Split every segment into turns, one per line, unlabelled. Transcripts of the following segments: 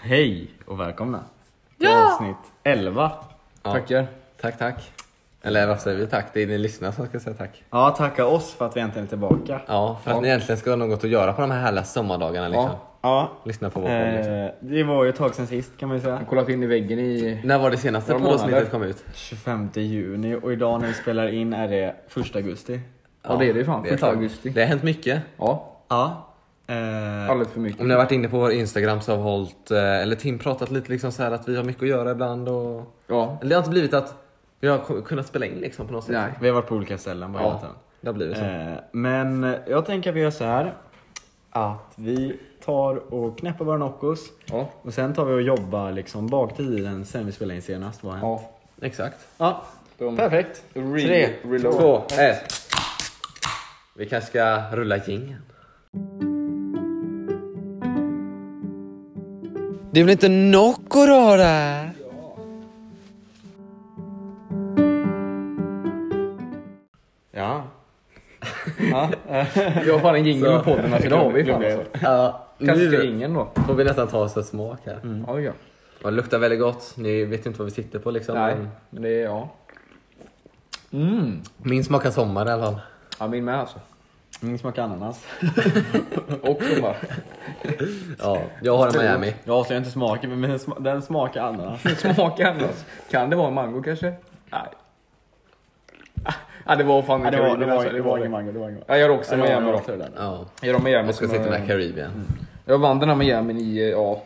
Hej och välkomna till
Ja!
avsnitt 11.
Ja.
Tackar.
Tack, tack. Eller vad säger vi tack? Det är ni lyssnare som ska säga tack.
Ja, tacka oss för att vi äntligen är tillbaka.
Ja, för att ni äntligen ska ha något att göra på de här härliga sommardagarna. Liksom.
Ja.
Lyssna på vår podd. Liksom.
Eh, det var ju ett tag sedan sist kan man ju säga.
Han kollat in i väggen i...
När var det senaste
Eh, några månader.
poddavsnittet kom ut?
25 juni och idag när vi spelar in är det 1 augusti.
Ja, det är det ju fan.
ett
Första
tag.
augusti.
Det har hänt mycket.
Ja,
Ja. Eh,
alldeles för mycket.
Om ni har varit inne på vår Instagram så har vi hållit, eh, eller Tim pratat lite liksom så här att vi har mycket att göra ibland och...
Ja.
Eller det har inte blivit att vi har ko- kunnat spela in liksom på något sätt.
Nej.
vi har varit på olika ställen bara hela
Ja,
tiden.
det har blivit så.
Eh, men jag tänker att vi gör så här. Att vi tar och knäpper våra Noccos.
Ja.
Och sen tar vi och jobbar liksom bak till tiden sen vi spelade in senast. Vad har hänt?
ja.
Exakt.
Ja.
De...
Perfekt.
Re-
Tre,
reload.
Två, ett. Vi kanske ska rulla jingeln. Det är väl inte Nocco då där?
Ja.
Jag har fan en jingel med podden alltså. Det har vi fan
Glömde jag.
alltså.
Ja,
Kanske ska Mm.
nu
ingen då.
får vi nästan ta oss en smak här.
Ja, ja.
Ja, det luktar väldigt gott. Ni vet ju inte vad vi sitter på liksom.
Nej,
men
men det är ja. Mm.
Min smakar sommar i alla fall.
Ja, min med alltså.
Min smakar ananas.
Och sommar.
Ja, jag har en Miami.
Jag avslöjar inte smaken men den, sma- den smakar ananas.
Smaken alltså. Kan det vara en mango kanske? Nej. Ja, det var fan
Nej, det var, det var,
alltså,
det var ingen mango. Det var ingen mango.
Ja, jag har också
Ja, det var
Miami
en
då.
avslöjad där.
Ja,
Jag har Miami
jag ska
som,
sitta
eh,
med Caribbean.
Jag vann den här Miami i, eh, ja,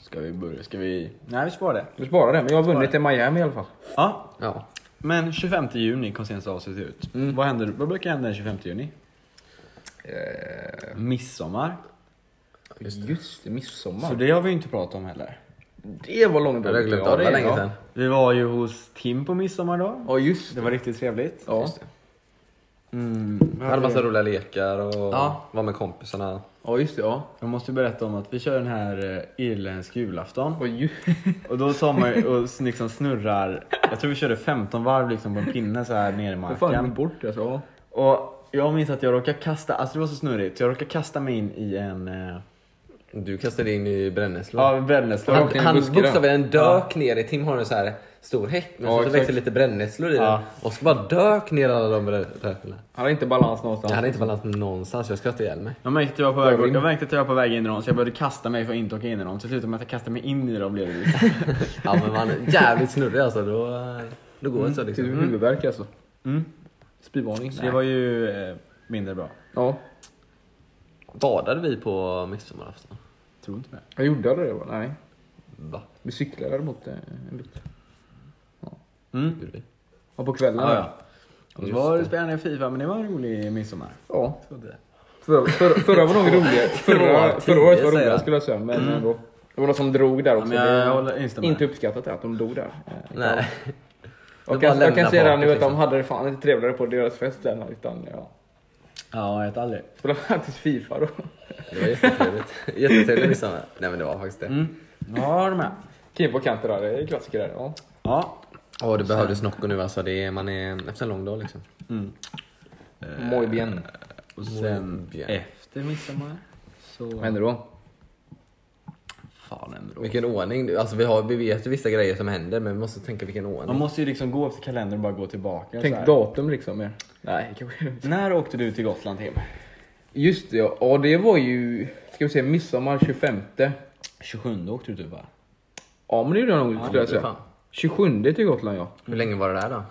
Ska vi börja? Ska vi? Nej vi sparar det.
vi sparar den. Men jag har vunnit i Miami i alla fall.
Ja.
Ja.
Men 25 juni kom senaste avsnittet ut. Vad, händer, vad brukar hända den 25 juni? Eh. Midsommar.
Just det, midsommar.
Så det har vi ju inte pratat om heller.
det var långt
Det har jag glömt av. Det var länge sedan.
Vi var ju hos Tim på midsommar då.
Ja, just
Det var riktigt trevligt.
Ja.
Mm,
Jag hade massa roliga lekar och
Ja.
var med kompisarna.
Ja, just det. Ja.
Jag måste berätta om att vi kör den här eh, irländsk julafton.
Och ju...
Och då tar man ju och s- liksom snurrar, jag tror vi körde 15 varv liksom på en pinne så här nere i
Vad fan, jag glömde
marken.
bort det alltså. Ja.
Och jag minns att jag råkade kasta, alltså det var så snurrigt, jag råkade kasta mig in i en eh,
Du kastade in i brännässlor.
ja, brännässlor.
Ja,
Han,
Rakt in i
han
buskarna.
bokstavligen dök ner i Tim har en så här stor häck men
Ja,
så, så
exakt.
växer lite brännässlor i
Ja.
den och så bara dök ner alla de brännässlorna.
Han har inte balans någonstans.
Jag hade inte balans någonstans, jag skrattade ihjäl mig.
Jag märkte, att jag, var på väg, jag märkte att jag var på väg in i dem så jag började kasta mig för att inte åka in i dem. Så slutade med att jag kastade mig in i dem blev det liksom.
Ja men man är jävligt snurrig alltså, då, då går det så
Typ
liksom.
huvudvärk alltså.
Mm.
Spyvarning.
Så det var ju eh, mindre bra.
Ja,
Badade vi på midsommarafton?
Tror inte det.
jag gjorde det va? Nej.
Va?
Vi cyklade däremot eh, en bit.
Mm.
Gjorde vi?
Ja, på kvällen.
Ah, Ja, ja. Och så
Just
var det
det.
spelande i Fifa men det var en rolig midsommar.
ja. Förra, förra, förra var nog
var
roligare. Förra,
tio,
förra året var
säger
roligare
jag.
skulle jag säga. Men ändå. Det var någon som drog
Mm.
där
Ja,
också.
men jag, jag
Det-
håller, instämmer.
Inte uppskattat det att de dog där. Eh,
Nej.
Jag
Det är bara att
kan, jag kan
lämna
säga redan
bakom,
nu att de
liksom.
hade det fan inte trevligare på deras fest än utan ja.
Ja, jag vet aldrig.
Spelade faktiskt Fifa då.
Det var jättetrevligt. Jättetrevlig midsommar. Nej men det var faktiskt det.
Mm. Ja, de är.
Kim på kanter där, det är klassiker där. Ja.
Ja,
Åh det behövdes Nocco nu alltså, det är, man är efter en lång dag liksom.
Eh.
Muy bien.
Och sen
Muy bien.
efter midsommar så...
Vad händer då?
fan händer då?
Vilken ordning, du- alltså vi, har, vi vet ju vissa grejer som händer men vi måste tänka vilken
Man
ordning.
måste ju liksom gå efter kalendern och bara gå tillbaka. så
Tänk
här.
datum liksom mer. Nej, kanske
När åkte du till Gotland Tim?
Just det ja, ja det var ju, ska vi se, midsommar 25.
27 åkte du typ va?
Ja men det gjorde jag nog skulle jag
det är
säga.
fan.
27 till Gotland ja.
Hur länge var det där då?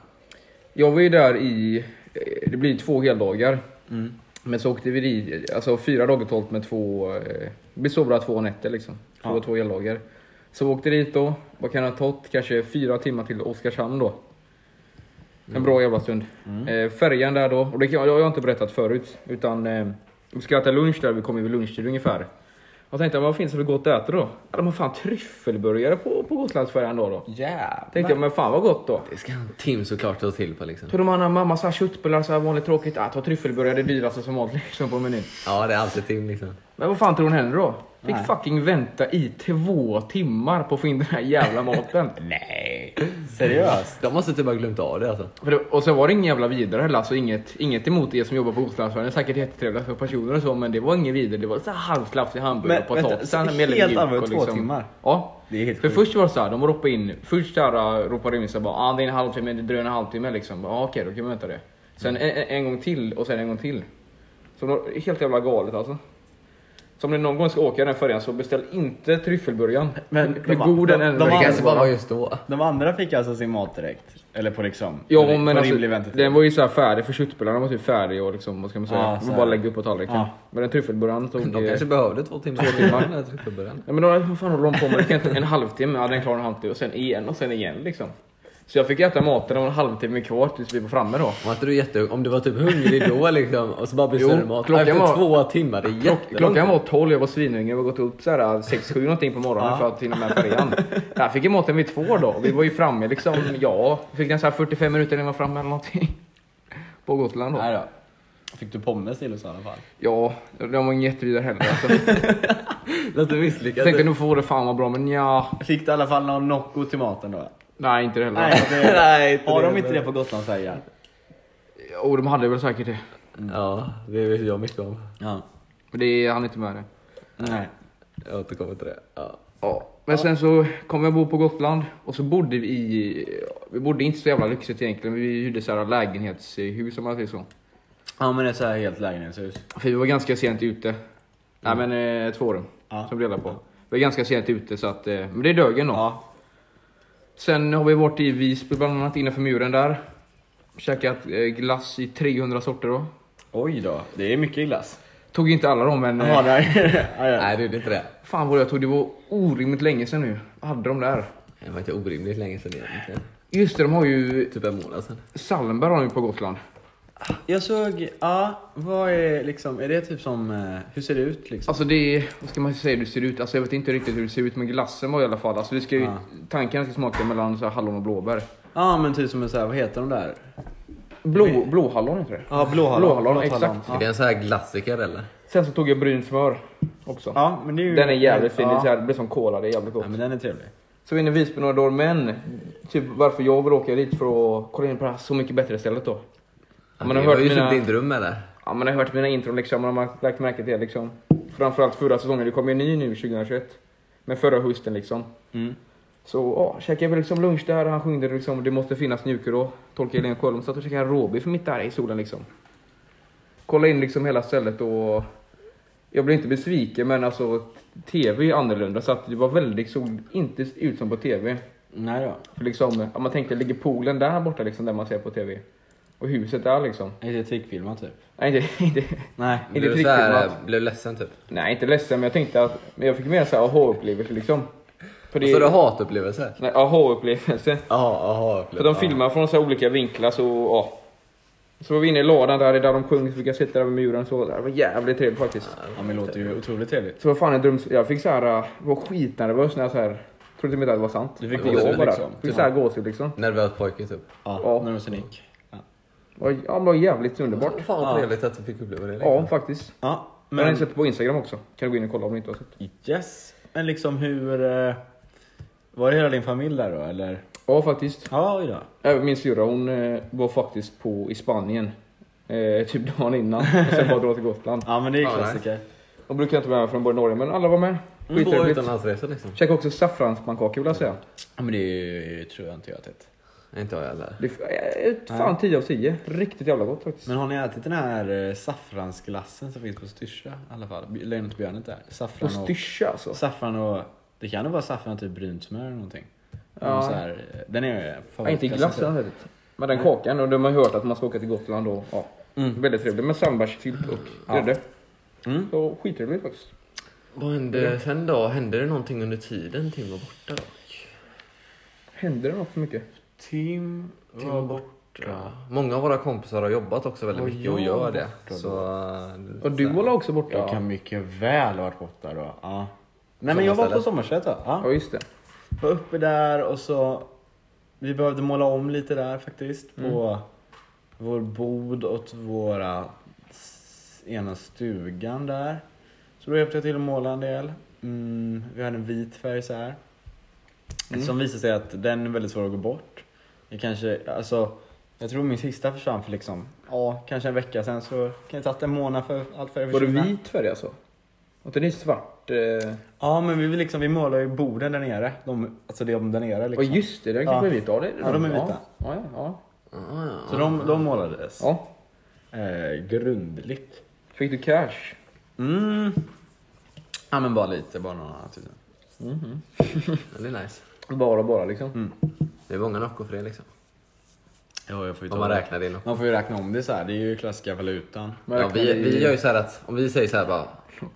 Jag var ju där i, eh, det blir två heldagar.
Mm.
Men så åkte vi dit, alltså fyra dagar totalt med två, eh, det blir så bra två nätter liksom. Två,
Ja.
två heldagar. Så vi åkte dit då, vad kan det ha tagit? Kanske fyra timmar till Oskarshamn då.
Mm.
En bra jävla stund. Eh, färjan där då, och det kan- jag har jag inte berättat förut, utan eh, vi skulle äta lunch där, vi kom ju vid lunchtid ungefär. Jag tänkte, vad finns det för gott att äta då? Ja, de har fan tryffelburgare på, på Gotlandsfärjan då. då.
Jävlar!
Tänkte jag, men fan vad gott då.
Det ska han Tim såklart ta till på liksom.
Så de andra mamma Ah, så här köttbullar så här vanligt tråkigt. Att ha tryffelburgare det dyraste som vanligt alltså liksom på menyn.
Ja det är alltid Tim liksom.
Men vad fan tror hon händer då? Fick
Nej.
fucking vänta i två timmar på att få in den här jävla maten.
Nej.
Seriöst?
De måste typ ha glömt av det alltså.
För det, och sen var det ingen jävla vidare heller, alltså inget, inget emot er som jobbar på Gotlandsfärjan. Det är säkert jättetrevliga för personer och så, men det var inget vidare. Det var så här halvslafsig hamburgare
Men
och
vänta,
potatis.
så
sen
helt
med lite mjuk
använt
och liksom-
två timmar?
Ja.
Det är helt
För
sjukt.
först var det såhär, de ropade in, först där äh, ropade de in såhär bara ah, det är en halvtimme, det dröjer en halvtimme liksom. Ja ah, okej, då kan vi vänta det. Sen
Mm.
en, en- en gång till och sen en gång till. Så nå- helt jävla galet alltså. Så om ni någon gång ska åka den färjan så beställ inte tryffelburgaren.
Men de-
hur god den
de-
än
de-
Det
Ja,
kanske
det
bara var just då.
De andra fick alltså sin mat direkt? Eller på liksom?
Ja
på
men alltså,
rimlig väntetid?
den var ju så här färdig för köttbullarna var typ färdig och liksom, vad ska man säga,
Ja,
man
så här.
bara lägga upp på tallriken.
Ja. alltså-
Men den tryffelburgaren tog...
De
eh,
kanske behövde två timmar. Två timmar.
Nej men då, vad fan håller de på med? Det kan inte- En halvtimme, ja den klarar en halvtimme och sen igen och sen igen liksom. Så jag fick äta maten och en halvtimme kvar tills vi var framme då.
Var inte du jättehungrig? Om du var typ hungrig då liksom och så bara
Jo,
beställde du mat.
klockan
Efter
var-
två timmar, det är jättelångt.
Klockan var 12, jag var svinhungrig, jag var gått upp såhär 6-7 någonting på morgonen för att hinna med färjan. Där fick jag maten vid två då, vi var ju framme liksom, ja, fick den såhär 45 minuter innan vi var framme eller någonting. På Gotland då.
Nej då. Fick du pommes till oss i alla fall?
Ja, den var ingen jättevidare heller alltså.
Låter
Jag
misslyckat.
tänkte nog vore fan vad bra men ja
Fick du i alla fall någon Nocco till maten då?
Nej inte det heller.
Nej, det,
Nej, inte
har
det
de inte
heller.
det på Gotlandsfärjan?
Och de hade väl säkert det.
Ja, det vet jag mycket om.
Ja.
Men det han inte med det.
Nej.
Jag återkommer till det. Ja.
Ja. Men sen så kom jag bo på Gotland och så bodde vi i, vi bodde inte så jävla lyxigt egentligen men vi hyrde så här lägenhetshus om man säger så.
Ja men det är så här helt lägenhetshus.
För vi var ganska sent ute. Nej men eh, två rum
Mm. Ja.
som vi delade på. Vi var ganska sent ute så att, eh, men det är dögen då.
Ja.
Sen har vi varit i Visby bland annat innanför muren där. Käkat eh, glass i 300 sorter då.
Oj då, det är mycket glass.
Tog inte alla dem men... eh,
Ja, nej. ja, ja.
Nej, det gjorde inte det.
Fan vad jag tog, det var orimligt länge sedan nu. Vad hade de där?
Det var inte orimligt länge sedan egentligen.
Just det, de har ju...
Typ en månad sedan.
Salmberg har de ju på Gotland.
Jag såg, ja, vad är liksom, är det typ som, eh, hur ser det ut liksom?
Alltså det är, vad ska man säga hur det ser ut? Alltså jag vet inte riktigt hur det ser ut men glassen var i alla fall, alltså vi ska ju,
Ja.
tanken är att det ska smaka mellan så här hallon och blåbär.
Ja men typ som en så här, vad heter de där?
Blå, blåhallon heter det.
Ja blåhallon.
Blåhallon,
Blåt
exakt.
hallon.
Är det en sån här glassiker eller?
Sen så tog jag bryn smör också.
Ja men det är ju...
Den är jävligt fin, det, är
Ja.
så här, det blir som kola, det är jävligt gott.
ja men den är trevlig.
Så vi är inne i Visby några dagar men, typ varför jag vill åka dit för att kolla in på det här Så Mycket Bättre stället då.
Ja,
Man
det
har
var
hört
ju
mina-
typ din dröm eller?
Ja, man har hört mina intron liksom, man har lagt märke till det liksom. Framförallt förra säsongen, det kom ju en ny nu 2021. Men förra hösten liksom.
Mm.
Så ja, käkade väl liksom lunch där, han sjöng det liksom, det måste finnas mjukare då. Tolkade Helene Sjöholm, satt och käkade råbiff mitt där i solen liksom. Kolla in liksom hela stället och jag blev inte besviken men alltså TV är ju annorlunda så att det var väldigt, såg inte ut som på TV.
Nej då.
För liksom, om man tänkte, ligger poolen där borta liksom där man ser på TV? Och huset där liksom.
Är det trickfilmat typ?
Nej, inte, inte,
Nej.
Inte
Blev du
riktigt
så här,
mat.
eh, blev du ledsen typ?
Nej, inte ledsen, men jag tänkte att men jag fick mer så här aha-upplevelse liksom. För
Så Alltså, du hatupplevelse?
Nej, aha-upplevelse.
Jaha, aha
För de
upplevelse.
filmar från så här olika vinklar så, ja. Så var vi inne i lådan där, det är där de sjöng, så vi kan sitta där vid muren så. Det var jävligt trevligt faktiskt.
Ja men det låter ju otroligt trevligt.
Så vad fan en dröm, jag fick så här, äh, var skitnervös när jag så här, trodde inte att det var sant.
Du fick
Att jag
gåshud,
var där.
liksom.
Fick så här gåshud liksom.
Nervös pojke typ.
Ja,
Ja.
när de sen gick. Ja.
Och, ja, men det var jävligt underbart.
Fan
Ja.
vad trevligt att du fick uppleva det. liksom.
Ja, faktiskt.
ja
Men... Jag har
men...
sett det på Instagram också. Kan du gå in och kolla om du inte har sett.
Yes. Men liksom hur... eh, Var det hela din familj där då eller?
Ja, faktiskt.
Ja, oj då.
Även Äh, min syrra hon eh, var faktiskt på i Spanien. Eh, typ dagen innan. Och sen bara dra till Gotland.
Ja men det är ju
Ja,
klassiker.
De brukar inte vara med från Norge men alla var med.
Två
Skittrevligt.
utomlandsresor liksom.
Käkade också saffranspannkakor vill jag säga.
Ja men det är ju, tror jag inte jag har ätit.
Inte jag heller.
Det är f- eh, fan 10 av 10. Riktigt jävla gott faktiskt.
Men har ni ätit den här eh, saffransglassen som finns på Styrsa i alla fall? B- Lönnbjörnet där.
På
Saffran och...
styrsa alltså.
Saffran och... Det kan nog vara saffran och typ brynt smör eller någonting.
Ja.
Ja. Så här, eh, den är alltså.
Ja, inte glass
tror jag.
jag vet inte. Men den kakan och de har hört att man ska åka till Gotland och ja. Väldigt trevligt med sandbärssylt och grädde.
Mm.
Så skittrevligt faktiskt.
Vad hände sen då? Hände det någonting under tiden Tim var borta dock?
Händer det något för mycket?
Tim
Tim
var
var
borta.
borta. Många av våra kompisar har jobbat också väldigt
Och
mycket och
jag var
gör
borta
det. Så...
Och du var också borta?
Jag kan mycket väl ha varit borta då. Ja. Nej men jag var
Sommarstället.
på sommarstället då. Ja.
Ja just det.
Var uppe där och så... Vi behövde måla om lite där faktiskt. På
Mm.
vår bod och våra s- ena stugan där. Så då hjälpte jag till att måla en del. Mm, vi hade en vit färg så här.
Mm.
Som visade sig att den är väldigt svår att gå bort. Jag kanske, alltså, jag tror min sista försvann för liksom, ja, kanske en vecka sen så kan det tagit en månad för allt färg att
Var det
försvinna.
vit färg alltså? Var inte det svart? eh?
Ja men vi, vill liksom, vi målar ju borden där nere. De, alltså de där nere
Ja
liksom.
just det, den
Ja.
kanske är vit. Ja, det,
Ja, de är vita.
Ja, ja, ja.
Ah, ja.
Så de, de målades.
ja.
Eh, grundligt.
Fick du cash?
Mm. Ja men bara lite, bara några tusen.
Ja, Det är nice.
Bara bara liksom.
Mm.
Det är många nockor för det liksom.
Ja, jag får ju
Om man räknar in.
Man får ju räkna om det så här. det är ju klassiska valutan.
Men
Ja,
jag
vi,
kan-
vi gör ju så här att om vi säger så här bara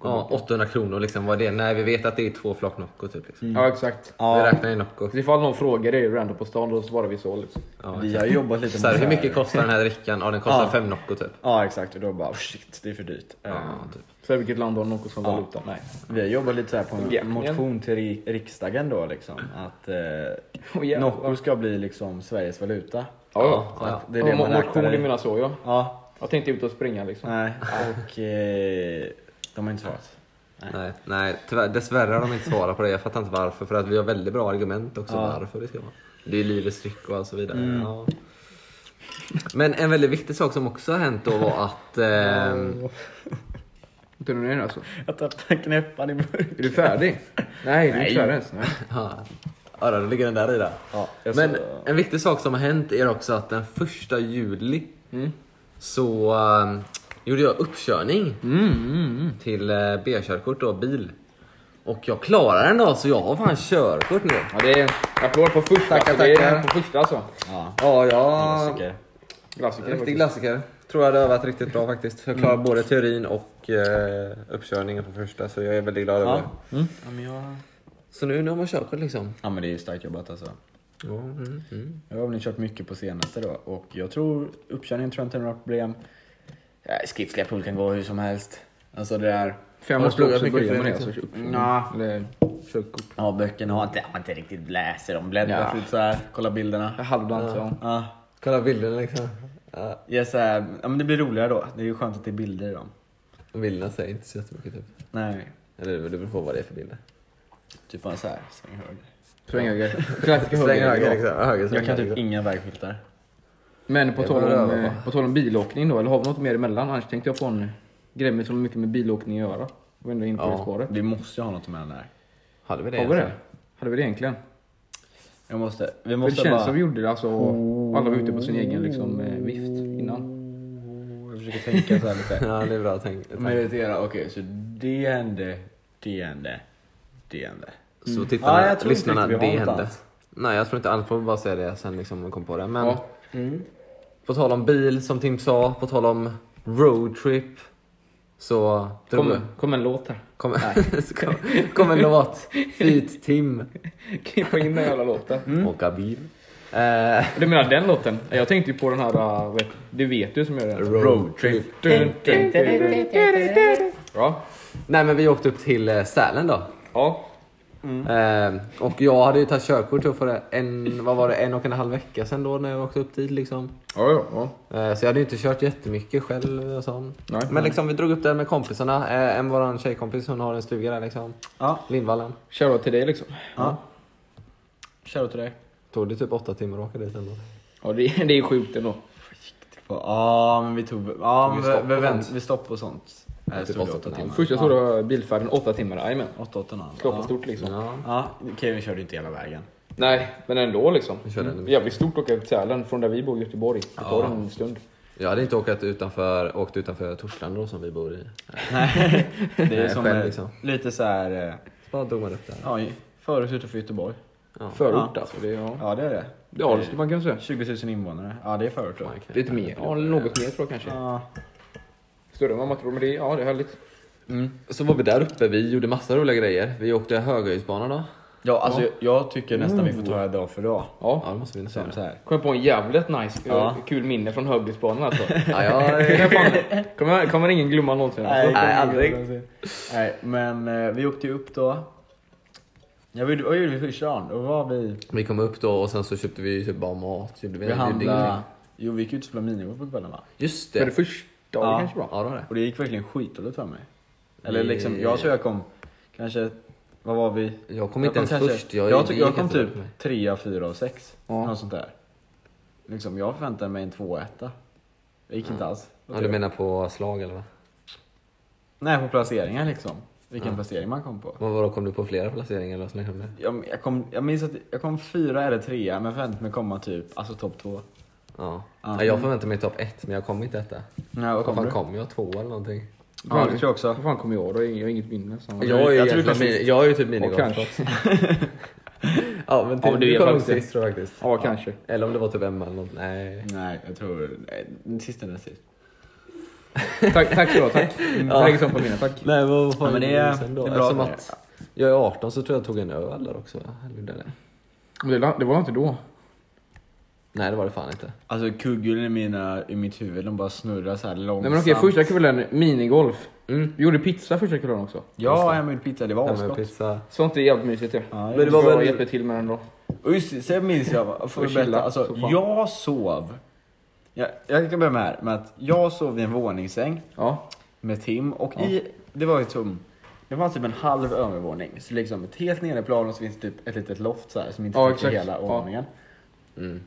ja, 800 kronor liksom, vad är det? Nej, vi vet att det är två flak Nocco typ. Liksom.
Ja exakt.
Mm. Ja.
Vi räknar i Nocco.
Så ifall någon frågar dig random på stan då svarar vi så liksom.
Ja,
Vi har jobbat lite
så här, hur mycket
kostar
kostar den här drickan? Ja, den kostar
Ja.
fem Nocco typ.
Ja exakt, och då bara oh, shit, det är för dyrt. Eh,
Ja, typ.
Så här, vilket land har något som
Ja.
valuta? Nej.
Vi har jobbat lite så här på en
Jäklar.
motion till ri- riksdagen då liksom. Att eh,
Oh, jävlar.
Nocco ska bli liksom Sveriges valuta.
Ja, ja.
Så att
Det
det är det man
Motion,
räknar
du
i.
menar så ja.
Ja,
Jag tänkte ut och springa liksom.
nej. Och eh, de har inte svarat.
Nej, nej tyvärr, dessvärre har de inte svarat på det. Jag fattar inte varför. För att vi har väldigt bra argument också
Ja. Mm.
varför det ska vara. Det är livets dryck och allt så vidare. Ja. Men en väldigt viktig sak som också har hänt då var att... ehm,
Inte nu ner alltså.
Jag tappade knäppan i burken.
Är du färdig? Nej, du är
Nej.
inte färdig ens. Nej.
ja, ja, då ligger den där i där.
Ja, jag
Men
så-
en viktig sak som har hänt är också att den första juli
Mm.
så ehm, gjorde jag uppkörning
Mm, mm, mm.
till eh, B-körkort då, bil. Och jag klarade den då, så jag har fan körkort nu.
Ja, det är applåd på första.
Tackar,
alltså. Det är
tackar.
på första alltså.
Ja,
Ja, jag...
klassiker.
Klassiker.
Riktig
faktiskt.
klassiker. Tror jag det har varit riktigt bra faktiskt. Jag klarar både teorin och eh, uppkörningen på första så jag är väldigt glad över
Ja.
det.
Ja, men jag...
Så nu, nu har man körkort liksom.
ja men det är ju starkt jobbat alltså.
Ja, mm, mm.
Jag har väl kört mycket på senaste då och jag tror uppkörningen tror jag inte är några problem. Ja, Skriftliga prov kan gå hur som helst. Alltså det där,
För jag
Har du
måste också
pluggat mycket
börja med
för
det.
det,
Alltså,
Nja.
Eller körkort.
ja böckerna har inte, har inte riktigt läser dem, bläddrar
Ja.
fritt så här, kolla bilderna.
Halvdant ja.
Ja,
Kolla bilderna liksom. Ja,
ja, så här, ja men det blir roligare då. Det är ju skönt att det är bilder i dem.
bilderna säger inte så jättemycket typ.
Nej,
Eller det beror på vad det är för bilder.
typ bara så här, sväng höger.
Sväng höger. Klassiker
Sväng
höger.
höger liksom. Ja, Höger,
Jag
sväng
kan typ
höger.
inga vägskyltar.
Men på
Det
tal,
var det jag
om,
var på.
eh, på tal om bilåkning då, eller har vi något mer emellan? Annars tänkte jag på en grej med som har mycket med bilåkning att göra. Vi var ändå inne på
Ja.
det spåret.
Vi måste ju ha något med den där.
Hade vi det?
Har vi det? alltså-
egentligen?
Hade vi det egentligen?
Jag måste, vi
För det
måste
känns
bara...
som vi gjorde det alltså. Alla var ute på sin egen liksom, eh, vift innan.
Jag försöker tänka så här lite.
Ja, det är bra tänkt.
Mm. Meditera, okej så det hände, det hände, det hände.
Så tittarna,
Ja, jag tror inte
lyssnarna, det
riktigt vi har något
hände.
annat.
Nej, jag tror inte alls. Får vi bara säga det sen liksom om vi kom på det. Men Mm.
Ja.
Mm.
På tal om bil, som Tim sa, på tal om roadtrip. Så
Kom, kom en låt här.
kom, så kom, kom en låt. Feat Tim.
Klippa in den jävla låten.
Mm.
Åka bil. Eh,
Du menar den låten? Jag tänkte ju på den här, eh, vet, det vet du som gör den.
Roadtrip.
Dun, dun, dun, dun. Ja.
nej men vi åkte upp till eh, Sälen då.
ja.
Mm.
Eh, och jag hade ju tagit körkort då för en, vad var det, en och en halv vecka sedan då när jag åkte upp dit liksom.
Ja, ja, ja.
Eh, så jag hade ju inte kört jättemycket själv och sånt.
Nej.
Men liksom vi drog upp där med kompisarna. Eh, en våran tjejkompis, hon har en stuga där liksom.
Ja.
Lindvallen.
Shoutout till dig liksom.
Ja. Shoutout till dig.
Tog det typ åtta timmar att åka dit ändå.
Ja, det, det är sjukt ändå.
Ja, ah, men vi tog... Ja,
Tog
men vi, vi,
vi stopp och sånt?
vänt, vi stopp och sånt.
Ja,
Eh,
typ
stod det
åtta
åtta
timmar.
timmar.
Första stora bilfärden, åtta timmar, jajamän.
Åtta, åtta och en halv.
Klockan
Ja,
stort liksom.
Ja.
ja Kevin körde inte hela vägen.
Nej, men ändå liksom.
Vi körde
Mm.
ändå.
Jävligt stort att åka ut till Sälen från där vi bor i Göteborg. Det tar en stund.
Jag hade inte åkt utanför, åkt utanför Torslanda då som vi bor i.
Det är
Nej,
som
själv
eh,
liksom.
lite så här... eh,
Bara drog man upp där.
Ja, i- förut utanför Göteborg.
Förort
Ja.
alltså. Det, ja.
Ja, det är det.
ja, det skulle man kunna säga.
20 000 invånare. Ja, det är förut då.
Lite mer. Ja, något mer tror jag kanske.
Ja.
Större än vad man tror, men det, ja, det är härligt.
Så var vi där uppe, vi gjorde massa roliga grejer. Vi åkte höghöjdsbana då.
Ja, alltså Jag, jag tycker nästan vi får ta det dag för dag.
Ja,
Ja.
det måste vi nästan
Som så
göra.
här.
Kom på en jävligt nice, eh,
Ja.
kul minne från höghöjdsbanan alltså.
Ja, jag,
Det fan- kommer, kommer ingen glömma någonsin alltså.
Nej,
Nej,
aldrig.
aldrig.
Nej, men eh, vi åkte ju upp då. Ja, vi, vad gjorde vi första dagen? Då var vi...
vi kom upp då och sen så köpte vi ju typ bara mat. Gjorde vi
Vi
vi gjorde
handlade...
ingenting.
Jo, vi gick ut och spelade minigolf på kvällen va?
Just
För det
det.
första,
Ja.
det kanske var.
Ja, det var det.
Och det gick verkligen skitdåligt för mig. Eller liksom, jag tror jag kom kanske, vad var vi?
Jag kom inte ens först.
Jag,
Jag,
jag, tycker
det
jag
gick
kom
inte bra
typ
för mig.
trea, fyra och sex.
Ja.
Något sånt där. Liksom, jag förväntade mig en tvåa, etta. Det gick inte alls.
Ja, du menar på slag eller vad?
Nej, på placeringar liksom. Vilken
Ja.
placering man kom på.
Men vadå, kom du på flera placeringar eller vad som hände?
Jag, jag, kom, jag minns att jag kom fyra eller trea, men förväntade mig komma typ, alltså topp två.
Ja.
Ja.
ja. Jag förväntade mig topp ett, men jag kom inte detta.
Nej, vad
Vad
kom
fan
du?
kom jag? Två eller någonting?
Ja, det tror jag också.
Vad fan kommer jag då? Jag har inget minne. Så.
Jag är
Jag är
tror
ju egentligen
faktiskt-
min- jag är ju typ
Ja, kanske.
minigolfproffs. ja, men
Ja,
typ,
men du
du
är
kom nog
faktiskt det.
sist tror jag faktiskt.
Ja, kanske.
Eller om det var typ Emma eller något. Nej.
Nej, jag tror... Nej, den sista eller sist.
Tack, tack så bra, tack. Jag lägger sånt på mina, tack.
Nej, men vad
Ja, men det är- det är bra
Eftersom
att det-
att jag är 18 så tror jag jag tog en öl där också. va? Eller gjorde jag det?
Men Det, la- det var inte då.
Nej, det var det fan inte.
Alltså kugghjulen i, mina, i mitt huvud, de bara snurrar så här långsamt.
Nej men okej, första kvällen, minigolf.
Mm.
Vi gjorde pizza första kvällen också.
Ja, jag gjorde pizza, det var
Ja, men
asgott.
pizza.
Sånt är jävligt mysigt ju.
Ja,
men
det
det
var
var
väl-
hjälper till med den då.
Och just det, sen minns jag, för
Och
att berätta,
chilla,
alltså
så fan.
jag sov... Jag, jag kan börja med, här, med att jag sov i en våningssäng
Ja.
med Tim och
Ja.
i, det var ju som, det fanns typ en halv övervåning. Så liksom ett helt nederplan och så finns det typ ett litet loft så här som inte
Ja,
täcker
exakt.
hela
Ja.
våningen.
Mm.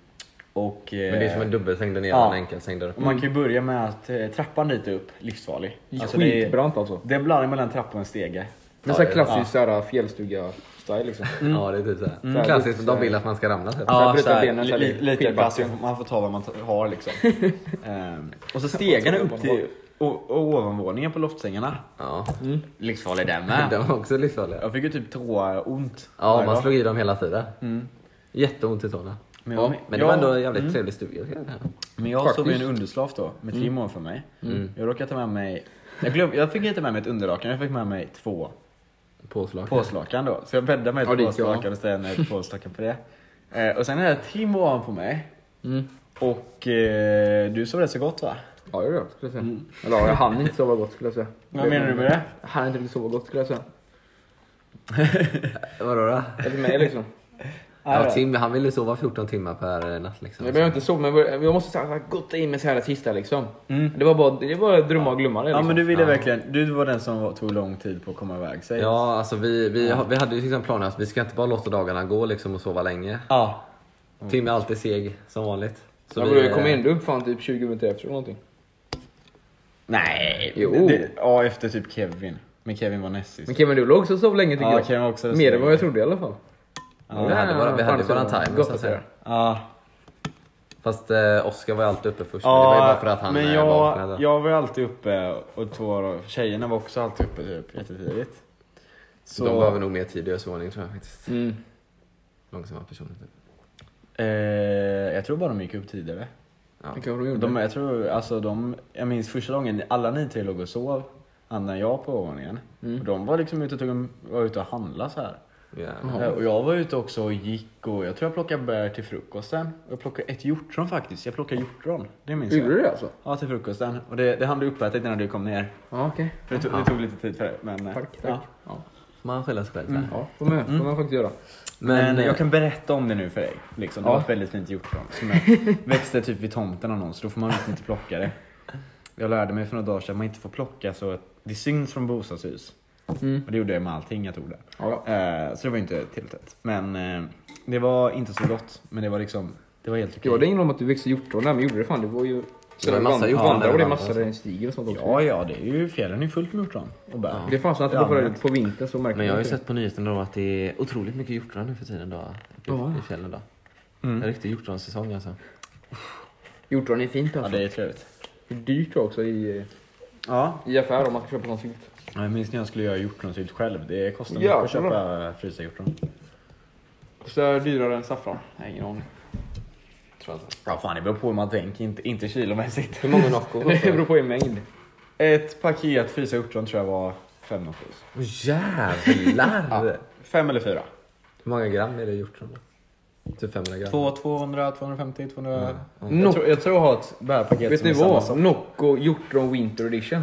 Och,
Men det är
eh,
som en dubbelsäng där nere
Ja.
och en enkelsäng där
och
uppe.
man kan ju börja med att eh, trappan dit är upp, livsfarlig. Alltså, det, är-
Skitbrant alltså.
det är blandning mellan trappa och en stege.
Det är såhär
Ja,
klassisk såhär fjällstuga-style liksom.
Ja, det är typ såhär.
Mm.
Klassiskt, de vill att man ska ramla typ.
Ja,
Ja,
bryta
såhär,
benen,
li,
såhär,
li, lite
skidbacken.
plats, man får ta vad man ta- har liksom. Ehm, och så stegarna upp till och, och ovanvåningen på loftsängarna.
Ja.
Livsfarlig den
De var också livsfarliga.
Jag fick ju typ tåont.
Ja,
varje
man
dag.
slog i dem hela tiden. Jätteont i tårna.
Mm. Men
Ja,
jag, Mm.
Men det var ändå en jävligt trevlig stuga.
men jag
Faktiskt.
sov i en underslav då, med tre
Mm.
månader för mig. Jag råkade ta med mig, jag, glöm, jag fick inte med mig ett underlakan, jag fick med mig två
Påslag.
påslakan då. Så jag bäddade mig ett
Ja, det gick bra.
påslakan och sen ett påslakan på det. Eh, och sen är det Tim ovanpå mig.
Mm.
Och eh, du sov rätt så gott va?
Ja, det gjorde jag skulle jag säga. Mm. Eller ja, jag hann inte sova gott skulle jag säga.
Vad menar du med det?
Jag hann inte riktigt sova gott skulle jag säga.
Vadå då?
Eller mig liksom.
Ja, Tim han ville sova 14 timmar per eh, natt liksom.
Jag behöver inte sova men jag bör- jag måste såhär gotta in mig såhär sista liksom. Det var bara, det var drömma och glömma det
Mm. Ja
liksom.
men du ville
Ja.
verkligen, du var den som var- tog lång tid på att komma iväg sig.
Ja, alltså vi, vi, har- vi hade ju liksom planen att vi ska inte bara låta dagarna gå liksom och sova länge.
Ja. Mm.
Tim är alltid seg, som vanligt. Så
Ja,
vi,
men du kom
eh,
ändå upp fan typ 20 minuter efter eller någonting.
Nej.
Jo.
Det, ja efter typ Kevin. Men Kevin var näst sist.
Men Kevin du låg också och sov länge tycker
Ja,
jag.
Kevin var också
Mer än vad jag trodde i alla fall.
Vi hade våra- vi hade våran timer,
Gott
så
att
att säga.
höra.
Ja.
Fast eh, Oskar var ju alltid uppe först.
Ja,
det var ju bara för att han
men
eh,
jag,
vaknade.
jag var ju alltid uppe och två av tjejerna var också alltid uppe typ jättetidigt. Så, Mm.
De behöver nog mer tid i ösvåning tror jag faktiskt.
Mm.
Långsamma personer typ.
eh, jag tror bara de gick upp tidigare.
Ja.
Det kanske de gjorde.
Mm.
De, jag, tror, alltså, de, jag minns första gången alla ni tre låg och sov, Anna och jag på ovanvåningen.
Mm.
Och De var liksom ute och, tog en, var ute och handlade så här.
Jävlar.
Eh, Och jag var ute också och gick och jag tror jag plockade bär till frukosten. Och Jag plockade ett hjortron faktiskt. Jag plockade hjortron. Det minns
Gjorde
jag.
du det alltså?
Ja, till frukosten. Och det, det hann du uppätet innan du kom ner.
Ja okej.
Det tog, det tog lite tid för det. Men, eh,
Tack, tack.
Ja.
Ja.
Man skyller sig själv. så här.
Ja, får man, får man faktiskt göra.
Men,
Men, eh,
jag kan berätta om det nu för dig. Liksom. Det
Ja.
var ett väldigt fint hjortron som jag växte typ vid tomten av någon så då får man liksom inte plocka det. Jag lärde mig för några dagar sedan att man inte får plocka så att det syns från bostadshus.
Mm.
Och det gjorde jag med allting jag tog där.
Ja, ja.
Eh, så det var ju inte tillräckligt. Men eh, det var inte så gott. Men det var liksom, det var helt okej.
Jag hade ingen om att du växte hjortron där men gjorde det fan. Det var ju...
Det var en massa hjortron
vandrar
där
och det är
ibland,
massa
alltså.
där det stiger och sånt också.
Ja, ja, det är ju, fjällen är ju fullt med hjortron och bär.
Det fanns alltid
Ja,
på,
men-
förut, på vintern så märkte
men jag
man
har ju
inte
sett på nyheterna då att det är otroligt mycket hjortron nu för tiden då. Uppe
Ja.
i- i fjällen då. En riktig hjortronsäsong alltså.
det. Hjortron är fint
Ja,
alltså.
det är trevligt.
Det är dyrt också i,
Ja.
i affär om man ska köpa sånt sylt.
Jag minns när jag skulle göra hjortronsylt själv. Det kostar mycket
Jävlar.
att köpa frysta hjortron.
Så är det dyrare än saffran? Nej, ingen aning.
Tror jag inte.
Ja, fan det beror på hur man tänker, inte, inte kilomässigt.
Hur många Nocco
Det
kostar det?
beror på i mängd.
Ett paket frysta hjortron tror jag var fem något.
Åh, Jävlar!
Fem eller fyra?
Hur många gram är det hjortron då? Typ 500 gram?
200, 250, 200.
Mm.
Jag, tror, jag tror jag har ett bärpaket
Vet
som
ni
är samma
vad?
som...
Nocco Hjortron Winter Edition.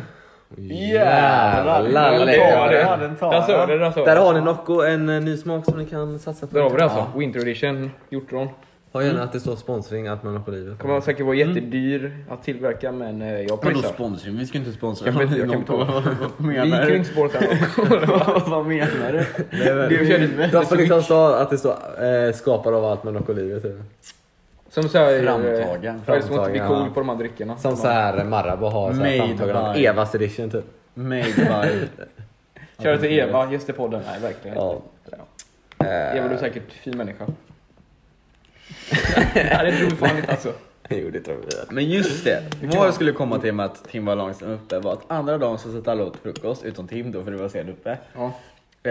Jävlar!
Jävlar!
Ja,
det-
den den tar
Där sa
jag.
du det, där sa
Där
du
har ni Nocco, en eh, ny smak som ni kan satsa på.
Där har vi det alltså. Winter Edition alltså. Hjortron.
Ha gärna att det står sponsring Alpman och Oliver.
Kommer säkert vara jättedyr att tillverka men eh, jag
Vadå
pröjsar.
sponsring? Vi Mm. ska inte sponsra
Jag kan inte- jag kan
någon.
inte-
Vad- vad- Vad
Vi kan
menar
ju
du?
inte sponsra någon.
Vad- Vad menar du?
Det är ju-
De får liksom stå att det står eh, skapad av Alpman och Oliver typ.
Som såhär...
Framtagen.
För som att vi
Framtagen,
är cool
ja.
på de här dryckerna.
Som så här Marabou har så här
Made
framtagen av
by-
Evas edition typ.
Made by...
Kör till Eva, gästepodden. Nej verkligen
Ja. Eh,
inte. Eva du är säkert fin människa. Nej det tror vi fan inte alltså.
Jo det tror jag.
Men just det, vad jag skulle komma till med att Tim var långsamt uppe var att andra dagen så satt alla åt frukost, utom Tim då för det var sen uppe.
Ja.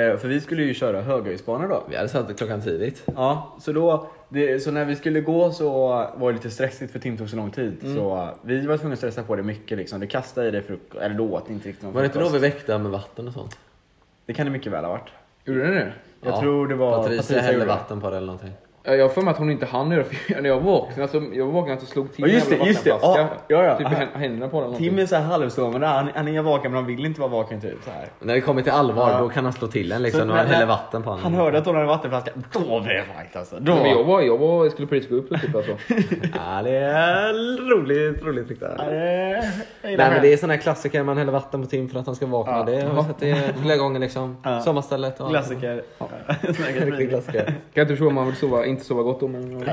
Eh, För vi skulle ju köra höghöjdsbana då.
Vi hade satt klockan tidigt.
Ja, så, då, det, så när vi skulle gå så var det lite stressigt för Tim tog så lång tid.
Mm.
Så eh, vi var tvungna att stressa på det mycket liksom. Du kastade i dig frukost, eller då åt ni inte riktigt någon
Var det inte då
frukost.
vi väckte med vatten och sånt?
Det kan det mycket väl ha varit.
Gjorde den det?
Jag tror det var
Patricia,
Patricia
hällde
gjorde det.
vatten på det eller någonting.
Ja, Jag har för mig att hon inte hann göra för när jag vaknade så jag vaknade så slog till
Ja, just
en jävla
det, just det.
vattenflaska.
Ja, ja, ja.
Typ i hän- händerna på den.
Tim är såhär halvsovande, han, han är vaken men han vill inte vara vaken typ. Så här.
När det kommer till allvar
Ja.
då kan han slå till en liksom.
Så
när han
när-
häller vatten på honom.
Han hörde att hon hade vattenflaska, då blev det fight alltså. Då.
Men jag, var, jag, var, jag skulle precis gå upp och typ alltså.
Ja, det är roligt, roligt tyckte jag. Nej,
Nej,
men det är sådana här klassiker. Man häller vatten på Tim för att han ska vakna.
Ja.
Det har jag sett det flera gånger liksom.
Ja.
Sommarstället och allt.
Klassiker.
Riktig klassiker.
Kan jag inte förstå om man vill sova, inte sova gott om men...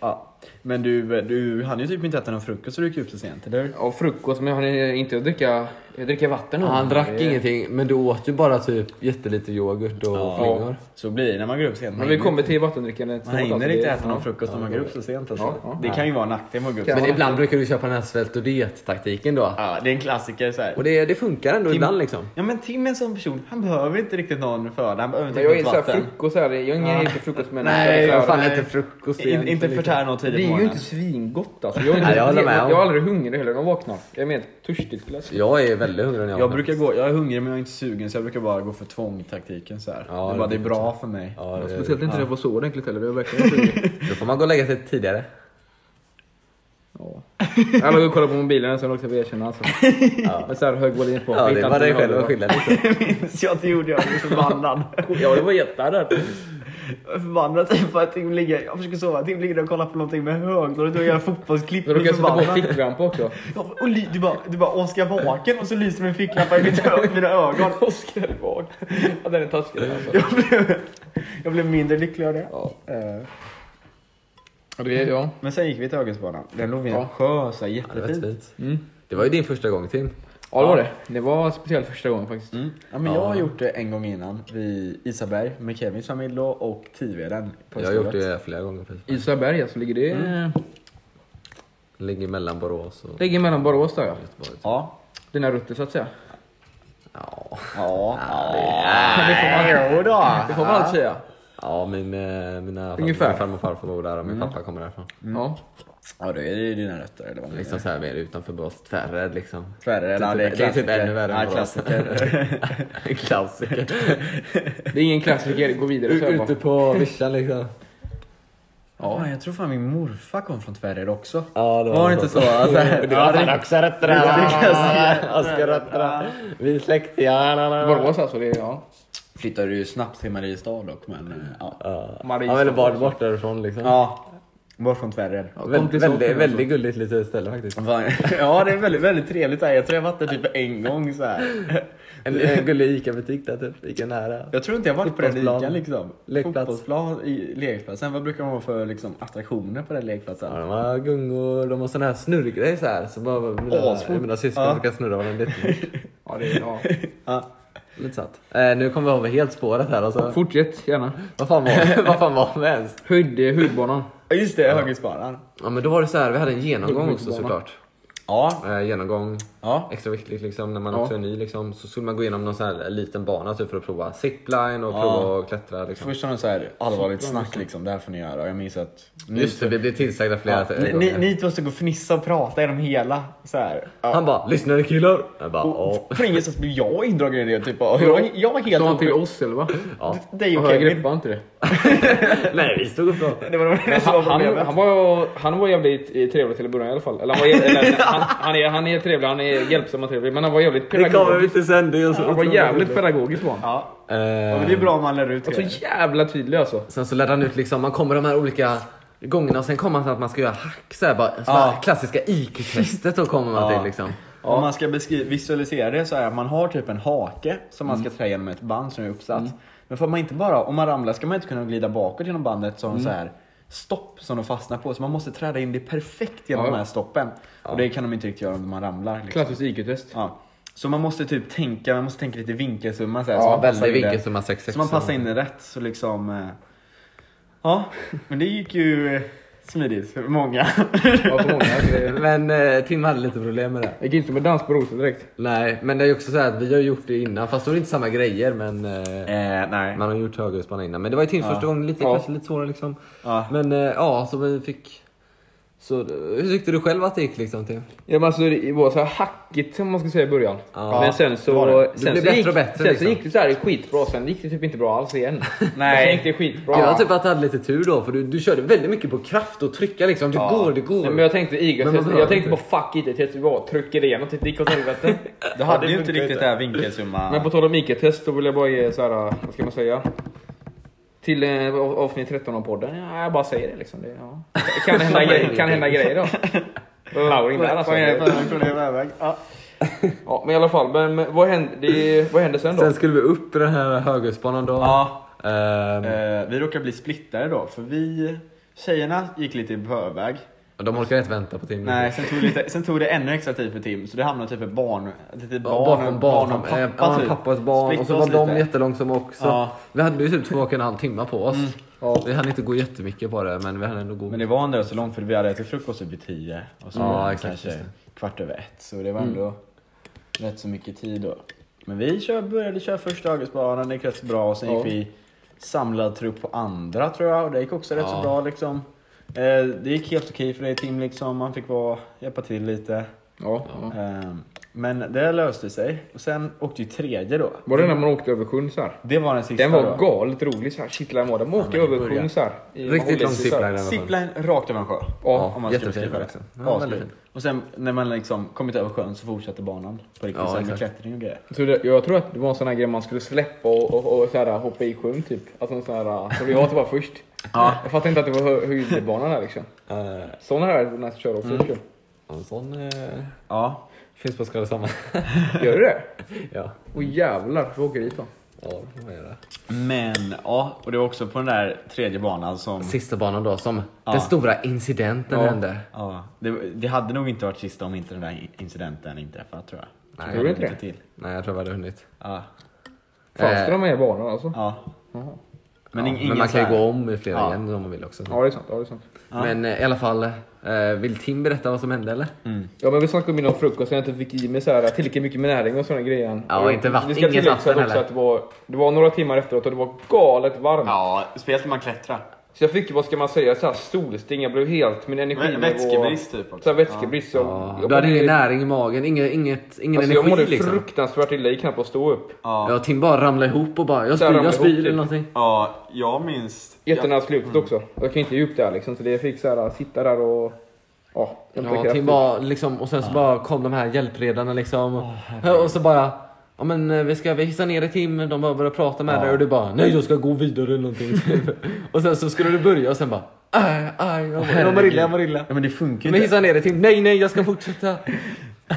ja. Men du, du hann ju typ inte äta någon frukost så du gick upp så sent, eller hur?
Ja, frukost men jag hann inte att dricka, jag dricker vatten.
Ja,
nu.
han drack
Det-
ingenting, men du åt ju bara typ jättelite yoghurt och
Ja.
flingor.
Så blir det när man går upp sent.
Men vi kommer till vattendrickandet
man hinner inte äta någon frukost när man går upp så sent alltså.
Ja, ja.
Det kan ju vara en nackdel med att gå upp
Kan
sent.
Men
Ja.
ibland brukar du köpa den här svält och diet-taktiken då.
Ja, det är en klassiker så
Och
här.
det, det funkar ändå ibland liksom.
Ja men Tim är en sån person, han behöver inte riktigt någon föda, han behöver inte
Men jag är
riktigt
inte såhär
vatten.
frukost här, jag är ingen ja. frukost men...
Nej,
jag är så här-
vad
Fan,
nej.
inte frukost
In, inte förtär något
Det
tidigt på
är ju
morgonen.
inte svingott alltså. Jag är, inte,
Nej, jag håller med om.
jag är aldrig hungrig heller när jag vaknar. Jag är mer törstig skulle jag säga.
Jag är väldigt hungrig när jag
Jag
vaknar.
brukar gå, jag är hungrig men jag är inte sugen så jag brukar bara gå för tvångtaktiken så här.
Ja,
det, är
det
bara, det är
brukar
bra för mig.
Ja, det-
Speciellt inte när jag får sova ordentligt heller, det är verkligen hungrig.
Då får man gå och lägga sig tidigare.
Ja. Alla går och kollar på mobilen sen också, vi erkänner alltså. Med såhär hög volym på.
Ja, det
Hittar
var
inte
dig
vad
själv
det
att
var.
skylla liksom. lite.
minns jag att det gjorde, jag blev förbannad.
Ja, det var jättearrad.
Jag är förbannad typ för att Tim ligger, jag försöker sova, Tim ligger och kollar på någonting med högtalet och gör fotbollsklipp.
Då råkade jag
Jag
sätta
blir
på
förbannad.
ficklampa också.
Ja, och ly- du bara, du bara Oskar vaken och så lyser min ficklampa i mitt ö- mina ögon.
Oskar är vag. Ja, den är taskig alltså.
Jag blev, jag blev mindre lycklig av det. Eh,
Ja, det är, ja.
Men sen gick vi till Höghöjdsbanan. Den låg vid en
Ja.
sjö, så här,
Ja, det var
jättefint.
fint. Mm. Det var ju din första gång Tim.
ja, det var det. Det var speciellt första gången faktiskt.
Mm. Ja, men Jag har gjort det en gång innan vid Isaberg med Kevins familj då, och Tiveden. på
Jag har
Östergöt.
gjort det flera gånger. precis.
Isaberg alltså, ligger det...
Mm.
Ligger mellan Borås och
Ligger mellan Borås där ja.
Göteborg.
Ja.
Dina rutter så att säga.
Ja,
Ja.
Det får man,
Jo då.
det får man alltid säga.
ja min, eh, mina
Ungefär.
min farmor och farfar bor där och min pappa kommer därifrån.
Mm.
Ja.
Ja, då är det ju dina rötter eller vad det
Liksom så här mer utanför Borås, Tvärred liksom.
Tvärre,
Det är
ja,
typ- det är typ ännu värre än
Ja,
vad
klassiker.
En klassiker.
Det är ingen klassiker, gå vidare så här bara.
Ute på vischan liksom.
ja, fan, jag tror fan min morfar kom från Tvärred också.
Ja,
Var det inte så? Alltså, ja, det-
Askarötterna. Vi är släkt. Ja, na, na, na.
Borås alltså, det är ja.
flyttade ju snabbt till Mariestad dock, men eh, ja.
Ja,
Marie
ja eller
Stockholm.
bort, bort därifrån liksom.
Ja, alltså. bort från Tvärred.
Ja, kom till
Väldigt, väldigt,
saken,
väldigt gulligt litet ställe faktiskt.
Fan, Ja, det är väldigt, väldigt trevligt här. Jag tror jag varit där typ en gång så här.
En, en gullig ICA-butik där typ, Ica nära.
Jag tror inte jag varit på den
Fotbollsplan.
likan liksom.
Lekplats.
Fotbollsplan, i lekplatsen. Vad brukar man ha för liksom, attraktioner på den
Ja,
lekplatsen?
de har gungor, de har såna här snurrgrejer så här. Så bara mina,
Asfort.
mina syskon
Ja.
brukar snurra varandra lite.
Ja, det är, ja.
Ja.
lite satt. Eh, nu kommer vi av helt spåret här alltså.
Fortsätt gärna.
Vad fan var, vad fan var vi ens?
Höjd, eh, höjdbanan.
Ja, Just det, Höghöjdsbanan.
Ja men då var det så här, vi hade en genomgång också
Guldbana.
såklart.
Ja.
Eh, genomgång,
Ja.
extra viktigt liksom när man
Ja.
också är ny liksom. Så skulle man gå igenom någon sån här liten bana typ för att prova zipline och
Ja.
prova att klättra liksom.
Först var det så här allvarligt snack liksom. Det här får ni göra. Och Jag minns att... Ni,
Just det, vi blev tillsagda flera
ja, ni,
gånger.
ni, ni två stod och fnissade och pratade genom hela. Så här. Ja.
Han bara, lyssnar ni killar? Jag bara, ja.
Och för ingenstans blev jag indragen i det. Typ. Och jag, jag var helt
Sa han till
oskyldig.
oss eller va?
ja.
Dig och
jag
Kevin.
greppade inte det.
Nej vi stod och pratade.
Det var det som var
Han, han,
problemet.
han, var, han var jävligt eh, trevlig till en början i alla fall. Eller han, var, jä- eller, han, han, är, han är trevlig, han är hjälpsam och trevlig. Men han var jävligt
Det kommer vi
pedagogisk.
inte sen, det är så
Han var
otroligt
jävligt
roligt.
pedagogisk var han.
Ja.
Eh,
Ja, men det är bra om man lär ut
Och så jävla tydlig alltså.
Sen så lärde han ut liksom, man kommer de här olika gångna. Sen kommer man till att man ska göra hack. Så här, bara, så här
Ja.
Klassiska IQ-testet då kommer man
Ja.
till liksom.
Om man ska beskri- visualisera det så är att man har typ en hake som man ska trä genom ett band som är uppsatt. Men får man inte bara, om man ramlar ska man inte kunna glida bakåt genom bandet som så här stopp som de fastnar på. Så man måste träda in det perfekt genom
Ja.
de här stoppen. Och det kan de inte riktigt göra om man ramlar. Liksom.
Klassiskt IQ-test.
Ja. Så man måste typ tänka, man måste tänka lite vinkelsumma så här.
Ja,
så man
Väldigt
passar in det.
vilket som har 6
Så man passar in det rätt så liksom eh, Ja, men det gick ju eh, smidigt för många.
Ja, för många. Det
Men eh, Tim hade lite problem med det.
det gick inte med dans på rosor direkt.
Nej, men det är ju också så här att vi har gjort det innan. Fast då är det inte samma grejer. Men eh,
eh, nej.
man har gjort högerhusbana innan. Men det var ju Tims första gång. Lite,
Ja.
kanske lite svårare liksom.
Ja.
Men eh, ja, så vi fick... Så, eh, hur tyckte du själv att det gick liksom Tim?
Ja, men alltså, det var så här hackigt som man ska säga i början.
Ja.
men sen
Det
så...
var det.
Sen
Det
så
blev bättre
gick,
och bättre,
Sen
liksom.
så gick det så här skitbra, sen gick det typ inte bra alls igen.
Nej.
Sen gick det skitbra.
Jag typ att du hade lite tur då, för du, du körde väldigt mycket på kraft och trycka liksom. Det går, det går.
Nej, men jag tänkte
Men man
IQ-test,
behöver
jag tänkte på
inte.
fuck IT-test, vi bara trycker igenom tills det gick åt helvete.
Du hade ju inte riktigt det här vinkelsumma...
Men på tal om IQ-test, då vill jag bara ge så här, vad ska man säga? Till eh, av- avsnitt 13 av podden, ja, jag bara säger det liksom. Det, ja. kan, hända grejer, kan hända grejer då. Laurin där alltså. Ja, men i alla fall, men, men vad hände, det, vad hände sen då?
Sen skulle vi upp i den här höghöjdsbanan då.
Ja,
Ehm,
eh, vi råkade bli splittade då, för vi... Tjejerna gick lite på högväg.
och de orkar inte vänta på timmen.
Nej, sen tog, lite, sen tog det ännu extra tid för Tim, så det hamnade typ ett barn... Ett litet barn,
Bakom barn,
barn och
eh,
pappa
ja,
typ.
pappas barn och så
Splittade
var
oss
de
lite.
jättelångsamma också.
Ja.
Vi hade ju typ två och en halv timme på oss.
Ja.
Vi hann inte gå jättemycket på det men vi hann ändå gå.
Men det var ändå så långt, för vi hade ätit frukost typ vid tio. Och så
Ja,
var det
exakt, just
kanske kvart över ett, så det var ändå rätt så mycket tid då. Men vi kör, började köra första Augustbanan, det gick rätt så bra. Och sen
Ja.
gick vi samlad trupp på andra tror jag, och det gick också rätt
Ja.
så bra liksom. Eh, det gick helt okej för det Tim liksom, man fick vara, hjälpa till lite.
Ja, ja.
Eh, men det löste sig. Och sen åkte ju tredje då.
Var det när man åkte över sjön så här?
Det var den sista
Den var
då.
galet rolig såhär, kittlar var. De åker
men det
över
börjar.
sjön såhär. i- man
Riktigt
håller
lång
sig så här.
zipline i alla fall.
Zipline rakt över en sjö.
Ja,
Om man ska
jättefin
beskriva liksom. det.
också. Ja, väldigt
Asfin.
fin.
Och sen när man liksom kommit över sjön så fortsatte banan på riktigt
Ja,
sen med
exakt.
klättring och grejer.
så det, jag tror att det var en sån här grej man skulle släppa och, och, och så här, hoppa i sjön typ. Alltså en sån här, så jag var först.
Ja.
Jag fattar inte att det var hö- höjdbana där liksom.
Eh, Mm.
Såna här är det nice att köra också. liksom. tycker
en sån eh,
Ja.
finns på Skarasamma.
jag. Gör du det?
ja.
Åh jävlar, vi åker dit då.
ja, det får man göra.
Men ja, och det var också på den där tredje banan som...
Sista banan då som
Ja.
den stora incidenten
Ja.
hände.
Ja, det, det hade nog inte varit sista om inte den där incidenten inträffat tror jag.
Nej,
Tror du inte
Lite
det?
till.
Nej jag tror vi hade hunnit.
Ja.
Fanns
Eh.
det de här banorna alltså?
ja.
Jaha.
Men,
Ja,
ing- ingen
men man
så
kan ju
här-
gå om i flera
Ja.
igen om man vill också.
Ja det är sant, ja det är sant.
Ja.
Men eh, i alla fall, eh, vill Tim berätta vad som hände eller?
Ja men vi snackade om innan frukosten, jag inte fick i mig så här, tillräckligt mycket med näring och sådana grejer.
Ja,
Och
inte vatten,
vi ska
inget
tillägga
vatten
också
heller.
att det var, det var några timmar efteråt och det var galet varmt.
Ja, speciellt när man klättrar.
Så jag fick, vad ska man säga, så här solsting. Jag blev helt, min energi
Vä- Vätskebrist typ också.
Så här vätskebrist. Jag, jag
Du hade
mådde-
ingen näring i magen, ingen, inget, ingen
alltså, Jag
energi
mådde
liksom.
fruktansvärt illa, jag gick knappt att stå upp.
Ja.
Ja, Tim bara ramlade ihop och bara jag spyr,
ramlade
jag spyr
ihop,
eller
typ.
någonting.
ja, jag minns...
Jättenära slutet också. Och jag kan inte ge upp där liksom. Så det jag fick så här, sitta där och... Ja, hämta
Ja,
kraft.
Tim bara liksom, och sen så bara kom de här hjälpredarna liksom. och så bara, ja men eh, vi ska vi hissar ner dig Tim, de bara började prata med dig och du bara nej jag ska gå vidare eller någonting. typ. och sen så skulle du börja och sen bara aj, aj, jag, mår- jag mår illa, jag mår illa.
Ja, men det funkar
Men
ju inte.
hissar ner dig Tim, nej nej jag ska fortsätta.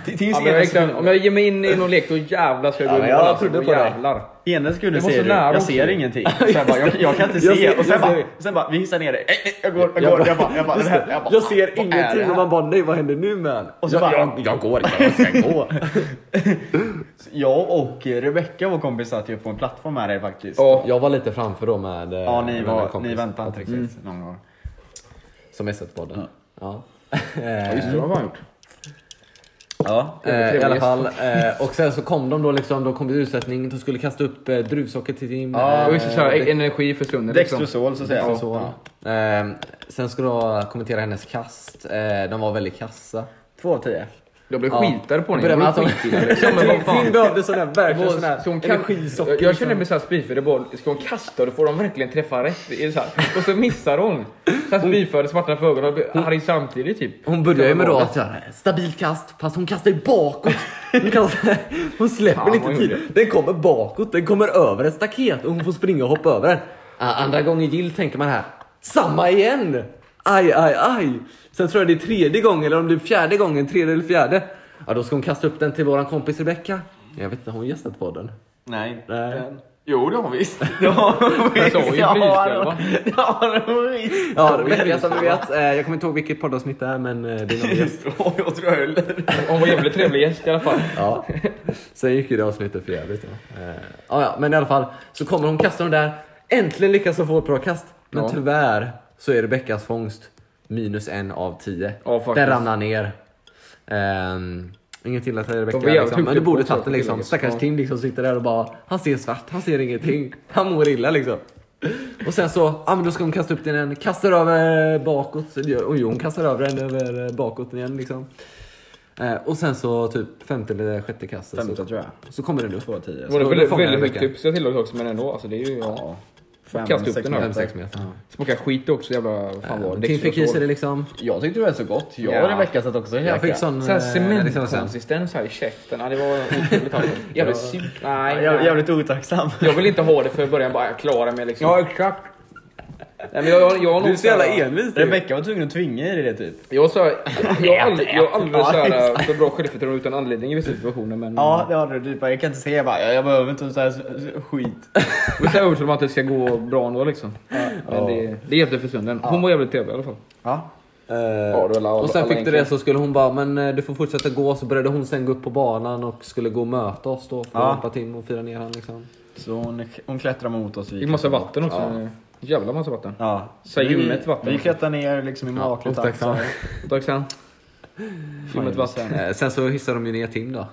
T- Tims
Ja, men liksom-
ena
verkligen,
sekund-
om jag ger mig in i någon lek då jävlar ska jag gå
Ja,
i
men
mål.
jag
alltså,
trodde
då
på dig.
jävlar.
Ena sekunden
Det var så
ser du,
nära
jag
också.
ser ingenting. Så jag, bara, jag, jag kan inte
Jag
se.
ser-
och sen,
jag
bara,
ser-
sen bara, vi hissar ner dig. Eh, eh, Jag går, jag går. Jag bara, jag bara, det här, jag bara,
Jag ser
vad är det
ingenting
här?
och man bara nej vad händer nu man?
Och så bara-
jag går, jag ska gå.
Jag och Rebecka, vår kompis, satt ju på en plattform här faktiskt.
Ja.
Jag var lite framför då med eh,
Ja, ni,
med en
var,
kompis
ni väntade inte riktigt någon gång.
som sett podden. Ja.
Ja, just det, det har han gjort.
Ja.
Eh, I alla
Trevlig
fall. Eh, och sen så kom de då liksom, de kom till utsättning, de skulle kasta upp eh, druvsocker till Tim.
Ja,
Och
eh,
just så här, energi för stunden liksom.
Dextrosol så att säga.
och så. Eh, sen skulle jag kommentera hennes kast, eh, de var väldigt kassa.
Två av tio.
Jag blev
Ja.
skitare på den.
Började
Jag
med att
blev
de-
skitilla liksom. Men vad
Tim
fan.
behövde sån här, verkligen sån här
Så hon kan,
energisocker.
jag, jag
som-
känner mig såhär spyfärdig, bara, ska hon kasta då får de verkligen träffa rätt. Det är så här. Och så missar hon. Såhär spyfärdig, svartnar för ögonen, och blir arg samtidigt typ.
Hon börjar ju med då att göra ett stabilt kast, fast hon kastar ju bakåt. Hon, kastar, hon
Fan,
släpper
vad
inte
hon
till. Den kommer bakåt, den kommer över ett staket och hon får springa och hoppa över den. Ah, Andra gången gill tänker man här, samma igen! aj, aj, aj. Sen tror jag det är tredje gången, eller om det är fjärde gången, tredje eller fjärde. Ja, då ska hon kasta upp den till våran kompis Rebecka. Jag vet inte, har hon gästat podden?
Nej, inte
Nej.
än. Jo, det har hon visst. Det har hon
Jag sa ju
visst. Det har
blyklövar.
hon- det har hon visst.
Ja, Rebecka som vi vet. Eh, Jag kommer inte ihåg vilket poddavsnitt det är, men eh, det är någon gäst.
Åh, jag tror jag höll den.
Hon var jävligt trevlig gäst i alla fall.
Ja. Sen gick ju det avsnittet för jävligt. Ja. Eh, ja, ja, men i alla fall så kommer hon kasta den där. Äntligen lyckas hon få ett bra kast. Men
Ja.
tyvärr så är Rebeckas fångst minus en av tio.
Ja, faktiskt.
den ramlar ner. Um, inget illa till Rebecka,
De var jävligt
liksom. men du
duktiga
borde tagit den
på saker,
liksom.
liksom.
Stackars
Ja.
Tim liksom sitter där och bara, han ser svart, han ser ingenting. Han mår illa liksom. Och sen så, ja men då ska hon kasta upp den igen, kastar över eh, bakåt. Så det gör- Och jo, hon kastar över den över eh, bakåt igen liksom. Eh, och sen så typ femte eller sjätte kastet så
Femte tror jag.
så kommer den upp.
Två och tio.
Det var
då
väldigt,
fångar jag
väldigt högt
Rebecka.
tips jag tillade också men ändå. Alltså, det är ju, ja.
Ja. Fem,
Kasta upp
sex
den här.
meter.
5-6 meter.
Smakar skit också jävla... Fan vad
Tim fick i sig det liksom.
Jag tyckte det var så gott. Jag
Ja.
och Rebecka satt också och
Jag
käkade.
fick sån...
Såhär
eh, liksom sen.
cementkonsistens här i käften. Ja, det var otroligt. alltså. Jävligt surt. Nej,
Jäv-
nej.
Jävligt otacksam.
Jag vill inte ha det för i början bara jag klarar mig liksom.
exakt.
Nej, men jag, jag, jag har
Du är
nog
så jävla
såhär-
envis. du.
Rebecka var tvungen att tvinga er i det typ.
Jag sa, jag har aldrig, jag har aldrig
Ja,
så här,
exakt.
för bra självförtroende utan anledning i vissa situationer men...
Ja, det har du. Typ. Jag kan inte säga bara, jag behöver inte så här skit.
Vi är så här övertygade om att det ska gå bra ändå liksom. Men det, det hjälpte för stunden. Hon var jävligt trevlig i alla fall.
Ja.
Eh,
det var alla-
och sen
alla
fick du
enkla.
det så skulle hon bara, men eh, du får fortsätta gå. Så började hon sen gå upp på banan och skulle gå och möta oss då. För att
Ja.
hjälpa Tim och fira ner han liksom.
Så hon, hon klättrar mot oss. Vi
Det gick massa
klättrar
vatten också. Jävla massa vatten.
på. Ja.
Så här ljummet vatten.
Vi klättrar ner liksom i makligt.
otacksam.
Tack sen. Ljummet vatten.
Eh, sen så hissade de ju ner Tim då.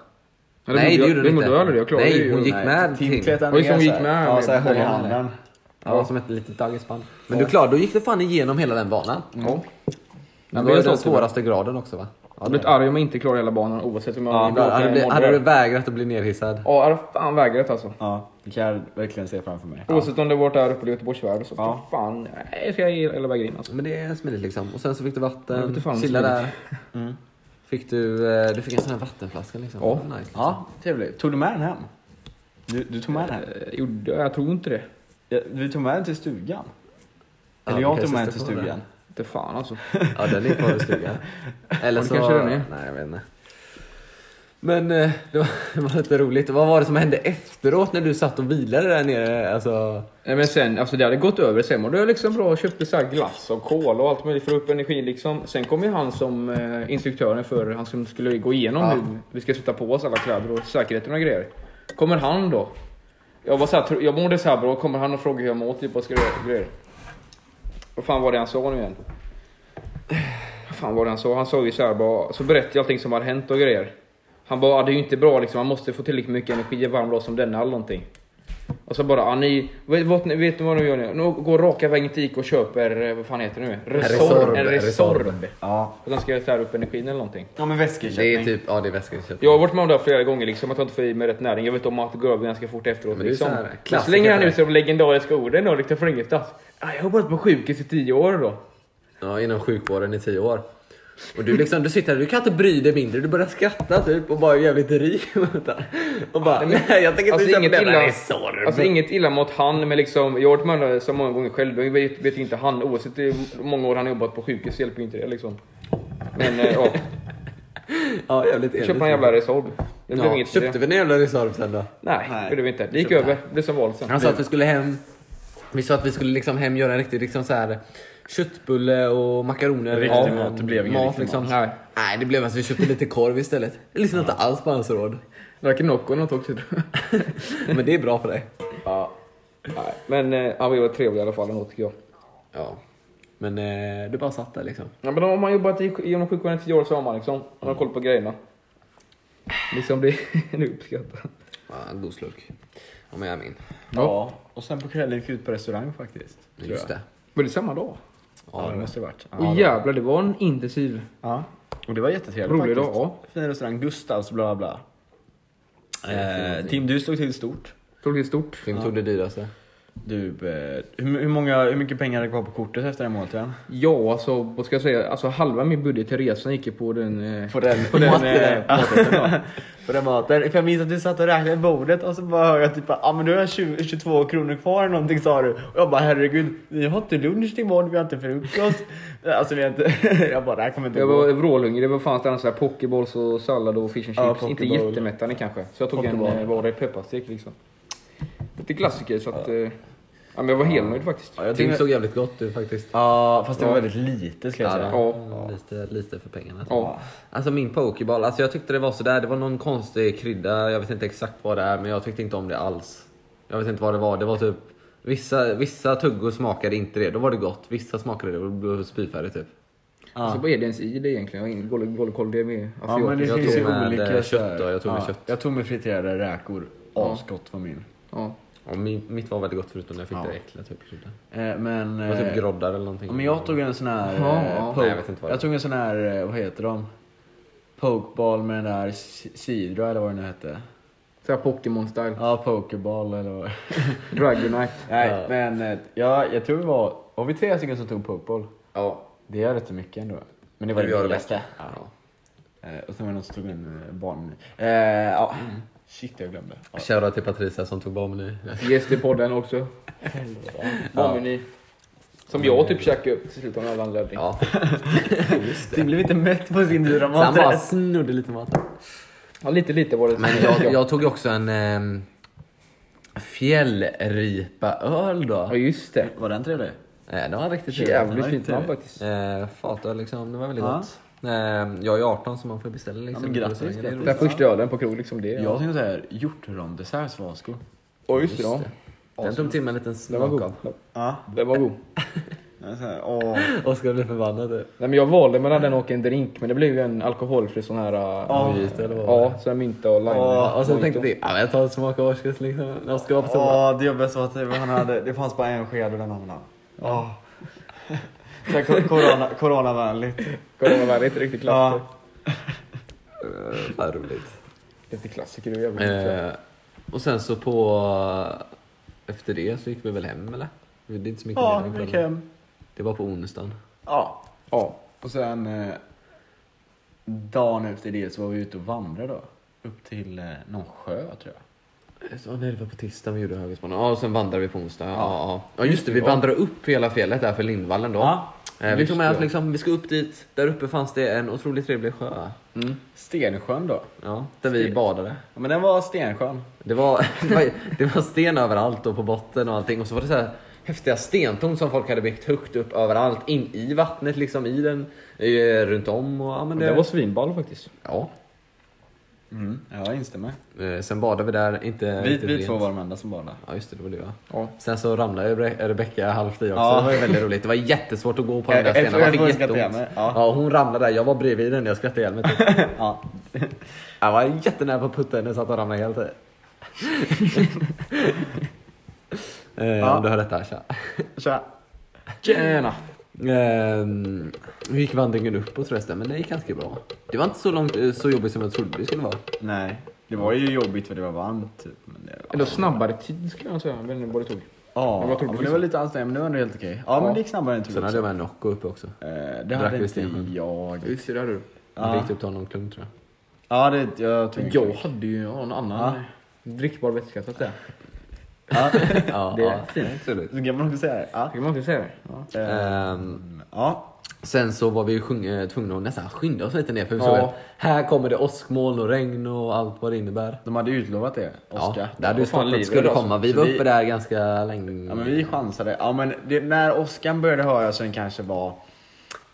Ja, gjorde-
hon
gjorde aldrig det. Jag klarade
Nej,
ju-
hon gick
Nej.
med Tim.
Tim klättrar
Och just
ner.
hon
så
gick
här.
med
Ja,
med-
så här höll i
med-
handen.
Ja, som ett litet daggisband. Men du klarade, då gick du fan igenom hela den banan.
Mm. Ja.
Det
Men
var
det
ju
är
den
så svåra.
svåraste graden också va? Ja,
Jag har
det
blivit arg om jag inte klarar hela banan oavsett om jag
Ja,
bråkar
hade, du
med
blivit-
någon
hade du
där.
vägrat att bli nerhissad?
Ja, jag har fan vägrat alltså.
Ja, det kan jag verkligen se framför mig.
Oavsett om det varit där uppe i Göteborgsvärlden så
Ja.
fan, nej, ska jag ge hela vägen in alltså.
Men det är smidigt liksom. Och sen så fick du
Jag vet
vatten,
inte fan om
chilla
smidigt. Mm.
där. Fick du, eh, du fick en sån här vattenflaska liksom.
Ja.
Det var Nice.
Ja, trevligt. Tog du med den hem? Du, du tog med den?
Eh, Gjorde jag? Jag tror inte det.
Ja, Du tog med den till stugan?
Ja,
Eller
det
jag
kanske
tog med den till
står på
stugan.
Inte fan alltså.
Ja, den är kvar i stugan. Eller
Ja, det
så...
kanske den är.
Nej, jag vet inte. Men eh, det var, det var lite roligt. Vad var det som hände efteråt när du satt och vilade där nere? Alltså,
Nej, men sen, alltså det hade gått över. Sen mådde jag liksom bra och köpte så här glass och cola och allt möjligt för att få upp energi liksom. Sen kom ju han som eh, instruktören för, han som skulle gå igenom
Ja.
hur vi ska sätta på oss alla kläder och säkerheten och grejer. Kommer han då? Jag var så här, tro- jag mådde så här bra, kommer han och frågar hur jag mår typ och ska göra för grejer. Vad fan var det han sa nu igen? Vad fan var det han sa? Han sa ju så här bara, så berättade jag allting som hade hänt och grejer. Han bara, "Ah, det är ju inte bra liksom, man måste få tillräckligt mycket energi en varm dag som denna eller någonting. Och så bara, ah, ni, vet, vet, ni- vet ni vad ni gör nu? Nu går raka vägen till Ica och köper, eh, vad fan heter det nu?
Resorb,
Resorb. En Resorb.
Resorb.
Ja.
Och sen ska jag tära upp energin eller någonting.
Ja men
det är
väskerköpning.
typ, ja det är väskeköp.
Jag har varit med om det här flera gånger, liksom, att jag inte får i mig rätt näring. Jag vet om att det går över ganska fort efteråt.
Men det är
liksom.
så här,
Men
klassiker
så länge han
där.
ut som legendariska orden och liksom från ingenstans. Ah, jag har varit på sjukhus i tio år då.
Ja, inom sjukvården i tio år. Och du, liksom, du sitter där, du kan inte bry dig mindre. Du börjar skratta typ och bara är jävligt rik. och bara, nej jag tänker inte
Alltså,
köpa
inget
den
illa,
här Resorb.
alltså inget illa mot han, men liksom, jag har varit med om det här så många gånger själv. Jag vet, vet inte han, oavsett hur många år han har jobbat på sjukhus, hjälper ju inte det liksom. Men eh, ja,
Ja, jävligt envis.
köpte han jävla Resorb. Det blev
Ja,
inget till
köpte
det.
vi en jävla Resorb sen då?
Nej,
Nej.
det gjorde vi inte. Det gick
Köpte
över. Det blev som vanligt sen.
Han sa att vi skulle hem. Vi sa att vi skulle liksom hem göra en riktig liksom så här, köttbulle och makaroner.
Riktig
Ja,
mat, det blev ingen
mat,
riktig
liksom.
Nej,
Nej, det blev alltså vi köpte lite korv istället. Jag lyssnade inte alls på hans råd.
drack Nocco något också. tror jag.
Men det är bra för dig.
Ja. Nej, men eh, han var ju trevlig i alla fall ändå tycker jag.
Ja. Men eh, du bara satt där liksom.
Ja, men om man jobbat i- inom sjukvården i tio år så har man liksom, man har koll på grejerna. Liksom det är uppskattat.
Ja, en god slurk. Ja, men jag min.
Ja. Och sen på kvällen gick vi ut på restaurang faktiskt. tror
Just
jag.
det.
Var det samma dag?
Ja det måste det varit. Ja.
Och jävlar, det var en intensiv,
ja. Och det var jättetrevligt
rolig dag.
faktiskt.
Ja.
Fin restaurang, Gustavs bla bla. bla. Eh, Tim du slog till stort.
Tror det är stort.
Film tog det dyraste.
Du, eh, hur, hur, många, hur mycket pengar är det kvar på kortet efter den måltiden?
Ja, alltså vad ska jag säga? Alltså halva min budget till resan gick ju på den... eh,
På den,
På den, eh, maten, ja.
på den maten. För jag minns att du satt och räknade i bordet och så bara hör jag typ ja ah, men du har 20, 22 kronor kvar eller någonting sa du. Och jag bara herregud, vi har inte lunch till imorgon, vi har inte frukost. alltså vi har inte, jag bara det här kommer inte
Jag
gå.
var vrålhungrig, det var fan annars såhär pokeballs och sallad och fish and
Ja,
chips. inte
pokeball.
jättemättande kanske. Så jag tog en
Pokeball.
eh, var det pepparstek liksom. Lite klassiker så att... eh, Ja. men jag var helnöjd faktiskt.
Ja, jag
Tim
tyckte-
såg jävligt gott ut faktiskt.
Ja, fast det var
Ja.
väldigt lite skulle jag
Ja,
säga.
Ja.
Lite, lite för pengarna.
Ja.
Alltså min pokeball, alltså jag tyckte det var sådär. Det var någon konstig krydda, jag vet inte exakt vad det är men jag tyckte inte om det alls. Jag vet inte vad det var, det var typ Vissa, vissa tuggor smakade inte det, då var det gott. Vissa smakade det och blev spyfärdig typ.
Alltså vad är det ens i det egentligen? Jag har ingen golv- golvkoll, det är mer
Ja, men det finns
Jag
asiatiskt.
tog
ju
med
olika
kött
så här-
då, jag tog med kött.
Jag tog med friterade räkor.
Ja.
Asgott var min.
Ja.
Ja, min, mitt var väldigt gott förutom när jag fick
Ja.
det äckliga typ krydda.
Eh, men...
Det var typ
eh,
groddar eller någonting.
Ja, Men jag tog en sån här...
Ja,
eh,
ja.
poke-
Nej, jag vet inte vad det
jag tog en sån här, eh, vad heter de? Pokeball med den där si- sidra eller vad det nu hette.
Såhär Pokémon style.
Ja, pokeball eller vad
Dragonite.
Nej,
Ja.
men eh, ja, jag tror vi var... Var vi tre stycken som tog pokeball?
Ja.
Det är rätt så mycket ändå. Men det var det
Det var det
billigaste.
ja.
Eh, Och sen var det någon som tog en eh, barn... Eh, ja. Shit, jag glömde. Ja.
Shoutout till Patricia som tog barnmenyn.
Gäst i podden också. Barnmeny. Som jag typ käkade upp till slut av en jävla anledning.
Ja.
Det blev inte mätt på sin dyra
Sen bara
maträtt.
snodde lite mat.
Ja, lite lite var det.
Men jag, jag tog ju också en um, fjällripaöl då.
Ja just det.
Var den trevlig?
Eh, det var riktigt
Jävligt
var
fint
inte-
namn faktiskt.
Eh, fatöl liksom, det var väldigt
Ja.
gott. Eh, jag är 18 så man får beställa liksom.
Ja, men grattis,
Det är roligt.
Den här första ölen på krog liksom det.
Jag tänkte såhär, hjortrondessert svasko.
Ja just det. Ja.
Den tog till mig en liten
Den var
smak
god.
av.
Ja.
Den var god.
Så här, åh.
Oskar blir förbannad.
Nej men jag valde mellan den och en drink men det blev ju en alkoholfri sån här... äh,
Ja.
Mojito eller vad var det?
Ja, så här mynta och lime.
Ja, och sen
Mojito.
tänkte jag, ja, men jag tar en smak av Oskars liksom. När Oskar var på toa.
Ja, det jobbigaste var att det- han hade, det fanns bara en sked och den använde han. Oh. Så här, ko- corona, coronavänligt.
Kolla vad det var, inte riktigt klassiker.
Ja.
Eh, Vad roligt.
Lite klassiker, det är jävligt gott.
Eh, och sen så på... Efter det så gick vi väl hem eller? Det är inte så mycket
Ja,
mer den
vi gick
kvällen.
hem.
Det var på onsdagen.
Ja.
Ja.
Och sen eh, dagen efter det så var vi ute och vandrade då. Upp till eh, någon sjö tror jag.
Eh, Så, nej, det var på tisdagen vi gjorde högerspåren. Ja, och sen vandrade vi på onsdag. Ja, ja. ja just det. Vi
Ja.
vandrade upp hela fjället där för Lindvallen då.
Ja.
Eh, vi
Just
tog med
det.
oss liksom, vi ska upp dit. Där uppe fanns det en otroligt trevlig sjö.
Mm.
Stensjön då.
Ja, där vi
Sten.
badade.
Ja, men den var Stensjön.
Det var, det var, det var sten överallt och på botten och allting. Och så var det så här häftiga stentorn som folk hade byggt högt upp överallt. In i vattnet liksom, i den, eh, runt om. Och, ja, men det,
Det var svinball faktiskt.
ja.
Mm, ja, jag instämmer.
Eh, Sen badade vi där, inte
Vi,
riktigt
vi
rent.
två var de enda som badade.
Ja just det, det var du ja.
Ja.
Sen så ramlade ju Re- Rebecka halvt i också.
Ja.
Det var ju väldigt roligt. Det var jättesvårt att gå på den där
Jag- jag-
stenen.
jag
Man
får
fick
skratta
jätteont.
igen, ja.
Ja. hon ramlade där. Jag var bredvid den. Jag skrattade ihjäl mig. typ.
Ja.
Jag var jättenära på att putta henne så att hon ramlade typ. helt i. eh,
Ja.
Om du hör detta, tja.
Tja.
Tjena!
Ehm, hur gick vandringen uppåt förresten? Men det gick ganska bra. Det var inte så, långt, eh, så jobbigt som jag trodde det skulle vara.
Nej. Det var ju jobbigt för det var varmt. Typ. Men det,
Ändå snabbare tid skulle jag säga, men vad det tog.
Ja,
Men
ja
vad tog det
men det
liksom?
var lite ansträngande, men det var ändå helt okej. Ja, men
Ja.
det gick snabbare än jag
Sen
trodde.
hade jag med en Nocco uppe också.
Eh, Det
Drack
hade
vi
inte
stenen?
jag.
Just det, där du.
Man
Ja.
fick typ ta någon klunk tror jag.
Ja, det, jag tog
Jag hade ju ja, en annan drickbar vätska så att säga.
Ja,
Ja,
Det är
fint. Trevligt.
så kan man också säga det. Ja.
Tycker man inte säga det? Ja.
Eh,
Ehm,
ja.
Sen så var vi ju sjung- eh, tvungna att nästan skynda oss lite ner för vi
Ja.
såg att här kommer det åskmoln och regn och allt vad det innebär.
De hade utlovat det,
Ja,
Oskar.
det hade ju
Vad fan,
stått att det
livet
skulle
alltså.
komma. Vi
Så
var
vi-
uppe där ganska länge.
Ja, men vi chansade. Ja, men det, när Oskar började höra så den kanske var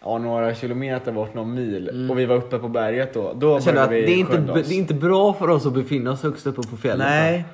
ja, några kilometer bort, någon mil.
Mm.
Och vi var uppe på berget då. Då
jag kände att
började
det
vi
är, inte,
skynda
det
oss.
är inte bra för oss att befinna oss högst uppe på fjället.
Nej.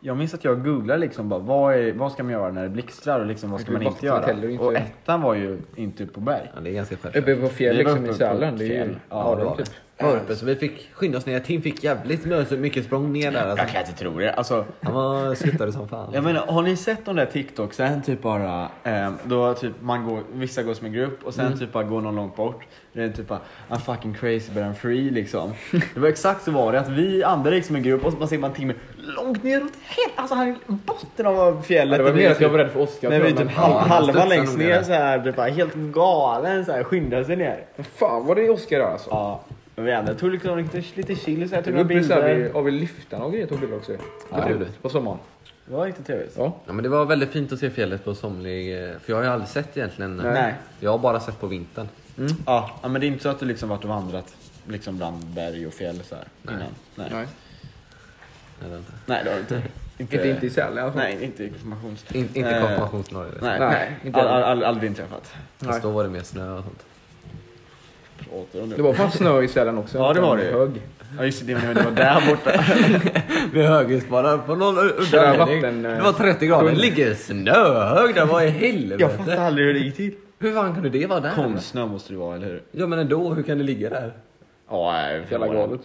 Jag minns att jag googlade liksom bara, vad, är, vad ska man göra när det blixtrar och liksom, vad ska
Det är
man inte
vatten, hoteller,
göra?
inte-
Och ettan var ju inte uppe på berg.
Ja, det är ganska
Uppe
självklart.
på fjäll
Vi var
liksom i
uppe på
Sälen. Det är ju
fjäll.
ja,
Ja,
det var
typ.
det. var uppe. Så vi fick skynda oss ner. Tim fick jävligt mycket- mycket språng ner där.
Jag
Alltså.
kan inte tro det. Alltså,
Han var skuttade som fan.
Jag menar, har ni sett de där TikToksen? Typ bara, eh, då typ man går, vissa går som en grupp och
Mm.
sen typ bara går någon långt bort. Det är typ bara, I'm fucking crazy but I'm free liksom. Det var exakt så var det, att vi andra gick som en grupp och så man ser man Timmy långt neråt, helt, alltså han är i botten av fjället.
Det var
Och vi
mer
är
att jag
typ-
var rädd för Oskar.
Nej, vi är
tror jag,
typ
men-
halv,
Ja, han
halva
studsar
längst
nog ner
ner
där.
så här, typ bara helt galen så här, skyndade sig ner.
Fan vad det är Oskar där alltså.
Ja, men vi andra tog liksom lite, lite chill så här, tog
Vi
några
uppe så här
bilder.
vid, ja, vid lyftarna och grejer tog bilder också.
Ja, det gjorde vi.
På sommaren.
Det var riktigt trevligt.
Ja.
Ja, men det var väldigt fint att se fjället på somlig... eh, För jag har ju aldrig sett egentligen. eh,
Nej.
Nej.
Jag har bara sett på vintern.
Ja, ja, men det är inte så att du liksom varit och vandrat liksom bland berg och fjäll så här
Nej.
innan? Nej. Nej.
Nej.
Eller inte.
det har du inte. inte.
Inte, inte i Sälen i alla fall.
Nej, inte i konfirmations...
In, inte
Eh,
konfirmationsnorr. eller så.
Nej,
Nej, inte
all, all,
heller.
all, aldrig inträffat.
Fast då var det mer snö och sånt.
Pratar om
Det var fan snö i Sälen också.
Ja, det var det ju.
Hög.
Ja just det, det var det var där borta.
Vi högersparar på någon udda
Där
anledning.
vatten, eh,
Det var 30 grader. Det ligger snöhög där. Vad i
Jag
helvete?
fattar aldrig hur det gick till.
Hur fan kunde det vara där?
Konstsnö måste det vara, eller hur?
Ja men ändå, hur kan det ligga där?
Ja, nej, vi
Jävla
förlorar.
galet.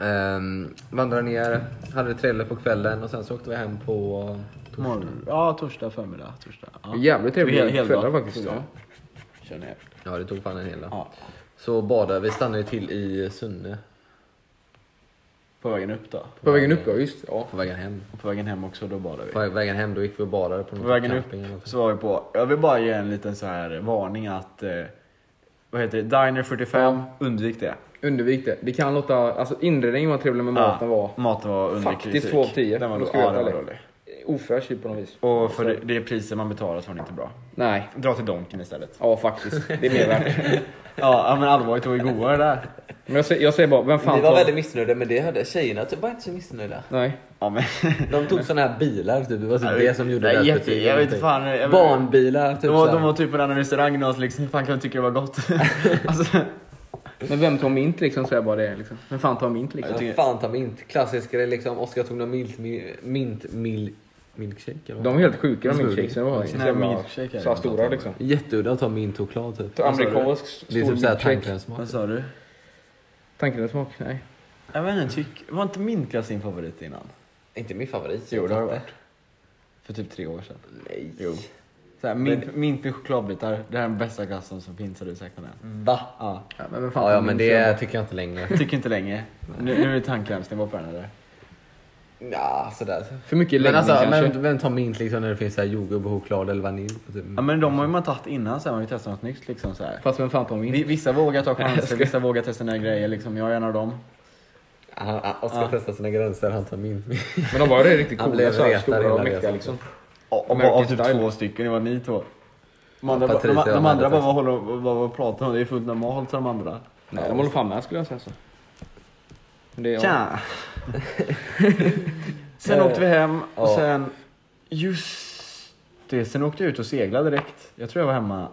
Um, vandrade ner, hade det trevligt på kvällen och sen så åkte vi hem på...
Morgon. Ja, torsdag förmiddag. Torsdag. Ja.
Jävligt trevliga
Hel- hel
kvällar
dag.
faktiskt.
Ja. Kör ner.
Ja det tog fan en hel dag.
Ja.
Så badade, vi stannade ju till i Sunne
På vägen upp då?
På vägen upp ja, just det, ja.
på vägen hem.
Och på vägen hem också, då badar vi.
På vägen hem då gick vi och badade på någon
På vägen upp
camping eller något.
så var vi på, jag vill bara ge en liten så här varning att, eh, vad heter det, Diner 45, undvik det.
Undvik det. Det kan låta, alltså inredningen var trevlig men maten
Ja,
var
maten var under
Faktiskt
kritik.
två av tio,
Den var,
då ska
ja,
jag
den var
vara
dålig.
ofräsch typ på något vis.
Och för det, det priset man betalar så var den inte bra.
Nej.
Dra till Donken istället.
Ja faktiskt, det är mer värt.
ja, ja, men allvarligt, det var ju godare där.
Men jag säger, jag säger bara, vem fan
Vi var
tar-
väldigt missnöjda med det hörde jag. Tjejerna typ var inte så missnöjda.
Nej.
Ja, men,
De tog sådana här bilar typ, det var typ det som gjorde
Nej,
deras
jätte,
betyg,
Jag vet inte
typ.
fan. Jag,
Barnbilar typ
de, var,
så här.
de var typ på den här restaurangen och oss liksom, hur fan kan du tycka det var gott? alltså,
Men vem tar mint liksom? Säger jag bara det liksom. Vem fan tar mint liksom?
Ja,
tycker-
Fan ta mint, klassisk grej liksom. Oskar tog någon mint, mint, mint mil, milkshake eller
De är helt sjuka de milkshakesen. De var
Nej,
jävla-
milkshake är
så här
det.
stora liksom.
Jätteudda att ta mintchoklad typ.
Amerikansk
Det
stor
är typ såhär
milkshake.
tandkrämssmak.
vad sa du?
Tanken smak? Nej.
Jag vet inte, tyck, var inte min klass din favorit innan?
Inte min favorit.
Jo,
jag
det har det
vet
varit. För typ tre år sedan.
inte. Nej.
Jo. Så här, mint, mint med chokladbitar, det här är den bästa glassen som finns, har du sagt den här?
Va?
Ja.
Ja, men vem fan
Ja,
tar
ja
mint,
men
säger jag
det
bara.
tycker jag inte längre.
Tycker inte länge. Nu, nu är det tandkrämsnivå på den här, eller?
Nja, sådär.
För mycket
Men
läggning
alltså,
kanske.
vem, vem tar mint liksom när det finns så här jordgubb och choklad eller vanilj? Typ.
Ja men de har ju man tagit innan sen, man har ju testat något nytt liksom så här.
Fast vem fan tar mint?
Vi- Vissa vågar ta chanser, vissa vågar testa nya grejer liksom. Jag är en av dem.
Han- han- Oskar
Ja.
testar sina gränser, han tar mint.
Men de var ju riktigt
Han
coola.
blev
Så här,
retad
stora
hela
och mäktiga
resan.
liksom.
Och,
American
av typ
style.
två stycken, det var ni två. De andra, bara-
Patricia
de, de
och
andra bara
Madeleine.
vad håller vad, vad, vad pratar de om? Det är fullt normalt sa de andra.
Nej, de håller fan med skulle jag säga så. Men Det är, ja.
Tja! sen åkte vi hem och
Ja.
sen... Just det, sen åkte jag ut och seglade direkt. Jag tror jag var hemma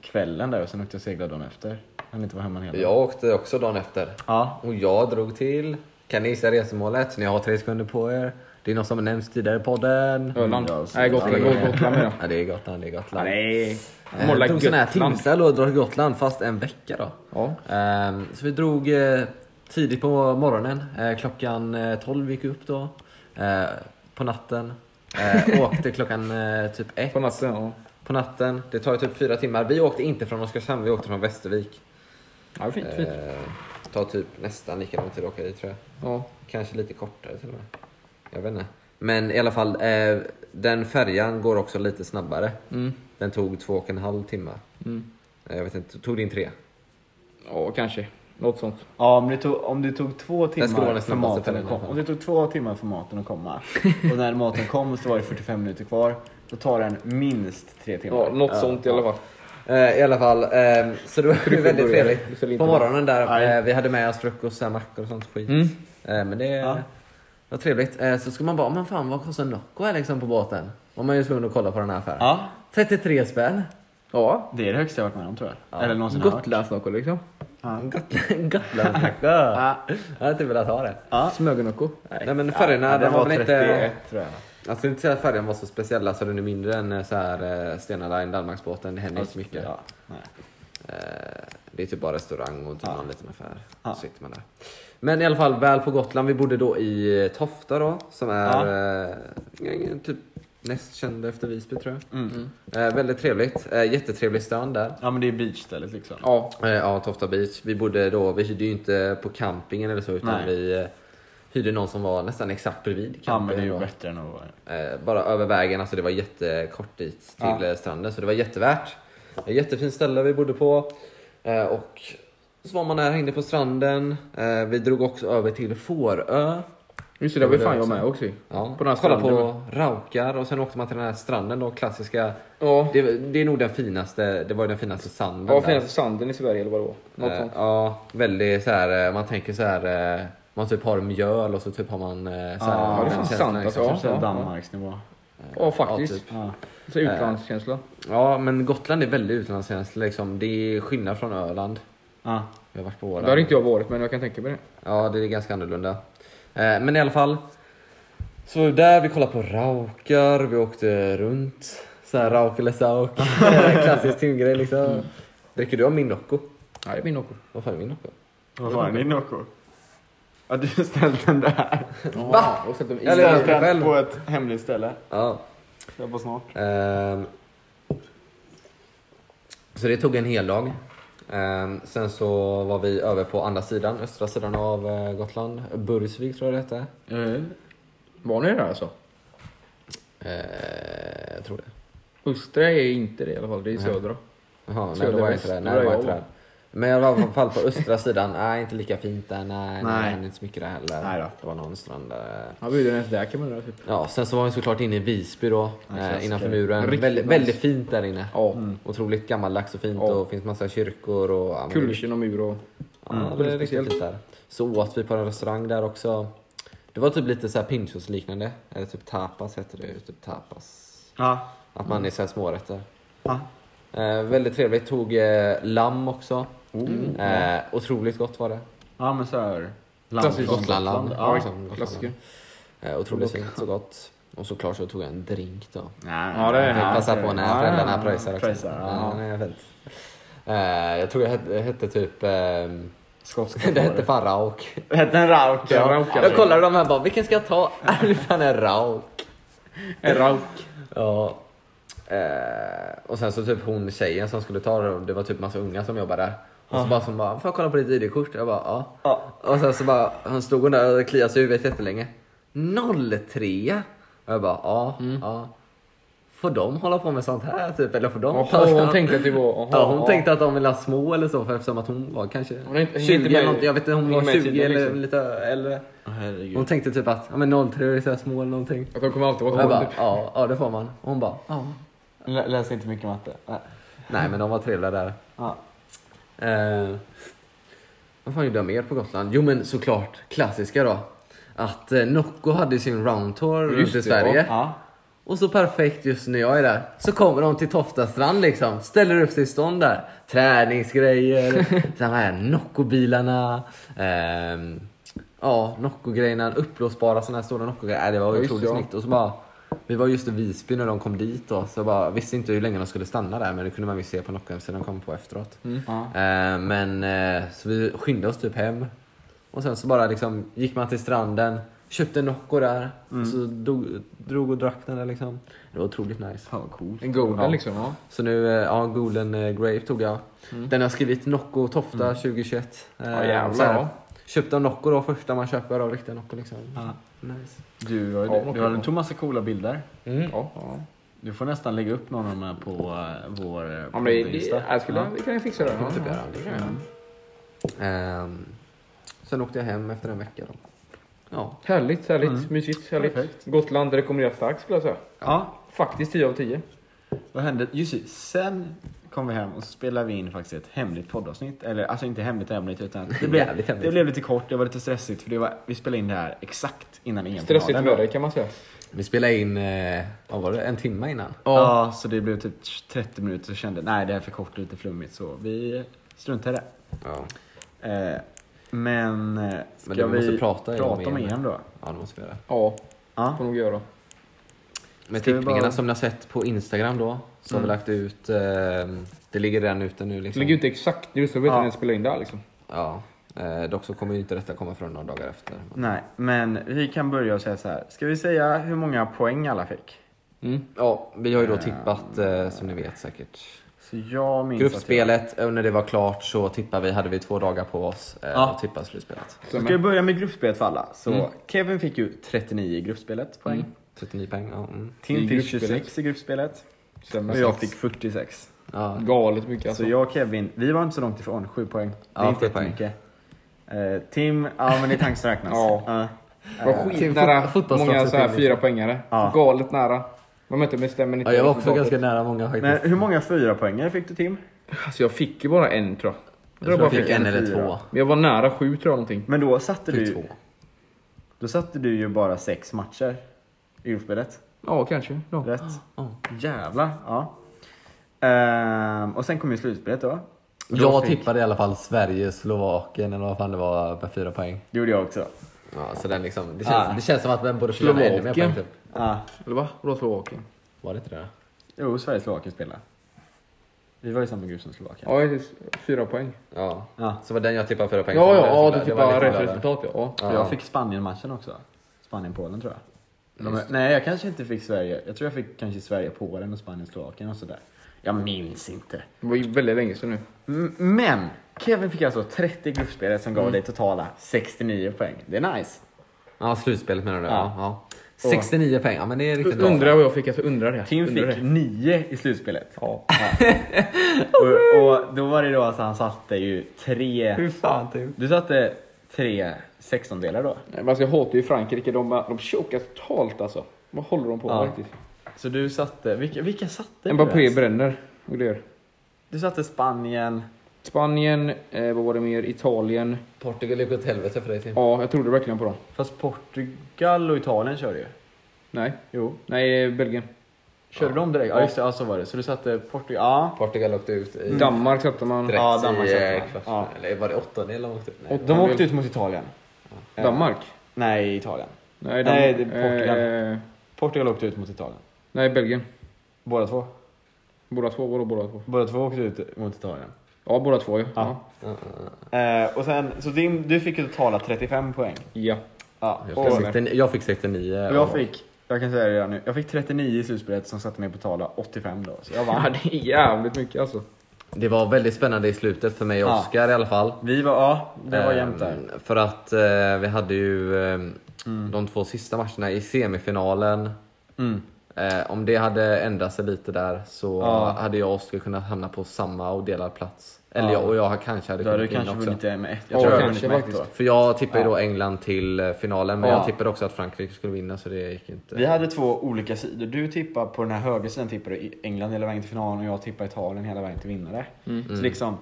kvällen där och sen åkte jag och seglade dagen efter. Han inte var hemma hela
Jag åkte också dagen efter.
Ja.
Och jag drog till, kan ni gissa resemålet? Ni har tre sekunder på er. Det är något som har nämnts tidigare i podden.
Öland.
Ja, så-
Nej, Gotland.
Ja,
Gotland, Gotland menar
Ja, det är Gotland, det är Gotland.
Nej.
Eh,
Måla
Jag tog sån här
Gotland.
timsel och drog till Gotland fast en vecka då.
jag.
Ehm, Så vi drog eh, tidigt på morgonen. Eh, Klockan eh, 12 gick vi upp då. Eh, På natten. Eh, Åkte klockan eh, typ
Ja,
1
på natten. Ja.
på natten. Det tar ju typ fyra timmar. Vi åkte inte från Oskarshamn, vi åkte från Västervik.
Ja, fint, fint.
Eh, Tar typ nästan lika lång tid att åka dit tror jag.
Ja.
Kanske lite kortare till och med. Jag vet inte. Men i alla fall, eh, den färjan går också lite snabbare.
Mm.
Den tog två och en halv timme.
Mm.
Eh, Jag vet inte, tog din tre?
ja, kanske. Något sånt.
Ja, om det tog, om det tog två
skulle vara
timmar
den
för
snabbaste
maten
fällan
att
i alla
komma.
fall.
Om det tog två timmar för maten att komma. Och när maten kom så var det 45 minuter kvar. Då tar den minst tre timmar.
Ja, något sånt i alla fall.
Eh, I alla fall, eh, så det var ju väldigt
Tryffelburgare. Det
trevligt.
säljer inte
På morgonen
Nej.
där, eh, vi hade med oss frukost, så här, mackor och sånt skit.
Mm.
Eh, Men det
Ja.
var trevligt. Eh, Så skulle man bara, men fan vad kostar Nocco här liksom på båten? Var man ju tvungen att kolla på den här affären.
Ja,
33 spänn.
Ja.
det är det högsta jag varit med om tror jag. Eller någonsin har varit.
Gotlandsnocco liksom.
Gotlandsnacka. Jag hade inte velat ha det.
Ja.
Smögnocco.
Nej men färgerna,
Ja,
de
den
var
var
väl
31
inte...
tror jag.
Jag skulle inte säga att färjan var så speciell, alltså den är mindre än eh, så här eh, Stena Line, Danmarksbåten, det händer inte så mycket.
Ja, nej.
Eh, Det är typ bara restaurang och typ
Ja.
någon liten affär.
Ja.
Så sitter man där. Men i alla fall, väl på Gotland. Vi bodde då i eh, Tofta då, som är eh, typ näst kända efter Visby tror jag.
Mm.
Eh, väldigt trevligt. Eh, jättetrevlig strand där.
Ja men det är beachstället liksom.
Ja.
Eh, Ja, Tofta Beach. Vi bodde då, vi hyrde ju inte på campingen eller så utan
Nej.
vi eh, hyrde någon som var nästan exakt bredvid
Ja men det är
campingen.
ju
då.
bättre än att vara...
Eh, bara över vägen, alltså det var jättekort dit till
Ja.
eh, stranden så det var jättevärt. Ett jättefint ställe vi bodde på eh, och så var man där, hängde på stranden. Eh, vi drog också över till Fårö.
Just det, där var ju fan jag med också ju.
Ja,
På den här
kollade
stranden.
på raukar och sen åkte man till den här stranden då, klassiska.
Ja.
Det, det är nog den finaste, det var ju den finaste sanden
Ja,
där.
finaste sanden i Sverige eller vad det var. Något
Eh,
sånt.
Ja, väldigt så här. eh, man tänker så här. eh, Man typ har mjöl och så typ har man... eh, Så här,
Ja, det är fan
känslan,
sant,
liksom.
alltså.
Typ såhär
ja.
Danmarksnivå.
Ja, faktiskt.
Ja, typ. Äh,
Ja.
Så utlandskänsla.
ja, men Gotland är väldigt utlandskänsligt liksom. Det är skillnad från Öland.
Ja.
Jag har varit på Åland.
Där har inte jag varit, men jag kan tänka mig det.
Ja, det är ganska annorlunda. Eh, Men i alla fall. Så vi var där, vi kollade på raukar, vi åkte runt. Så här rauk eller sauk. Eh, Klassisk timgrej liksom.
Mm.
Dricker du av min Nocco?
Nej, det är min Nocco.
Vad fan är min Nocco?
Vad var det? Nocco? Ja du ställde den där.
Va? Och sätter dem i.
Eller-
Eller...
Ställde den
själv.
på ett hemligt ställe.
Ja.
Jag var snart.
Ehm, så det tog en hel dag. Ehm, sen så var vi över på andra sidan, östra sidan av eh, Gotland. Burgsvik tror jag det hette.
Var ni där alltså?
Ehm, jag tror det.
Östra är inte det i alla fall, det är södra.
Jaha, nej
Södra
då var jag
väst,
inte där.
då
Nej,
var
då var jag
jag
inte
var.
där. Men jag var i alla fall på östra sidan. Nej, inte lika fint där. Nej, nej.
Nej.
nej inte så mycket där heller.
Nej då.
Det var någon strand där.
Han bjuder ens där kan man undra typ.
Ja, sen så var vi såklart inne i Visby då, eh,
klassiker.
innanför muren.
Riktigt
väldigt,
nice.
väldigt fint där inne.
Ja.
Otroligt gammaldags och fint
Ja.
och finns massa kyrkor och ja, men-
Kullersten och mur och...
Ja, det är riktigt
Speciellt.
fint där. Så åt vi på en restaurang där också. Det var typ lite så här pinchos liknande. Eller typ tapas heter det ju. Typ tapas.
Ja.
Att man är så här smårätter.
Ja.
Eh, väldigt trevligt. Tog eh, lamm också.
Mm.
eh, otroligt gott var det.
Ja men såhär...
Klassiskt
Gotlandlamm.
Ja.
liksom, Gotlandlamm.
Klassiker.
Eh, otroligt fint. Så gott. Och såklart så tog jag en drink då.
Nej,
Ja, det är-
Jag
nej,
passar
det-
på när
ja,
föräldrarna
ja,
pröjsar också.
pröjsar,
ja.
ja.
nej, jag vet. Eh, jag tror jag hette, hette typ... ehm,
Skotska
det
får
hette fan rauk.
Det hette en rauk
Ja,
ja.
rauk,
Jag
alltså.
kollade de här bara, vilken ska jag ta? Det är fan en rauk.
En rauk.
Ja. Eh, och sen så typ hon tjejen som skulle ta det, det var typ massa unga som jobbade där. Och så bara som bara, får jag kolla på ditt ID-kort? Jag bara, ja.
Ja.
Och sen så bara, han stod hon där och kliade sig i huvudet jättelänge. 03! Och jag bara, ja,
Mm.
ja. Får de hålla på med sånt här typ? Eller får de
Jaha, hon tänkte att det var... Aha,
Ja, hon tänkte att de ville ha små eller så för eftersom att hon var kanske
Hon är inte- hängde
20 eller
med-
någonting. Jag vet inte, hon
hängde
var
med
20
tiden,
eller
liksom.
lite äldre.
Åh, herregud.
Hon tänkte typ att, ja men 03 är så här små eller någonting.
Att de kommer alltid
Och jag
vara kvar
bara,
typ.
ja, ja det får man. Och hon bara, ja.
Lä- Läste inte mycket matte. Nej.
Nej men de var trevliga där.
Ja.
Eh, vad fan gjorde jag mer på Gotland? Jo men såklart klassiska då. Att eh, Nocco hade sin roundtour
Just
runt i
det,
Sverige.
Ja.
Och så perfekt just när jag är där. Så kommer de till Toftastrand liksom. Ställer upp sig i stånd där. Träningsgrejer. sen här Nocco-bilarna. ehm, ja, Nocco-grejerna. Uppblåsbara sådana här stora Nocco-grejer. Äh, det var
Ja, just
otroligt
det, ja.
snyggt. Och så bara, vi var just i Visby när de kom dit då. Så jag bara visste inte hur länge de skulle stanna där. Men det kunde man ju se på Nocco-hemsidan de kom på efteråt.
Mm.
Ja.
Eh, men eh, så vi skyndade oss typ hem. Och sen så bara liksom gick man till stranden, köpte en Nocco där.
Mm.
Och så dog, drog och drack den där liksom. Mm. Det var otroligt nice.
Fan vad coolt.
En golden
Ja.
liksom, ja.
Så nu, eh, ja, Golden eh, Grape tog jag. Den har skrivit Nocco Tofta 2021. Eh,
Ja, jävlar,
så här,
ja.
Köpte en Nocco då, första man köper av riktiga Nocco liksom.
Ja.
Nice.
Du, har ju-
Ja,
du har en tog massa coola bilder.
Mm.
Ja, ja.
Du får nästan lägga upp någon av de här på eh, vår eh,
Ja, men det, det,
podd-insta.
jag skulle, det kan jag fixa det. Ja,
Typ
ja.
där, det kan jag. Ehm, sen åkte jag hem efter en vecka då. Ja,
Härligt, härligt, mysigt, härligt.
Perfekt.
Gotland rekommenderas starkt skulle jag säga.
Ja,
Faktiskt 10 av 10.
vad hände? Just det, sen kom vi hem och så spelade vi in faktiskt ett hemligt poddavsnitt. Eller alltså inte hemligt hemligt utan det blev,
Jävligt hemligt.
det blev lite kort, det var lite stressigt för det var, vi spelade in det här exakt innan E EM-finalen.
Stressigt väder kan man säga.
vi spelade in, eh, vad var det, en timme innan.
Ja. så det blev typ 30 minuter och kände nej det här är för kort och lite flummigt så vi struntar i det.
Ja.
Eh, men eh, ska
det vi
vi
måste prata om
prata om
EM?
EM då?
Ja, det måste vi göra.
Ja,
Ja.
får nog göra.
Med
Ska vi
tippningarna
bara-
som ni har sett på Instagram då. Så har vi lagt ut, eh, det ligger redan ute nu liksom.
Lägg ut det exakt nu så vet
Ja.
ni när jag spelar in det här liksom.
Ja. Eh, dock så kommer ju inte detta komma från några dagar efter.
Nej, men vi kan börja och säga så här. Ska vi säga hur många poäng alla fick?
Ja, vi har ju då tippat eh, Mm. som ni vet säkert.
Så jag minns att
Gruppspelet, eh, när det var klart så tippade vi, hade vi två dagar på oss eh,
Ja.
att tippa slutspelet.
jag... Så ska vi börja med gruppspelet för alla. Så Kevin fick ju 39 i gruppspelet poäng.
39 poäng. Ja, mm.
Tim
I
fick
gruppspelet.
26 i gruppspelet.
Stämmer.
Och jag fick 46.
ja.
Galet mycket alltså.
Så jag och Kevin, vi var inte så långt ifrån. 7 poäng. Det är
Ja,
inte
sju poäng.
jättemycket. Eh, Tim, ja men i tanken räknas.
Ja.
Ja.
var skitnära
fot- fotbollsstraff
många
så typ,
så här
till-
fyra poängare.
Ja.
Galet nära. Man mötte med stämmer inte. liksom
ja, jag var också
resultatet.
ganska nära många faktiskt.
Men hur många fyra poängare fick du Tim?
Alltså jag fick ju bara en tror jag.
jag tror jag
bara
fick
fick
en
en
eller
fyra.
två.
Men jag var nära sju tror jag någonting.
Men då satte
Fick
du,
två.
då satte du ju bara sex matcher i gruppspelet.
Ja kanske. Ja.
Rätt?
ja.
Jävlar. Ja. Ehm, och sen kom ju slutspelet då.
Jag,
fick-
tippade i alla fall Sverige, Slovakien eller vad fan det var med fyra poäng.
Det gjorde jag också.
Ja, så den liksom, det, känns,
Ah.
det känns som att den borde fylla med ännu mer
Slovakien.
poäng typ.
Ja.
Eller va? Vadå Slovakien?
Var det inte det?
Jo, Sverige och Slovakien spelade. Vi var i samma grupp som Slovakien.
Ja precis. fyra poäng.
Ja.
Ja.
Så var den jag tippade fyra
Ja
poäng
ja,
för.
ja,
Så
du
det
fick
var
bara
lite
rätt
glädjande.
resultat ja. ja.
För jag fick Spanien-matchen också. Spanien-Polen tror jag. De,
Just.
nej, jag kanske inte fick Sverige. Jag tror jag fick kanske Sverige-Polen och Spanien-Slovakien och sådär. Jag minns inte.
Det var ju väldigt länge sedan nu.
M- Men! Kevin fick alltså 30 gruppspelare som gav
Mm.
dig totala 69 poäng. Det är nice.
Ja, slutspelet menar du? Ja.
Ja.
ja. 69 poäng, ja men det är riktigt bra.
Undrar vad jag fick, alltså undrar det.
Tim
undrar
fick 9 i slutspelet.
Ja.
Och, och då var det då alltså han satte ju tre...
Hur fan typ.
Du satte tre sextondelar då.
Nej, men alltså jag hatar ju Frankrike, de, de chokar totalt alltså. Vad håller de på
Ja.
med riktigt?
Så du satte, vilka, vilka satte du?
Mbappé
ens?
bränner. Och det gör.
Du satte Spanien.
Spanien, eh, vad var det mer? Italien.
Portugal gick åt helvete för dig Tim.
Ja, jag trodde verkligen på dem.
Fast Portugal och Italien körde ju.
Nej,
Jo.
nej eh, Belgien.
Körde de direkt? Ja just det, ja, så var det. Så du satte Portugal, ja.
Portugal åkte ut i...
Danmark satte man.
Mm. Direkt
Ja, Danmark
i
satte
eh,
man.
kvartsfinal. Eller var det åttondel de åkte ut? Nej.
Åt-
De åkte ut mot Italien.
Danmark?
Nej, Italien. Nej,
Nej, Dam-
det är Portugal.
eh,
Portugal åkte ut mot Italien.
nej, Belgien.
Båda två.
Båda två, vadå båda två?
Båda två åkte ut mot Italien.
Ja, båda två ja. Ja.
Eh, och sen, så din, du fick ju totala 35 poäng.
ja.
Ja.
Jag
Och,
fick 69 jag fick 69.
och jag fick, jag kan säga det redan nu, jag fick 39 i slutspelet som satte mig på totala 85 då. Så jag vann.
ja, det är jävligt mycket alltså.
Det var väldigt spännande i slutet för mig och
Ja.
Oskar i alla fall.
Vi var, ja, det var jämnt där.
Ehm, För att eh, vi hade ju ehm, de två sista matcherna i semifinalen.
Mm.
Eh, om det hade ändrat sig lite där så
Ja.
hade jag och Oskar kunnat hamna på samma och delad plats. Eller
Ja.
jag och jag kanske hade
Då hade du
kunnat vinna
kanske
också.
vunnit det med ett.
Ja,
Jag tror jag
kanske
kanske vunnit med ett då.
faktiskt.
För jag tippade ju då England till eh, finalen men
Ja.
jag tippade också att Frankrike skulle vinna så det gick inte.
Vi hade två olika sidor. Du tippar på den här högra sidan tippade i- England hela vägen till finalen och jag tippar Italien hela vägen till vinnare.
Mm.
Så liksom,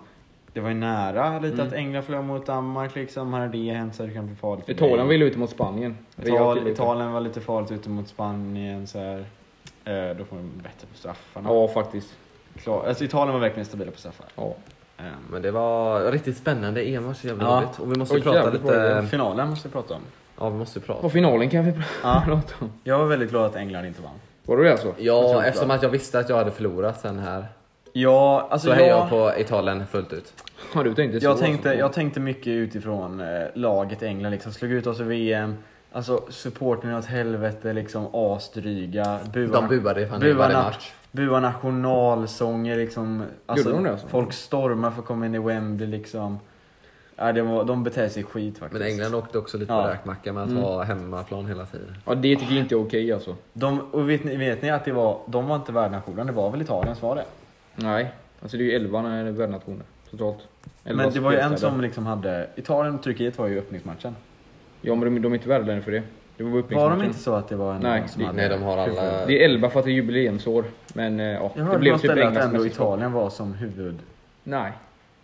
det var ju nära lite att England förlorade mot Danmark liksom. Hade det hänt så hade det kanske blivit farligt. för
Italien
mig.
ville ut mot Spanien.
Ital, Italien var lite farligt ute mot Spanien så här. Eh, då får de bättre på straffarna.
Ja, faktiskt.
Klar, alltså Italien var verkligen stabila på straffar.
Ja.
Ehm,
Men det var riktigt spännande. EM var så jävla
Ja.
roligt. Och vi måste
Oj,
prata
jävligt bra
lite...
finalen måste vi prata om.
Ja, vi måste prata.
Och finalen kan vi
Ja.
prata om.
Jag var väldigt glad att England inte vann.
Var det det alltså?
Ja, eftersom att jag visste att jag hade förlorat sen här.
Ja, alltså
Så
jag...
hejar jag på Italien fullt ut.
Ja, du tänkte så.
Jag tänkte,
alltså.
jag tänkte mycket utifrån eh, laget England liksom. Slog ut oss i VM. Alltså supporten åt helvete liksom asdryga. Buar,
De buade fan i
buar
varje
na-
match.
buar nationalsånger liksom. Alltså,
Gjorde de det alltså?
Folk stormar för att komma in i Wembley liksom. Ja, det var, de beter sig skit faktiskt.
Men England åkte också lite på
Ja.
räkmacka med att ha hemmaplan hela tiden.
Ja, det tycker jag inte är okej alltså.
De, och vet ni, vet ni att det var, de var inte värdnationen, det var väl Italiens var det?
Nej. Alltså det är ju 11 när det är värdnationer. Totalt. Elva
Men det var ju en
spelstäder.
som liksom hade, Italien och Turkiet var ju öppningsmatchen.
Ja, men de, de är inte värda längre för det. Det var
Var de
öppningsmatchen.
inte så att det var en
Nej,
som hade...
Nej, de har alla...
Det är 11 för att det är jubileumsår. Men eh, ja,
Jag
det
hörde
blev
blev
typ
att
Englands
ändå
mästerskap.
Italien var som huvuddelen.
Nej.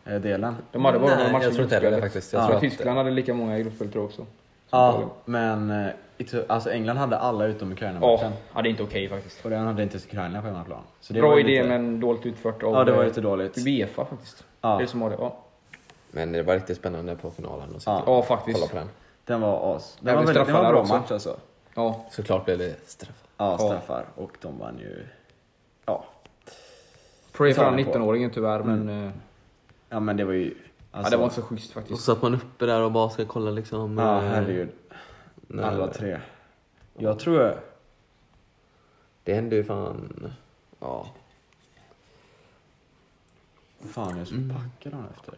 De hade bara några
Nej,
matcher
jag
i
tror inte heller det
gruppspelet.
faktiskt.
Ja.
Jag
Jag tror
tror
att
inte...
Tyskland hade lika många i gruppspelet tror jag också.
Ja, men eh, Ita- alltså England hade alla utom Ukraina-matchen.
Ja, ja, det är inte okej faktiskt.
Och den hade inte Ukraina på hemmaplan. Så det var
Bra
ju
idé
lite,
men dåligt utfört av
Ja, det var
eh,
lite dåligt.
Uefa faktiskt.
Ja.
Det är som har det. Ja,
Men det var riktigt spännande på finalen. Och så.
Ja.
ja
Kolla
faktiskt.
på den.
Den var as. Den
Även
var, väldigt, den var
straffarna
en bra
också.
match alltså.
Ja.
Såklart blev det straff.
Ja, straffar. Och de vann ju... Ja.
Pray för
Sa ni på.
19-åringen tyvärr, men eh,
Ja men det var ju... Alltså,
ja, det var inte så schysst
Och
faktiskt.
så att man uppe där och bara ska kolla liksom...
Ja,
eh,
herregud.
nej,
Alla tre. Jag tror...
Det hände ju fan... Ja.
Fan, jag
Mm.
skulle packa dem efter.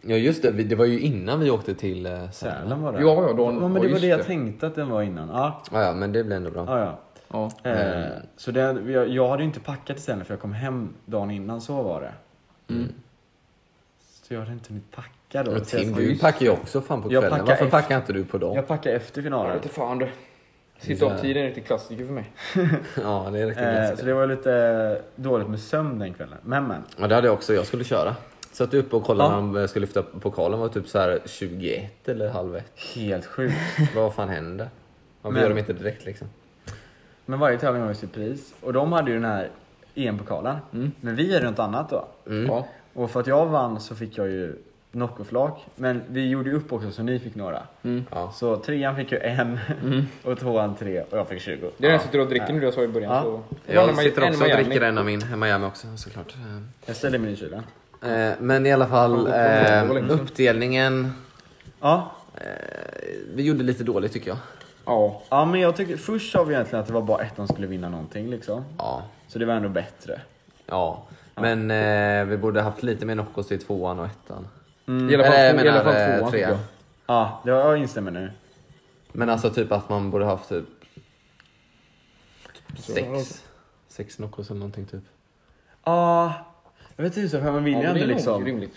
Ja just det, vi- det var ju innan vi åkte till eh, Sälen.
Sälen var det.
Ja, ja, då-
ja men
ja,
det var
just
det jag
det.
tänkte att den var innan. Ja,
Ja, ja, men det blev ändå bra.
ja. ja.
Ja.
Eh,
Mm.
Så det, jag, jag hade ju inte packat i Sälen för jag kom hem dagen innan, så var det. Så jag hade inte hunnit packa då.
Och
Så jag-
Mm. Tim, du packar ju också fan på
Jag
kvällen.
packar
Varför
efter-
packar inte du på dem?
Jag packade efter
Jag
finalen.
vet inte fan du. Sitta av tiden är en riktig klassiker för mig.
Ja, det är riktigt
Eh, så
glassigt.
det var lite dåligt med sömn den kvällen. Men men.
Ja, det hade jag också. Jag skulle köra. Så att du uppe och kollade
Ja.
när han eh, skulle lyfta pokalen var typ så här 21 eller halv ett.
Helt sjukt.
Vad fan händer? Varför
Men-
gör de inte direkt liksom?
Men varje tävling har ju sitt pris. Och de hade ju den här EM-pokalen.
Mm.
Men vi hade ju något annat då.
Ja.
Och för att jag vann så fick jag ju Noccoflak. Men vi gjorde ju upp också så ni fick några.
Ja.
Så trean fick ju en
Mm.
och tvåan tre och jag fick 20.
Det är den jag sitter och dricker nu, det jag sa i början.
Ja.
Så. Det var när
Jag
man- Mm.
sitter
en
också och
Miami.
dricker en av min i Miami också såklart. Eh,
Jag ställde mig i kylen.
Eh, men i alla fall, eh, uppdelningen.
Ja.
Vi gjorde lite dåligt tycker jag.
Ja.
ja, men jag tyckte först sa vi egentligen att det var bara ett som skulle vinna någonting liksom.
Ja,
Så det var ändå bättre.
ja. Men eh, vi borde haft lite mer Noccos i tvåan och ettan.
I alla fall,
Eller, jag
två- i alla
menar,
fall
eh,
tvåan tycker
trean.
jag.
Ja, det var, jag instämmer nu.
Men alltså typ att man borde haft typ
alltså.
sex. Sex Noccos eller någonting typ.
Ja, jag vet inte tusan man vill ju
Ja, men
ändå
det är nog
liksom.
rimligt.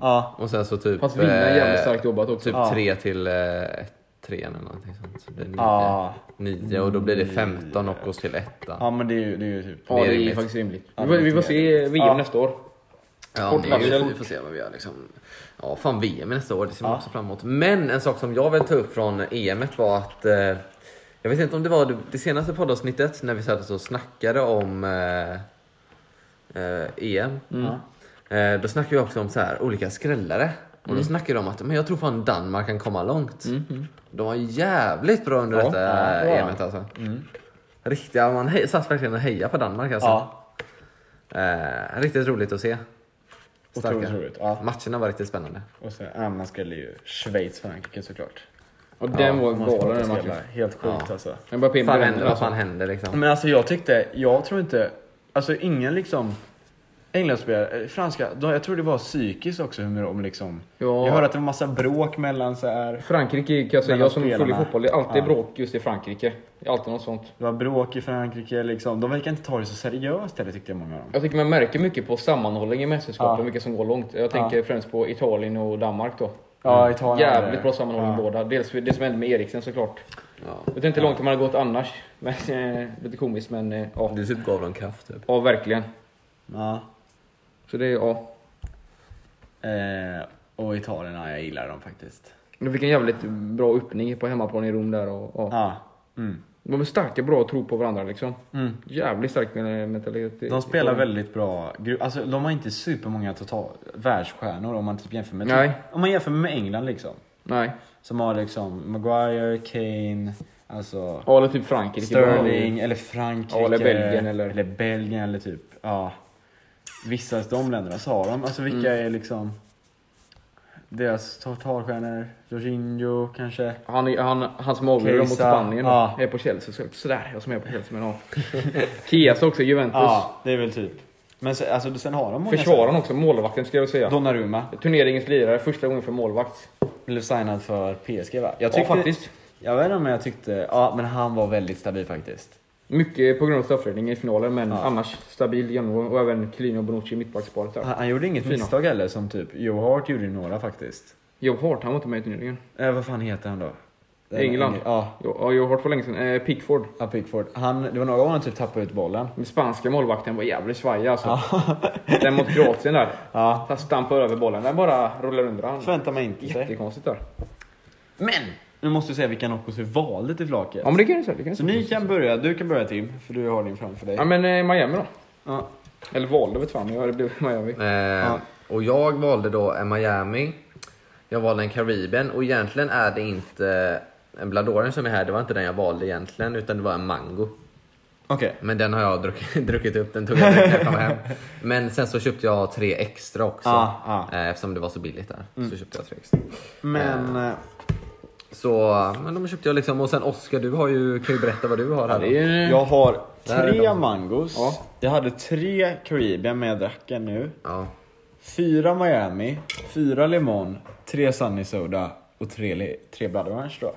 Ja,
Och sen så typ...
Fast vinna är jävligt
eh,
starkt jobbat också.
Typ
Ja.
tre till eh, ett, trean eller någonting sånt. Så blir det nio.
Ja.
nio och då blir det 15 Noccos till ettan.
ja men det är ju, det är ju typ.
Ja, det är
rimligt.
faktiskt rimligt.
Ja,
Vi får, vi får
lite mer
se VM
Ja.
nästa år.
Ja,
Kort
det är ju,
varsel.
vi får se vad vi gör liksom. Ja, fan VM är nästa år, det ser man också fram emot. Men en sak som jag vill ta upp från EMet var att eh, jag vet inte om det var det, det senaste poddavsnittet när vi satt och snackade om eh, eh, EM.
Mm.
Eh, då snackade vi också om så här, olika skrällare. Och
Mm.
då snackade de om att men jag tror fan Danmark kan komma långt. De var jävligt bra under
Ja,
detta
ja, det var
EMet alltså. Riktiga, man he- satt verkligen och hejade på Danmark alltså.
Ja,
Eh, riktigt roligt att se.
otroligt
Starka.
roligt. Ja.
Matcherna var riktigt spännande.
Och sen, ja, man skulle ju Schweiz-Frankrike såklart.
Och den var
Man ska
galen den
inte
matchen.
spela. Helt sjukt
Ja.
alltså.
Den bara
Fan
pimpade
händer,
händerna
vad
alltså.
fan händer liksom?
Men alltså jag tyckte, jag tror inte, alltså ingen liksom Englandsspelare, eh, franska, de, jag tror det var psykiskt också hur de liksom
Ja.
Jag hörde att det var massa bråk mellan så här.
Frankrike kan jag säga,
Mellan
jag som är full i
spelarna.
fotboll, det är alltid
Ja.
bråk just i Frankrike. Det är alltid något sånt.
Det var bråk i Frankrike liksom, de verkar inte ta det så seriöst heller tyckte jag många av dem
Jag tycker man märker mycket på sammanhållningen i mästerskapen,
Ja.
vilka som går långt. Jag tänker främst på Italien och Danmark då.
Ja, Italien
Jävligt bra sammanhållning båda. Dels det som hände med Eriksen såklart. Jag vet inte hur långt de hade gått annars. Men, eh, lite komiskt men eh, ja.
Du typ gav dem kraft typ.
ja, verkligen.
Ja,
Så det är ja.
eh, och Italien, ja jag gillar dem faktiskt
De fick en jävligt bra öppning på hemmaplan i Rom där. Och, ja.
Ja, mm.
De är starka, bra och tror på varandra liksom.
Mm.
Jävligt stark mentalitet.
De spelar väldigt bra, gru- alltså de har inte supermånga total världsstjärnor om man typ jämför med
Nej.
Om man jämför med England liksom
Nej.
Som har liksom Maguire, Kane, alltså
Ja, eller typ Frankrike.
Sterling eller Frankrike.
Ja, eller Belgien, eller-
eller Belgien eller typ, ja. Vissa av de länderna så har de, alltså vilka är liksom deras totalstjärnor? Jorginho kanske?
Han, är- han, han som avgjorde dem mot
Kesa,
Spanien då,
ja.
är på Chelsea. Så, sådär, jag som är på Chelsea men ja. Chiesa också, Juventus.
Ja, det är väl typ. Men så, alltså, sen har de många...
Försvararen också, målvakten skulle jag säga.
Donnarumma
Turneringens lirare, första gången för målvakt.
blev signad för PSG va? Jag
Ja,
tyckte,
faktiskt.
Jag vet inte om jag tyckte... Ja, men han var väldigt stabil faktiskt.
Mycket på grund av straffräddning i finalen, men annars stabil genomgång och även Chiellini och Bonucci i mittbacksparet där.
Han, han gjorde inget
Fina.
misstag heller som typ Joe Hart gjorde några faktiskt.
Joe Hart, han var inte med i turneringen.
Eh, vad fan heter han då? Den-
England.
Ja,
Jo- Ja, Joe Hart var länge sedan. Eh, Pickford.
Ja, Pickford. Han, det var några gånger han typ tappade ut bollen.
Den spanska målvakten var jävligt svajig alltså. Den mot Kroatien där.
Ja.
Han stampade över bollen, den bara rullar under han.
Förväntar mig inte sig.
Jättekonstigt där.
Men! Nu måste vi säga vilka Noccos vi valde till flaket.
Ja men det kan du säga. Det kan du
Så
säga.
ni kan börja, du kan börja Tim, för du har din framför dig.
Ja men eh, Miami då.
Ja.
Eller valde vet fan, jag det blev Miami.
Eh, Och jag valde då en Miami. Jag valde en Karibien och egentligen är det inte en Bladoren som är här, det var inte den jag valde egentligen utan det var en Mango.
Okej.
Men den har jag druckit, druckit upp, den tog jag direkt när jag kom hem. Men sen så köpte jag tre extra också.
Ja, Mm.
Eh, Eftersom det var så billigt där. Så köpte jag tre extra.
Men... eh,
Så, men de köpte jag liksom. Och sen Oskar, du har ju, kan ju berätta vad du har här.
Det
då.
är,
Jag har
Där är
tre
de.
mangos.
Ja.
Jag hade tre Caribbean, men jag drack en nu.
Ja.
Fyra Miami, fyra Limon, tre Sunny Soda och tre, li- tre Blood Orange då.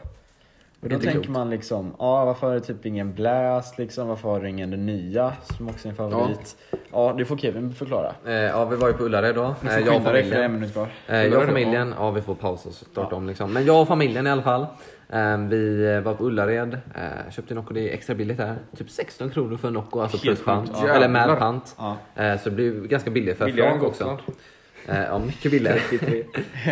Och då
Inte
tänker
klokt.
man liksom, ja varför har det typ ingen Blast liksom? Varför har det ingen den nya som också är en favorit? Ja, det får Kevin förklara.
Eh, ja, vi var ju på Ullared då.
Du
Eh,
får
jag och
skynda dig för det är
familjen.
en minut kvar.
Eh, jag och familjen, ja vi får pausa och starta om liksom. Men jag och familjen i alla fall. Eh, vi eh, var på Ullared, eh, köpte Nocco, det är extra billigt där. Typ 16 kronor för en Nocco, alltså
Helt
plus pant.
sjukt.
Eller
Jävlar.
med pant.
Ja.
Eh, så det blir ju ganska billigt för
Billigare
flak
än
också.
Gotland.
Eh, ja, mycket billigare.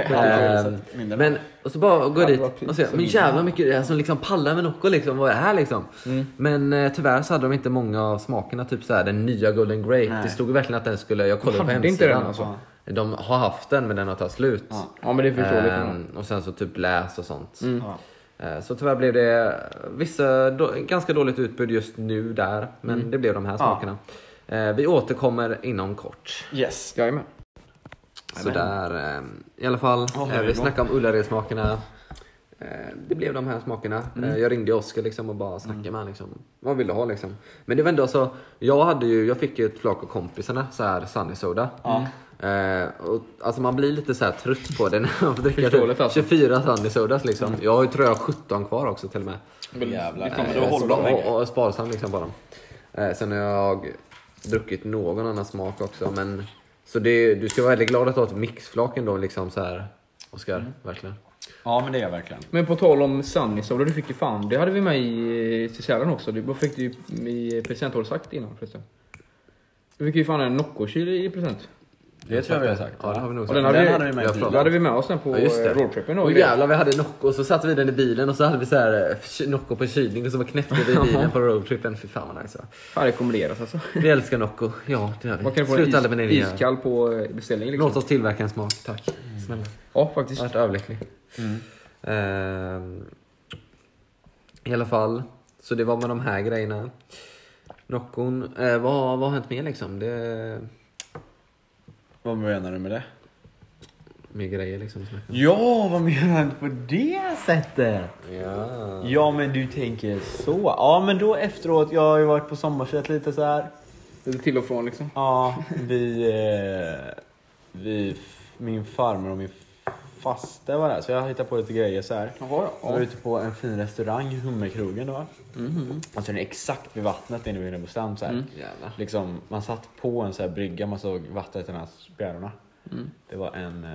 Ja,
Ehm,
mindre.
men och så bara går jag
det var
dit
pris
och ser, men
mindre.
jävla mycket det är som liksom pallar med Nocco liksom, vad är det här liksom?
Mm.
Men eh, tyvärr så hade de inte många av smakerna, typ så här, den nya Golden Grape.
Nej.
Det stod ju verkligen att den skulle, jag kollade på
hade inte
hemsidan.
den alltså?
De har haft den men den har tagit slut.
Ja men det är förståeligt.
Ehm, och sen så typ läs och sånt.
Mm.
Ja.
Eh, Så tyvärr blev det eh, vissa, då, ganska dåligt utbud just nu där. Men
Mm.
det blev de här smakerna. Eh, Vi återkommer inom kort.
Yes.
Jajamän.
Sådär. ehm, I alla fall,
Ja,
eh,
det
vi
är
snackade om Ullared-smakerna. Eh, Det blev de här smakerna.
Mm.
Eh, Jag ringde Oskar liksom och bara snackade med honom. Liksom. Vad vill du ha liksom? Men det var ändå så. Jag, hade ju, jag fick ju ett flak av kompisarna, så här Sunny Soda. Eh, och, alltså man blir lite så här trött på det när man får dricka
Förståeligt,
typ
alltså.
24 Sunny Sodas liksom.
Mm.
Jag har ju tror jag 17 kvar också till och med.
Jävlar.
Liksom,
Nej,
du
Eh,
håller
så
dem
bara-
länge.
och, och sparsam liksom på dem. Eh, sen har jag druckit någon annan smak också. Men, så det, du ska vara väldigt glad att du har ett mixflak ändå. Liksom så här, Oskar, verkligen.
Ja men det är jag verkligen.
Men på tal om Sunny Soda, du fick ju fan, det hade vi med i eh, till Sälen också. Du vad fick du ju i presenthålet sagt innan förresten. Du fick ju fan en Nocco-kyl i present.
Det tror jag vi har sagt.
Ja, det har vi nog
Och
sagt.
den hade vi-
vi med
jag
i
pratar.
Det hade vi med oss den på
Ja, just det.
eh, roadtripen.
Och
och grejer.
jävlar, vi hade Nocco och så satte vi den i bilen och så hade vi så här, eh, ky- Nocco på kylning och så bara knäppte vi i bilen på roadtrippen. Fy fan vad nice. va?
Fan rekommenderas alltså.
Vi älskar Nocco. Ja, det gör
Man
vi.
kan få en
Sluta
is,
aldrig med det ni gör.
iskall på eh, beställning liksom.
Låt oss tillverka en smak, tack. Snälla.
Ja faktiskt.
Jag har varit överlycklig. Mm. Ehm, I alla fall, så det var med de här grejerna. Noccon, eh, vad, vad har hänt mer liksom? Det,
Vad menar du med det?
mer grejer liksom. som-
Ja, vad menar du på det sättet?
Ja.
Ja, men du tänker så. Ja, men då efteråt, jag har ju varit på sommarfest lite så här.
Lite till och från liksom.
Ja, vi, eh, vi, min farmor och min faste var där, så jag hittade på lite grejer så här.
Jaha
Vi var ute på en fin restaurang, Hummerkrogen då. Alltså den är exakt vid vattnet inne vid Hunnebostrand så här.
Mhm. Mm, Jävlar.
Liksom, man satt på en så här brygga, man såg vattnet i den här spjärnorna.
Mm.
Det var en eh,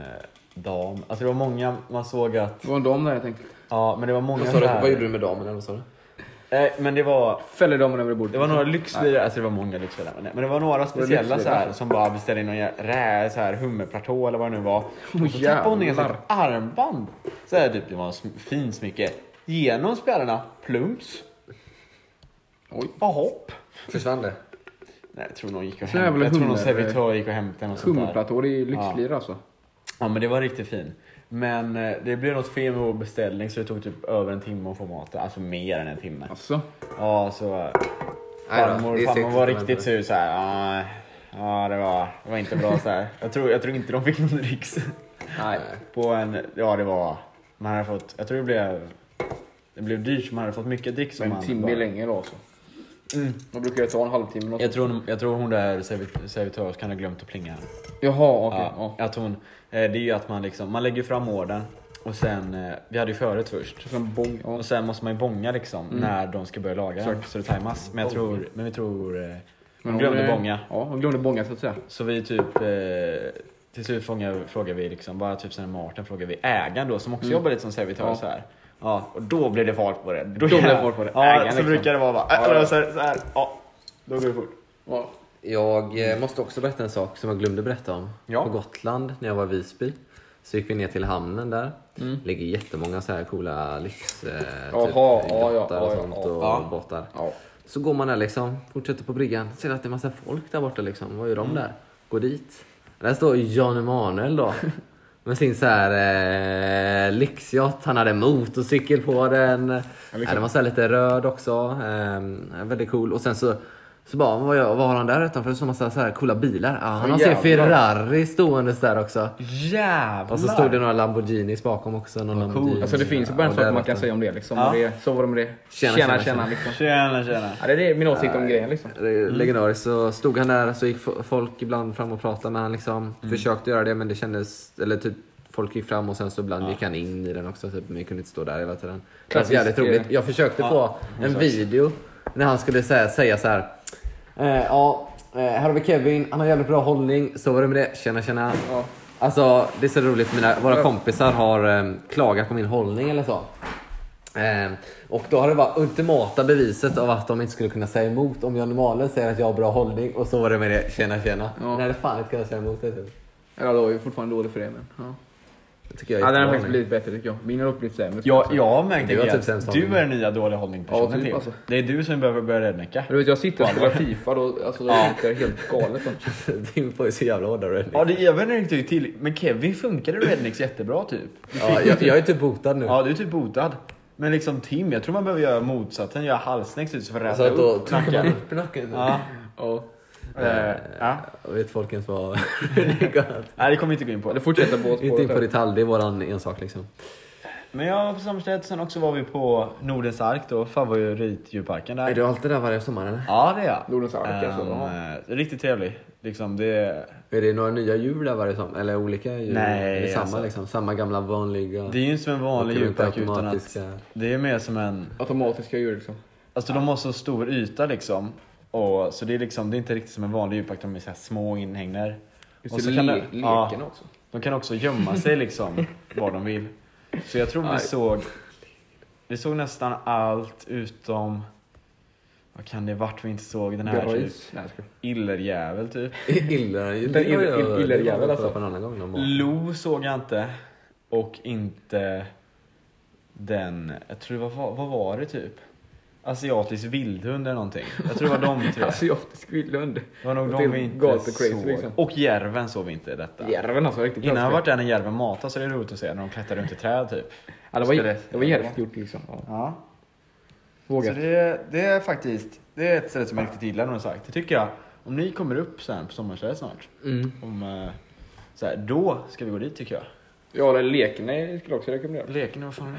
dam, alltså det var många, man såg att,
Det var en dam där helt enkelt.
ja men det var många
Vad, sa du,
så här-
vad gjorde du med damerna? Vad sa du?
Nej, men det var,
Fäller damen över bordet.
det var några lyxbilar, alltså det var många lyxbilar, men, men det var några speciella så
lyxbilar?
här, som bara beställde in någon jä- rä, så här, hummerplatå eller vad det nu var. Och så
jävlar.
tappade hon ner sitt armband, så här, typ, det var en sm- fin smycke, genom spjärnorna, plumps. Oj. Bara hopp.
Försvann det?
Nej, jag tror någon gick och
Så jävla
hämtade, jag tror någon
hummer- eh,
servitör gick och hämtade den och sånt där.
Hummerplatå, det är lyxlir alltså.
Ja men det var riktigt fin. Men eh, det blev något fel med vår beställning så det tog typ över en timme att få maten. Alltså mer än en timme.
Alltså.
Ja så... eh,
Nej då,
Farmor,
det är
farmor
segt
var
att vänta.
riktigt sur såhär. Ja, ja det, var, det var inte bra såhär. Jag tror, jag tror inte de fick någon dricks.
Nej.
På en... Ja det var... Man hade fått... Jag tror det blev... Det blev dyrt så man hade fått mycket dricks. om
En
man
timme
bara-
är länge då alltså. Man brukar ju ta en halvtimme något.
Jag tror, jag tror hon där servit- servitörskan har glömt att plinga.
Jaha, okej.
Ja,
Ja.
att hon, eh, det är ju att man liksom, man lägger fram orden och sen, eh, vi hade ju förut först.
Som en bong. Ja.
Och sen måste man ju bånga liksom när de ska börja laga den, så det tajmas. Men jag tror, men vi tror, eh,
Men
hon glömde
eh,
bånga.
Ja, hon glömde bånga så att säga.
Så vi typ, eh, till slut frågar, frågar vi liksom, bara typ sen Martin frågar vi ägaren då som också jobbar lite som servitör
Ja.
så här. Mm. Ja, och då blir det fart på det. Då,
blir det fart på det.
Ja,
Ägaren
så
liksom.
brukar det vara bara, äh,
Ja, ja.
så här, så här, ja, då går det fort.
Ja.
Jag eh, måste också berätta en sak som jag glömde berätta om.
Ja.
På Gotland, när jag var i Visby, så gick vi ner till hamnen där. ligger jättemånga så här coola lyx... Eh,
Jaha, ja, ja,
yachter och
ja,
sånt
ja.
och
Ja.
båtar.
Ja.
Så går man där liksom, fortsätter på bryggan, ser att det är massa
Mm.
folk där borta liksom. Vad gör de där? Går dit. Där står Jan Emanuel då. Med sin så här eh, lyxyacht, han hade motorcykel på den.
det är
Eh, den var så här lite röd också. Eh, väldigt cool. Och sen så, så bara, vad, gör, vad har han där utanför? Så massa så här coola bilar. Ah, han har sin
jävlar.
Ferrari ståendes där också.
Jävlar!
Och så stod det några Lamborghinis bakom också. Någon Lamborghini.
Alltså det finns ju bara en
Och
sak
där
man kan
borta.
säga om det liksom.
Ja.
Och det, så var det med det.
Tjena,
Tjena,
tjena,
tjena.
tjena.
liksom.
Tjena tjena.
Ja, det är min åsikt om grejen liksom.
Det är Legendariskt. Så stod han där, så gick fo- folk ibland fram och pratade med han liksom.
Mm.
Försökte göra det men det kändes, eller typ folk gick fram och sen så ibland gick han in i den också typ, men vi kunde inte stå där hela tiden. Det var
Klassiskt,
jävligt
eh,
roligt. Jag försökte få en video när han skulle säga, säga så här. Eh, ja, eh, här har vi Kevin, han har jävligt bra hållning, så var det med det. Tjena tjena.
Ja.
Alltså det är så roligt för mina, våra kompisar har eh, klagat på min hållning eller så. Eh, och då har det bara ultimata beviset av att de inte skulle kunna säga emot om Johnny Malen säger att jag har bra hållning och så var det med det, tjena tjena.
Ja.
Nej, det är fan inte kunnat säga emot det typ.
Eller då är jag fortfarande dålig för det men. Ja,
Det tycker jag
ja
är
den har
jättebra
faktiskt
hållning.
blivit bättre tycker jag. Min har blivit sämre.
Ja, jag har märkt
Det var
det
typ sämst
att du
hållning.
är den nya dåliga hållningpersonen
Ja, typ,
till.
alltså.
Det är du som behöver börja rednecka.
Men du vet jag sitter och spelar FIFA då, alltså då sitter jag helt galet. då.
Din får ju så jävla hårda redneck.
Ja, det, jag vet inte riktigt till. Men Kevin funkade rednecks jättebra typ.
Ja, jag, jag är typ botad nu.
Ja, du är typ botad. Men liksom Tim, jag tror man behöver göra motsatsen. Göra halsnäck typ så för att
så
räta
Alltså att då
upp
trycker man
nacken.
upp nacken.
Ja.
Ja.
Eh, ja.
Jag vet folk ens vad det går.
Nej, det kommer vi inte gå in på.
Eller fortsätta på
Inte in på
spåret.
detalj, det är våran ensak liksom.
Men jag var på Samstedt, sen också var vi på Nordens Ark då, favoritdjurparken där.
Är du alltid där varje sommar eller?
Ja, det är jag.
Nordens Ark, alltså,
Ehm,
ja.
eh, Riktigt trevlig. Liksom, det,
Är det några nya djur där varje sommar? Eller olika djur?
Nej,
är det samma,
alltså.
liksom, samma gamla vanliga?
det är ju inte som en vanlig
Åker runt
djurpark utan att...
automatiska-
Det är mer som en...
Automatiska djur liksom.
Alltså de har så stor yta liksom. Och, så det är liksom, det är inte riktigt som en vanlig djurpark, de är så här små inhägnader.
Just
Och
det,
så
le-
kan det-
leken
ja.
också.
De kan också gömma sig liksom var de vill. Så jag tror vi
Aj.
såg Vi såg nästan allt utom vad kan det vart vi inte såg den här typ
Beröjs. Nej, jag skojar.
illerjävel typ.
Illerjävel.
Den ill- ill- illerjävel, alltså.
på en annan gång någon gång.
Lo såg jag inte och inte den, jag tror det var, vad- vad var det typ? Asiatisk vildhund eller någonting. Jag tror det var de tre.
Asiatisk vildhund.
Det var nog
Det
de
är
vi inte
galet crazy,
såg.
liksom.
Och järven såg vi inte i detta.
Järven alltså, riktigt
Innan jag
klassiker.
varit där när järven matar så det är roligt att se när de klättrar runt i träd typ.
Ja, det var,
Skulle-
det var jävligt gjort liksom. Ja.
Ja. Så
Vågat.
det, det är faktiskt det är ett ställe som jag riktigt gillar när de sagt. Det tycker jag. Om ni kommer upp sen på sommarstället snart.
Mm.
Om, eh, så här, då ska vi gå dit tycker jag.
Ja, eller leken nej, skulle jag också rekommendera.
Leken, vad fan är det?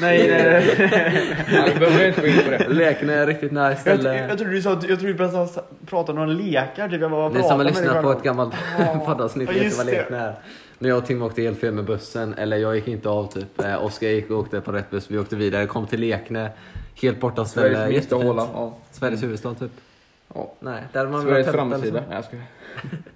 Nej, eh, nej, nej.
Nej, vi behöver inte gå in på det.
Leken är riktigt nice
Jag,
ställe.
jag trodde du sa att jag trodde du började sa- prata om några lekar. Typ jag bara
Ni som har
pratar med dig
lyssnat på
själv.
ett gammalt poddavsnitt
Ja,
vet
just
vad
det.
leken är. När jag och Tim åkte helt fel med bussen, eller jag gick inte av typ. Eh, Oskar gick och åkte på rätt buss, vi åkte vidare, kom till Lekne. Helt borta
Sveriges
Sverige,
minsta håla.
jättefint.
Ja.
Mm.
Sveriges huvudstad typ.
Ja.
Nej, där hade man velat
Sveriges
hämta liksom.
alltså?
framsida. Nej, jag skojar.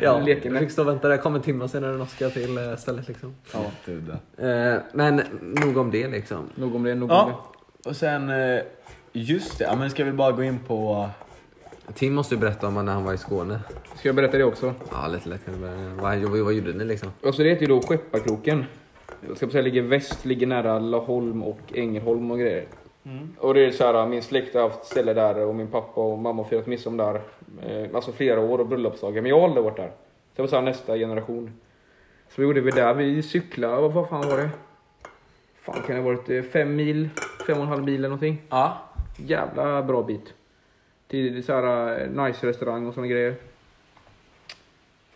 Ja,
Leken.
vi fick stå och vänta där, kom en timme senare än Oskar till eh, stället liksom.
Ja, det är det.
Eh, men nog om det liksom.
Nog om det, nog om
Ja, och sen eh, just det. Ja, men ska vi bara gå in på...
Tim måste ju berätta om när han var i Skåne.
det. Ska jag berätta det också?
Ja, lite lätt kan det börja. Vad, vad, vad gjorde ni liksom?
Alltså det heter ju då Skepparkroken. Jag ska säga ligger väst, ligger nära Laholm och Ängelholm och grejer. Och det är så här, äh, min släkt har haft ställe där och min pappa och mamma har firat midsommar där. Eh, alltså flera år och bröllopsdagar, men jag har aldrig varit där. Så det var så här, nästa generation. Så vad gjorde vi där? Vi cyklade, vad fan var det? Fan kan det ha varit eh, fem mil, fem och en halv mil eller någonting.
Ja.
Jävla bra bit. Till så här eh, nice restaurang och såna grejer.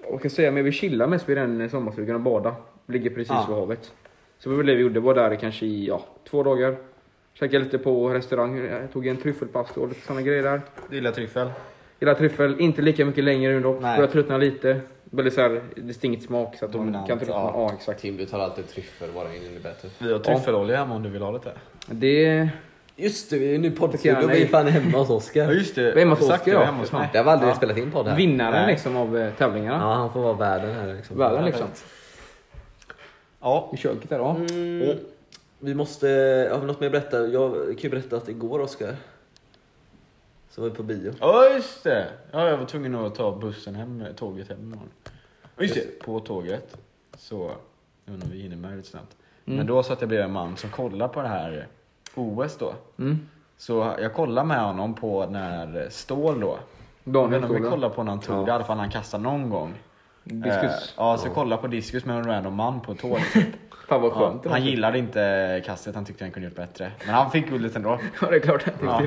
Och kan säga, men vi chillade mest vid den eh, sommarstugan och bada. Ligger precis
Ja.
vid havet. Så det var det vi gjorde, var där kanske i ja, två dagar. Käkade lite på restaurang, jag tog en tryffelpasta och lite såna grejer där.
Du gillar tryffel?
Gillar tryffel, inte lika mycket längre nu dock.
Nej.
Börjar tröttna lite. Väldigt så här distinkt smak så att man
Dominant,
kan tröttna.
ja.
Ja. exakt.
Tim, du tar alltid tryffel bara in i bättre.
Vi har tryffelolja hemma om du vill ha lite.
Det...
Just det, vi är nu
Tackar,
poddstudio.
nej.
Vi är fan hemma hos
Ja,
Oskar.
just det.
Vem har fått
Exakt,
Oscar,
det var
ja,
hemma hos
för
mig.
Det har vi aldrig
Ja.
spelat in podd här.
Vinnaren
Nej.
liksom av eh, tävlingarna.
Ja, han får vara värden här liksom.
Värden liksom.
Ja.
I köket där, ja.
Mm,
Vi måste, har vi något mer att berätta? Jag kan ju berätta att igår Oskar, så var vi på bio.
Ja just det! Ja, jag var tvungen att ta bussen hem, tåget hem imorgon. Och Just det, på tåget så, jag undrar om vi hinner med lite snabbt.
Mm.
Men då satt jag bredvid en man som kollade på det här OS då.
Mm.
Så jag kollade med honom på när Ståhl då, jag vet
Daniel
inte om vi
Ståhl, ja.
kollade på när han tog det, i alla fall när han kastade någon gång.
Diskus.
Eh, ja, så jag kollade på diskus med en random man på ett tåg.
Fan vad
Ja,
skönt.
han gillade inte kastet, han tyckte han kunde gjort bättre. Men han fick guldet ändå.
Ja, det är klart.
Ja.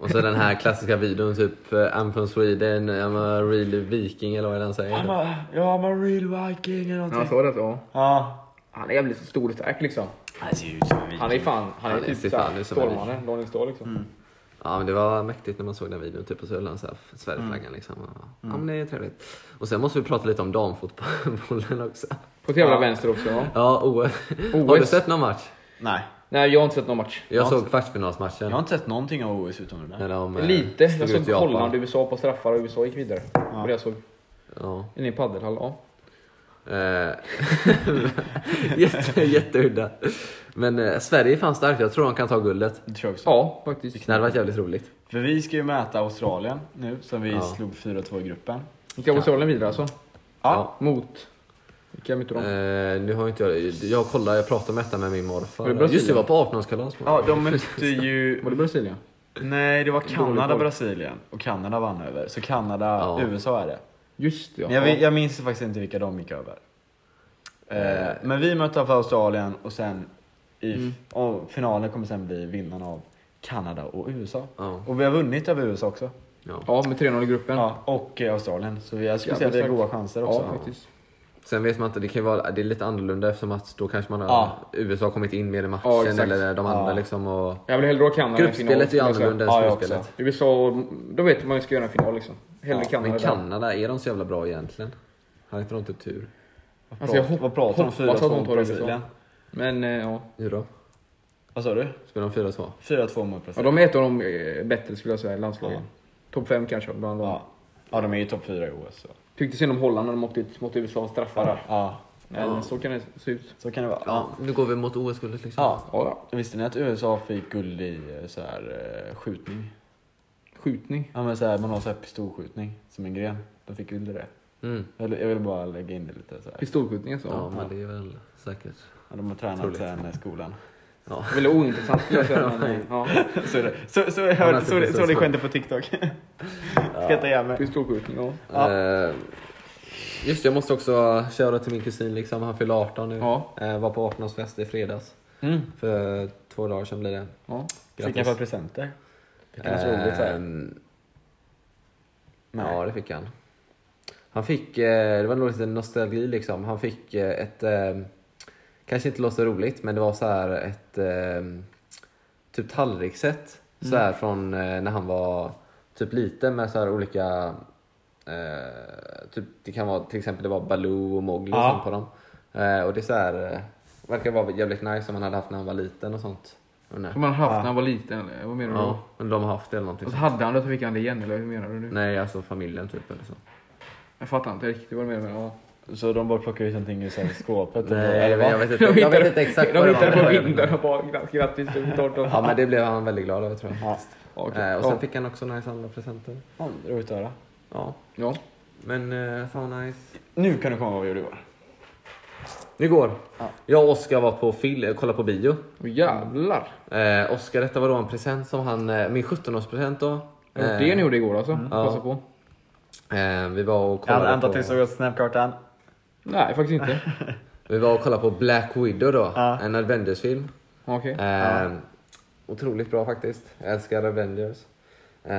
Och så den här klassiska videon typ eh, I'm from Sweden, I'm a real viking eller vad är det han säger?
I'm a, ja, I'm a real viking eller
Han
någonting.
sa det att, ja.
Ja.
Han är jävligt stor och stark liksom.
Han ser ut som en
Han är fan, han är
Han är-
typ
ser
såhär
fan ut som en Mm.
Stålmannen, Rolling Stone liksom.
Ja men det var mäktigt när man såg den videon, typ och så höll han så här Sverigeflaggan liksom. Och, Ja men det är trevligt. Och sen måste vi prata lite om damfotbollen också.
På ett jävla
Ja.
vänster också. Ja.
Ja, OS. Har du sett någon match?
Nej,
Nej, jag har inte sett någon match.
Jag
Ja.
såg kvartsfinalsmatchen.
jag har inte sett någonting av OS utom det där.
När de, eh,
Lite. Jag
slog
såg
ut Japan.
Holland, USA på straffar och USA gick vidare. Det var det jag såg.
Ja.
Inne i padelhall, ja.
Eh, Jätte, jätteudda. Men eh, Sverige är fan starkt, jag tror de kan ta guldet.
Det tror jag också.
Ja, faktiskt.
Det hade varit jävligt roligt.
För vi ska ju möta Australien nu, som vi
Ja.
slog 4-2 i gruppen.
Gick Australien vidare alltså?
Ja.
Mot? Vilka mötte de?
Eh, nu har inte jag, jag kollar, jag pratade om detta med min morfar.
Var det Brasilien?
Just det, jag var på 18-årskalas.
Ja, de mötte ju...
Var det Brasilien?
Nej, det var
Dålig
Kanada,
koll.
Brasilien. Och Kanada vann över. Så Kanada,
Ja.
USA är det.
Just det, ja.
Men jag, vet- jag minns faktiskt inte vilka de gick över. Eh, Men vi mötte för Australien och sen i
Mm.
och finalen kommer sen bli vinnarna av Kanada och USA.
Ja.
Och vi har vunnit över USA också.
Ja.
Ja, med 3-0 i gruppen.
Ja, och eh, Australien. Så jag skulle säga att vi har
Jävligt
goda
starkt.
chanser också.
Ja, faktiskt.
Sen vet man inte, det kan ju vara det är lite annorlunda eftersom att då kanske man har
Ja.
USA kommit in mer i matchen
Ja, exakt.
eller de andra
Ja.
liksom. Och,
Jag vill hellre ha Kanada än final,
gruppspelet är ju
skulle jag säga.
annorlunda
Ja,
än
jag
slutspelet.
också.
USA, och- då vet man ju ska göra en final liksom. Hellre
Ja,
Kanada.
Men
där.
Kanada, är de så jävla bra egentligen? Har inte de typ tur?
Alltså, jag
Prat-
hopp-
Vad pratar de om?
hoppas att de
4-2 mot
tar USA.
Brasilien?
Men eh, ja.
Nu då?
Vad sa du?
Spelar de 4-2?
4-2 mot
ja,
Brasilien.
de är ett av de eh, bättre skulle jag säga i landslagen.
Ja.
Topp 5 kanske bland dem.
Ja. Ja, de är ju topp 4 i OS. Så.
Tyckte synd om Holland när de åkte ut mot USA och straffade där.
Ja,
Men så kan det se ut.
så kan det vara. Ja.
Ja, nu går vi mot OS-guldet liksom.
Ja.
Ja, ja.
Visste ni att USA fick guld i eh, så här, eh, skjutning?
Skjutning.
Ja, men så här, man har så här pistolskjutning som en gren. De fick guld i det.
Mm.
Jag vill- jag ville bara lägga in det lite. Så här.
Pistolskjutning alltså.
Ja,
Ja.
men det är väl säkert.
Ja, de har tränat
Otroligt.
sen eh, skolan.
Ja.
Väldigt ointressant skulle jag säga. men, ja.
Så är det. Så, så, jag
Han har
hörde,
sett
så, alltså, det- så, det
pistolskjut.
skämtet på TikTok. Skratta ihjäl mig.
Pistolskjutning, ja.
Ja.
Eh, Just det, jag måste också köra till min kusin liksom. Han fyller 18 nu.
Ja.
Eh, var på 18-årsfest i fredags.
Mm.
För två dagar sedan blir det.
ja.
Fick han för presenter? Fick han något roligt så här?
Ehm,
Nej.
Ja, det fick han. Han fick, eh, det var nog lite nostalgi liksom. Han fick eh, ett, eh, kanske inte låter roligt, men det var så här ett eh, typ tallriksset. Så
Mm.
här från eh, när han var typ liten med så här olika, eh, typ, det kan vara till exempel det var Baloo och Mowgli och
Ja.
sånt på dem. Eh, och det är så här, eh, verkar vara jävligt nice som han hade haft när han var liten och sånt. Jag undrar.
Som han haft
Ja.
när han var liten eller? Vad menar du?
Ja, men de har haft det eller någonting.
Och så hade han det och så fick han det igen eller hur menar du nu?
Nej, alltså familjen typ eller så.
Jag fattar inte riktigt vad du menar. men, Ja.
Så de bara plockade ut någonting ur så här skåpet?
Nej, men jag vet inte,
De
jag vet
hittade-
inte exakt
De
vad det
hittade
var.
på vinden och bara "Gra- grattis du är 18.
Ja, men det blev han väldigt glad över tror jag.
Ja,
Ja, okej.
Eh, och sen
Ja.
fick han också nice andra presenter.
Ja, roligt att höra.
Ja,
Ja.
men eh, fan nice.
Nu kan du komma ihåg vad vi gjorde igår.
Igår, jag och Oskar var på fil, eh, kollade på bio.
Och jävlar.
Eh, Oskar, detta var då en present som han, eh, min 17-årspresent då.
Ja,
Eh,
Det ni gjorde igår alltså?
Ja.
Passa på.
Eh, vi var och
Jag hade
kollade
väntat
på...
tills jag såg snapkartan.
Nej, faktiskt inte.
Vi var och kollade på Black Widow då,
Ja.
en Avengers-film.
Ja, Okej.
Eh, Otroligt bra faktiskt. Jag älskar Avengers. Eh,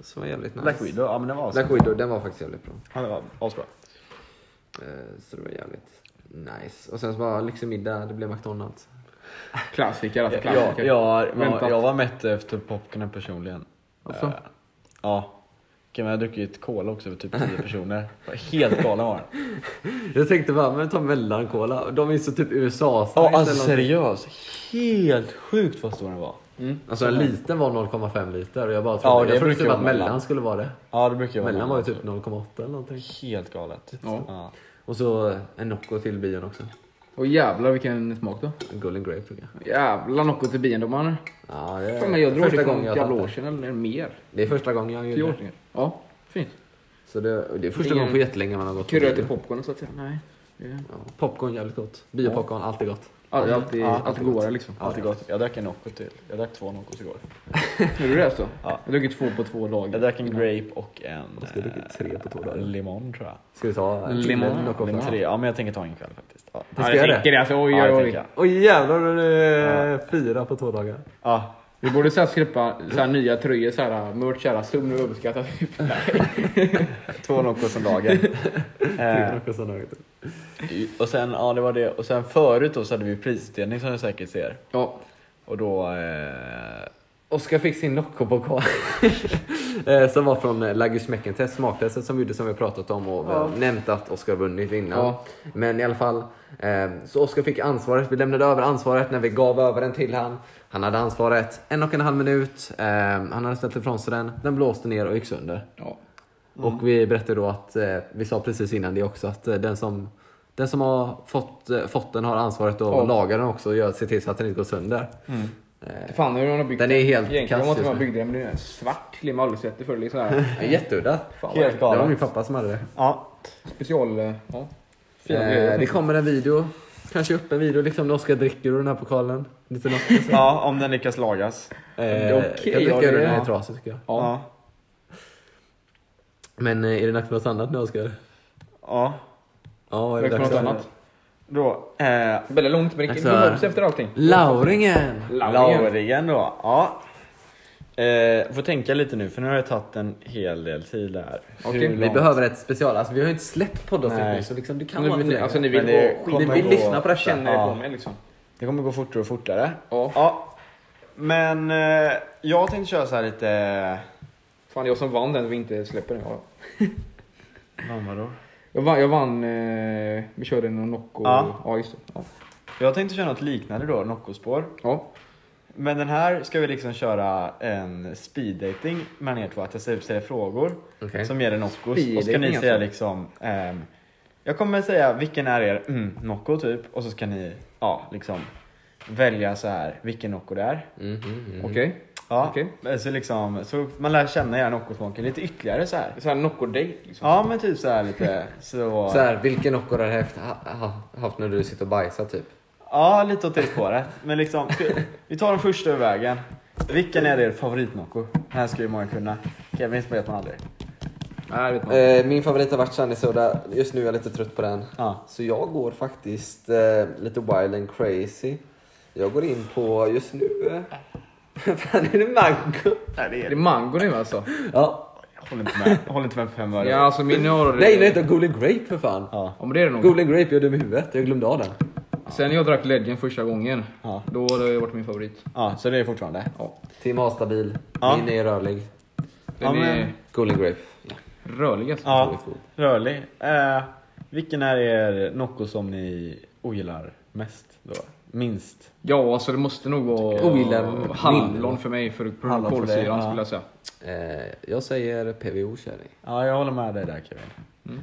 så var jävligt nice.
Black Widow, ja men den var asbra.
Black Widow, den var faktiskt jävligt bra.
Ja, den var asbra.
Eh, Så det var jävligt nice. Och sen så var lyxig middag, det blev McDonalds.
Klassiker alltså.
Jag,
Klassiker.
jag, jag,
Väntat.
jag var mätt efter popcornen personligen.
Alltså.
Eh, Ja. Kan man ha druckit cola också för typ 10 personer. Var Helt galen var den.
Jag tänkte bara, men ta mellankola. De är så typ usa
Ja alltså seriöst. Helt sjukt vad stor den var.
Alltså en liten var 0,5 liter och jag bara
Ja,
trodde,
det
jag trodde
brukar
typ
vara
att mellan,
mellan.
skulle vara det.
Ja alltså. det brukar ju vara
Mellan var ju typ 0,8 eller någonting.
Helt galet.
Ja.
Ja.
Och så eh, en Nocco till bion också.
Och jävlar vilken smak då.
En Golden Grape tog jag.
Jävlar Nocco till biendomaren.
Ja, det
Fan, men jag drog
Eh, första
det för
gången jag
något jävla
har
år
tagit
sedan eller mer.
det. Det är första gången jag
Tio
gör
år
det.
sedan. Ja, fint.
Så det, det är första
Ingen-
gången på jättelänge man har gått på
Kröt i
bio.
popcornen så att säga. Nej. det-
Ja, popcorn jävligt gott. Biopopcorn, alltid gott.
All- Alltid,
Ja.
alltid godare liksom.
Alltid gott. Jag drack en Nocco till. Jag drack två Noccos igår.
Hur är det alltså?
Ja.
Jag drack ju två på två dagar.
Jag drack en grape och en
ska jag dricka tre på två dagar?
eh, limon tror jag.
Ska vi ta
Mm.
en till
Limon.
eller något gott?
Limon tre. Ja men jag tänker ta en ikväll faktiskt. Ja.
Vi ska göra det.
dricker alltså, oj
Ja,
oj
det
oj.
tänker jag.
Åh jävlar, nu är det fyra på två dagar.
Ja.
Vi borde så här skräppa så här nya tröjor, så här, äh, merch, så här, sum nu uppskattar typ.
Två Noccos om dagen. eh,
Något sånt där.
och sen, ja det var det. Och sen förut då så hade vi prisutdelning som du säkert ser.
Ja,
Och då... Eh,
Oskar fick sin Nocco-pokal. Eh, som var från eh, Lagus Meckentest, smaktestet som vi gjorde som vi pratat om och eh, nämnt att Oskar vunnit innan.
Ja.
Men i alla fall, eh, så Oskar fick ansvaret. Vi lämnade över ansvaret när vi gav över den till han. Han hade ansvaret en och en halv minut. Eh, han hade ställt ifrån sig den. Den blåste ner och gick sönder.
ja.
Och vi berättade då att, eh, vi sa precis innan det också, att eh, den som den som har fått, eh, fått den har ansvaret att
Ja.
laga den också och gör- se till så att den inte går sönder.
Mm.
Eh,
Fan hur de har byggt
Den är helt
Egentligen
kass
måste
just
man
nu.
bygga den, men den är svart till och med aldrig sett det förr. Liksom här.
det är Jätteudda.
Fan, vad
Helt
Det var
galet.
min pappa som hade det.
Ja.
special... eh, Ja. Fina grejer.
Eh, det kommer en video, kanske upp en video liksom när Oskar dricker ur den här pokalen. Lite något. Eh,
ja, om den lyckas lagas.
är okej,
jag
ja,
dricker
det
ur den
är-
här i trasig tycker jag.
Ja.
Men eh, är det dags för något annat nu Oskar?
Ja.
Ja, är
Det
det
är
dags
något
för
annat.
Då, eh,
Väldigt långt, men det
Alltså-
kommer upp efter allting.
Lauringen!
Lauringen.
Lauringen då. Ja. Eh, får tänka lite nu för nu har jag tagit en hel del tid där.
Okej.
Hur
Vi
långt?
behöver ett special, alltså vi har ju inte släppt poddavsnitt
Nej.
nu så liksom du kan vara
Ni,
lite
ni, alltså ni
längre.
vill
Men det
gå...
kommer
Ni
gå-
vill lyssna på det
Ja.
känner jag på mig liksom.
Det kommer gå fortare och fortare.
Ja.
Ja. Men eh, jag tänkte köra så här lite...
Fan det är jag som vann den vi inte släpper den. Ja.
Vad var det?
Jag vann, jag vann eh, vi körde en Nocco.
Ja.
ja just det. Ja.
Jag tänkte köra något liknande då, Noccospår.
ja.
Men den här ska vi liksom köra en speed dating mellan er två. Att jag ställer frågor
Okej.
som ger en Noccos.
Speed
Och ska ni
dating,
säga
alltså.
liksom... ehm, jag kommer säga vilken är er mm, Nocco typ. Och så ska ni ja, liksom välja så här vilken Nocco det är.
Mhm, Mm.
Okej.
Ja,
Okej.
men så liksom, så man lär känna er Noccosmaken lite ytterligare så här.
Det är Så här Nocco-date liksom.
Ja men typ så här lite så.
Så här, vilken Nocco har du haft, ha, ha, haft när du sitter och bajsar typ?
Ja lite åt det spåret. Men liksom, ska- vi tar den första ur vägen. Vilken är er favoritnocco? Den här ska ju många kunna. Kevins vet man aldrig.
Nej, vet man.
Eh, min favorit har varit Sunnysoda, just nu är jag lite trött på den.
Ja.
Så jag går faktiskt eh, lite wild and crazy. Jag går in på just nu... Eh, fan är det mango?
Nej, det
Det
är
är mango nu alltså.
Ja.
Jag håller inte med. Jag håller inte med för fem öre.
Ja alltså min har...
Nej, nej, inte Golden Grape för fan.
Ja.
Ja men det är det nog.
Golden Grape, jag är dum i huvudet. Jag glömde av den.
Sen jag drack Legend första gången,
Ja.
då har det varit min favorit.
ja, så det är fortfarande.
Tim A-stabil,
Ja.
min är rörlig.
Den
Ja,
är
men-
Golden Grape.
rörlig alltså.
Ja, rörlig. Eh, vilken är er nocco som ni ogillar mest då? Minst?
Ja, alltså det måste nog vara
Ogillar
hallon
mindre.
för mig för
Hallon för dig,
kolsyran
ja.
skulle jag säga.
Eh, jag säger PVO kärring.
Ja, jag håller med dig där Kevin.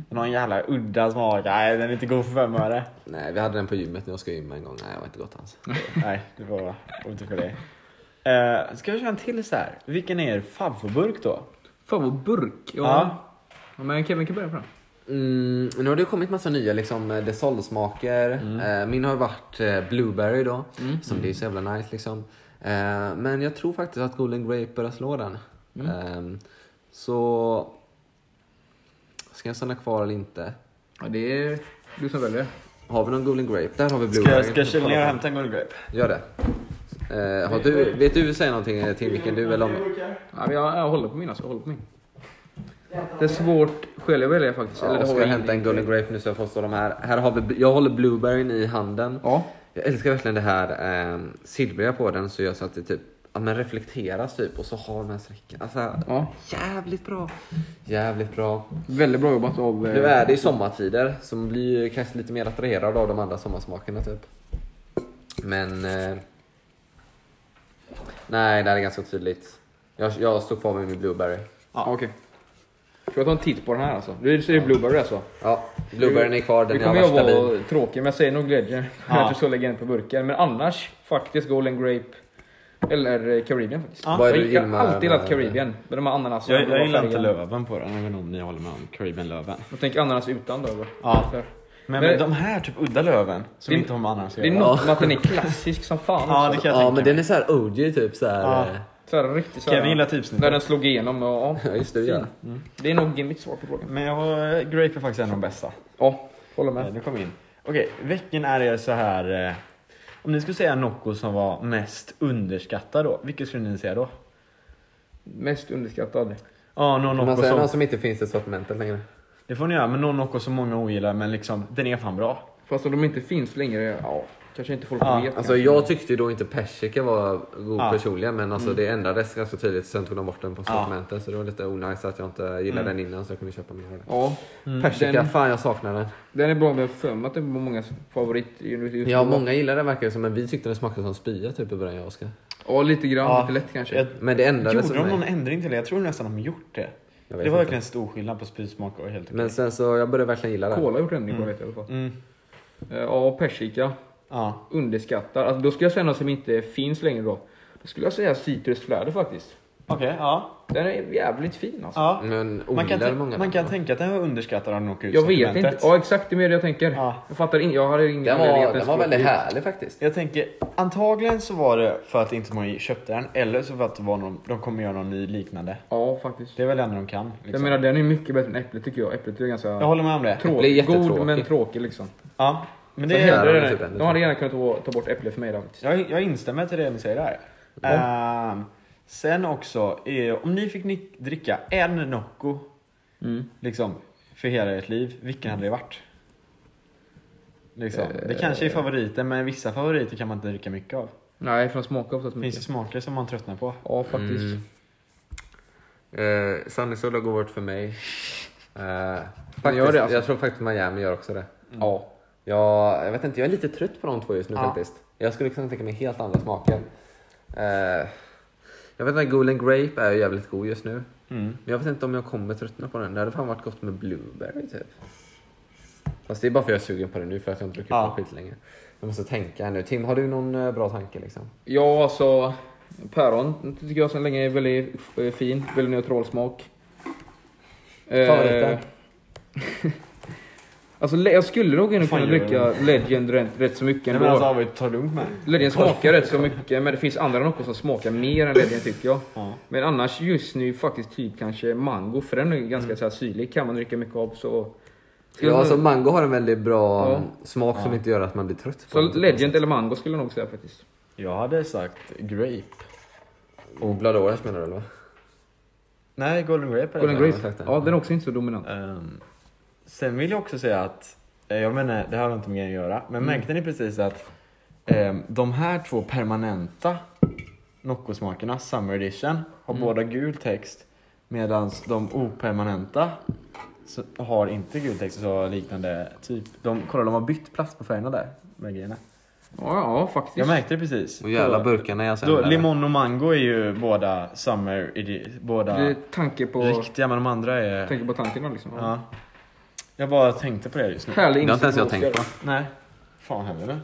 Den har en jävla udda smak. Nej, den är inte god för fem öre.
Nej, vi hade den på gymmet när jag ska gymma en gång. Nej, det var inte gott alls.
Nej, det var inte för dig. Eh, ska vi köra en till så här? Vilken är er favoritburk då?
Fan vad burk. Ja.
Ja.
Ja, Men Kevin kan börja på den.
Mm, nu har det kommit massa nya liksom, eh, desolsmaker. Eh, min har ju varit eh, Blueberry då, som det är så jävla nice liksom. Eh, men jag tror faktiskt att Golden Grape börjar slå den. Ehm, så... Ska jag stanna kvar eller inte?
Ja, det är du som väljer.
Har vi någon Golden Grape? Där har vi
Ska
Blueberry.
jag, ska jag kyla ner och hämta en guldgrape?
Gör det. Eh, har du, vet du säga någonting eh, till vilken du eller om...
Ja, men jag, jag håller på min alltså. Jag håller på min. Det är svårt själv att välja faktiskt.
Ja,
Eller det har
ska jag
jag
hämta en
ingen.
Golden Grape nu så jag får stå de här. här har vi, jag håller Blueberryn i handen.
Ja.
Jag älskar verkligen det här eh, silvriga på den så gör så att det typ ja, men reflekteras typ och så har den här strecken. Alltså,
ja.
jävligt bra. Jävligt bra.
Väldigt bra jobbat av... eh,
Nu är det ju sommartider så man blir ju kanske lite mer attraherad av de andra sommarsmakerna typ. Men... Eh, nej, det här är ganska tydligt. Jag, jag står kvar med min Blueberry.
Ja, okej. Ska jag ta en titt på den här alltså? Du ser ju Blueberry alltså.
Ja, Blueberryn är kvar,
Nu
den är
kommer jag
värsta
vara
bin.
tråkig, men jag säger nog Legend.
Ja.
Att du så lägga in på burken. Men annars faktiskt Golden Grape. Eller eh, Caribbean faktiskt.
Ja.
Vad är
Jag,
det du
jag har
gillar
alltid
med-
gillat Caribbean. Med de här ananaserna.
Jag, jag
blåa
gillar
färgen.
inte löven på den. Jag vet inte om ni håller med om Caribbean löven.
Jag tänker ananas utan då. eller?
Ja.
Så här.
Men,
Men-
men de här typ udda löven som
Det-
inte har med annars att
Det är
göra.
något med att den är klassisk som fan
Ja,
också.
det kan jag
Ja
tänka
men
mig.
den är så här OG typ så här.
Ja.
eh,
Så här, riktigt så här,
Kevin gillar
När
typsnittet.
den slog igenom och ja.
Ja just det, ja.
Det är nog mitt svar på frågan.
Men jag har, eh, Grape är faktiskt en av de bästa. Eh,
Ja, håller
Nej,
med.
du kom in. Okej, veckan är er så här. eh, Om ni skulle säga något som var mest underskattad då, vilket skulle ni säga då?
Mest underskattad.
Ja, någon
Kan man
Nocco
säga
som...
någon som inte finns i sortimentet längre?
Det får ni göra, men någon Nocco som många ogillar, men liksom, den är fan bra.
Fast om de inte finns längre, ja, kanske inte folk
Ja,
vet.
Alltså
kanske.
jag tyckte ju då inte persika var god
Ja.
personligen men alltså det ändrades ganska tydligt sen tog de bort den på sortimentet så det var lite onajs att jag inte gillade den innan så jag kunde köpa mer av den.
Ja,
Mm. Persika,
Den-
fan jag saknar Mm. den.
den är bra men jag har för mig att den var mångas favorit just just
Ja
nu.
många gillar den verkar det som men vi tyckte den smakade som spya typ i början jag och Oskar.
Ja, lite grann.
Ja,
Lite lätt kanske.
jag-
Men det ändrades
Gjorde
för
de någon
mig.
ändring till det? Jag tror nästan de gjort det. Det
Jag
var
vet inte.
verkligen stor skillnad på spysmak och helt okej.
Men sen så jag började verkligen gilla den.
Cola har gjort ändring på vet jag i alla fall.
Mm.
Eh, Ja, persika.
Ja.
Underskattar. Alltså, då skulle jag säga något som inte finns längre då. Då skulle jag säga citrusfläder faktiskt.
Okej, ja.
Den är jävligt fin alltså.
ja.
Men
Man kan,
ogillar
tän-
många
man
den,
kan
va?
tänka att den var underskattad av Nocco
Jag vet inte. Ja exakt, det är det jag tänker.
Ja.
Jag fattar inte. Jag hade ingen
Den
anledning att
var,
den
den var
skulle
väldigt
bli-
härlig faktiskt.
Jag tänker, antagligen så var det för att inte så många köpte den, eller så för att det var någon, de kommer göra någon ny liknande.
Ja faktiskt.
Det är väl det enda de kan.
Jag
Liksom.
menar den är mycket bättre än äpplet tycker jag. Äpplet är ganska
jag håller med om det.
Äpple är
tråkig.
jättetråkig.
God men tråkig liksom.
Ja, men
Så
det
här har
är...
vi
det är
typ
det.
en.
De hade gärna kunnat ta- ta bort äpple för mig där faktiskt.
Jag, jag instämmer till det ni säger där. Ehm, sen också, är, om ni fick ni- dricka en Nocco
Mm.
liksom, för hela ert liv, vilken hade det varit? Liksom. Det
Eh.
kanske är favoriten, men vissa favoriter kan man inte dricka mycket av.
Nej, för de smakar oftast
Det finns ju
mycket.
smaker som man tröttnar på.
Ja faktiskt.
Mm. Eh, Sunny Solo går bort för mig. Eh,
Man
faktiskt,
gör det alltså? Mm.
Jag tror faktiskt Miami gör också det.
Ja.
Jag, jag vet inte, jag är lite trött på de två just nu
Ja.
faktiskt. Jag skulle kunna tänka mig helt andra smaker. Eh, jag vet inte, Golden Grape är ju jävligt god just nu.
Mm.
Men jag vet inte om jag kommer tröttna på den. Det hade fan varit gott med Blueberry typ. Fast det är bara för att jag är sugen på det nu för att jag inte druckit
Ja.
på skit länge. Jag måste tänka här nu. Tim, har du någon eh, bra tanke liksom?
Ja, alltså päron tycker jag sedan länge är väldigt eh, fin, väldigt neutral smak. Eh,
Favoriter?
alltså le- jag skulle nog ändå
Fan,
kunna
gör
dricka Legend rätt, rätt så mycket
Nej, men alltså,
ändå.
David, ta lugnt med.
Legend smakar rätt så mycket, men det finns andra något som smakar mer än Legend tycker jag.
Ja.
Men annars just nu faktiskt typ kanske mango, för den är ganska
Mm.
så här syrlig, kan man dricka mycket av så...
Ja, alltså mango har en väldigt bra
Ja.
mm, smak som inte gör att man blir trött på
så
den, typ.
Legend eller mango skulle jag nog säga faktiskt.
Jag hade sagt grape.
Och Blood Orange menar du eller? vad?
Nej, golden grape. är det.
Golden Grape,
exakt det.
ja den är också inte så dominant.
Ehm, sen vill jag också säga att, eh, jag menar, det har inte med grejen att göra, men märkte ni precis att ehm, de här två permanenta Nocco-smakerna, Summer Edition, har båda gul text medan de opermanenta så, har inte gul text så liknande typ. De, kolla, de har bytt plats på färgerna där med grejerna.
Ja, ja faktiskt.
Jag märkte det precis.
Och jävla
Då-
burkarna jag
Då, limon och mango är ju båda Summer Edition, båda
Det är tanke på...
riktiga, men de andra är...
tänker på tanken liksom. Ja.
Ja. Jag bara tänkte på det just nu.
Härlig
Det har inte
insikt
ens jag
Oscar.
tänkt på.
Nej. Fan heller.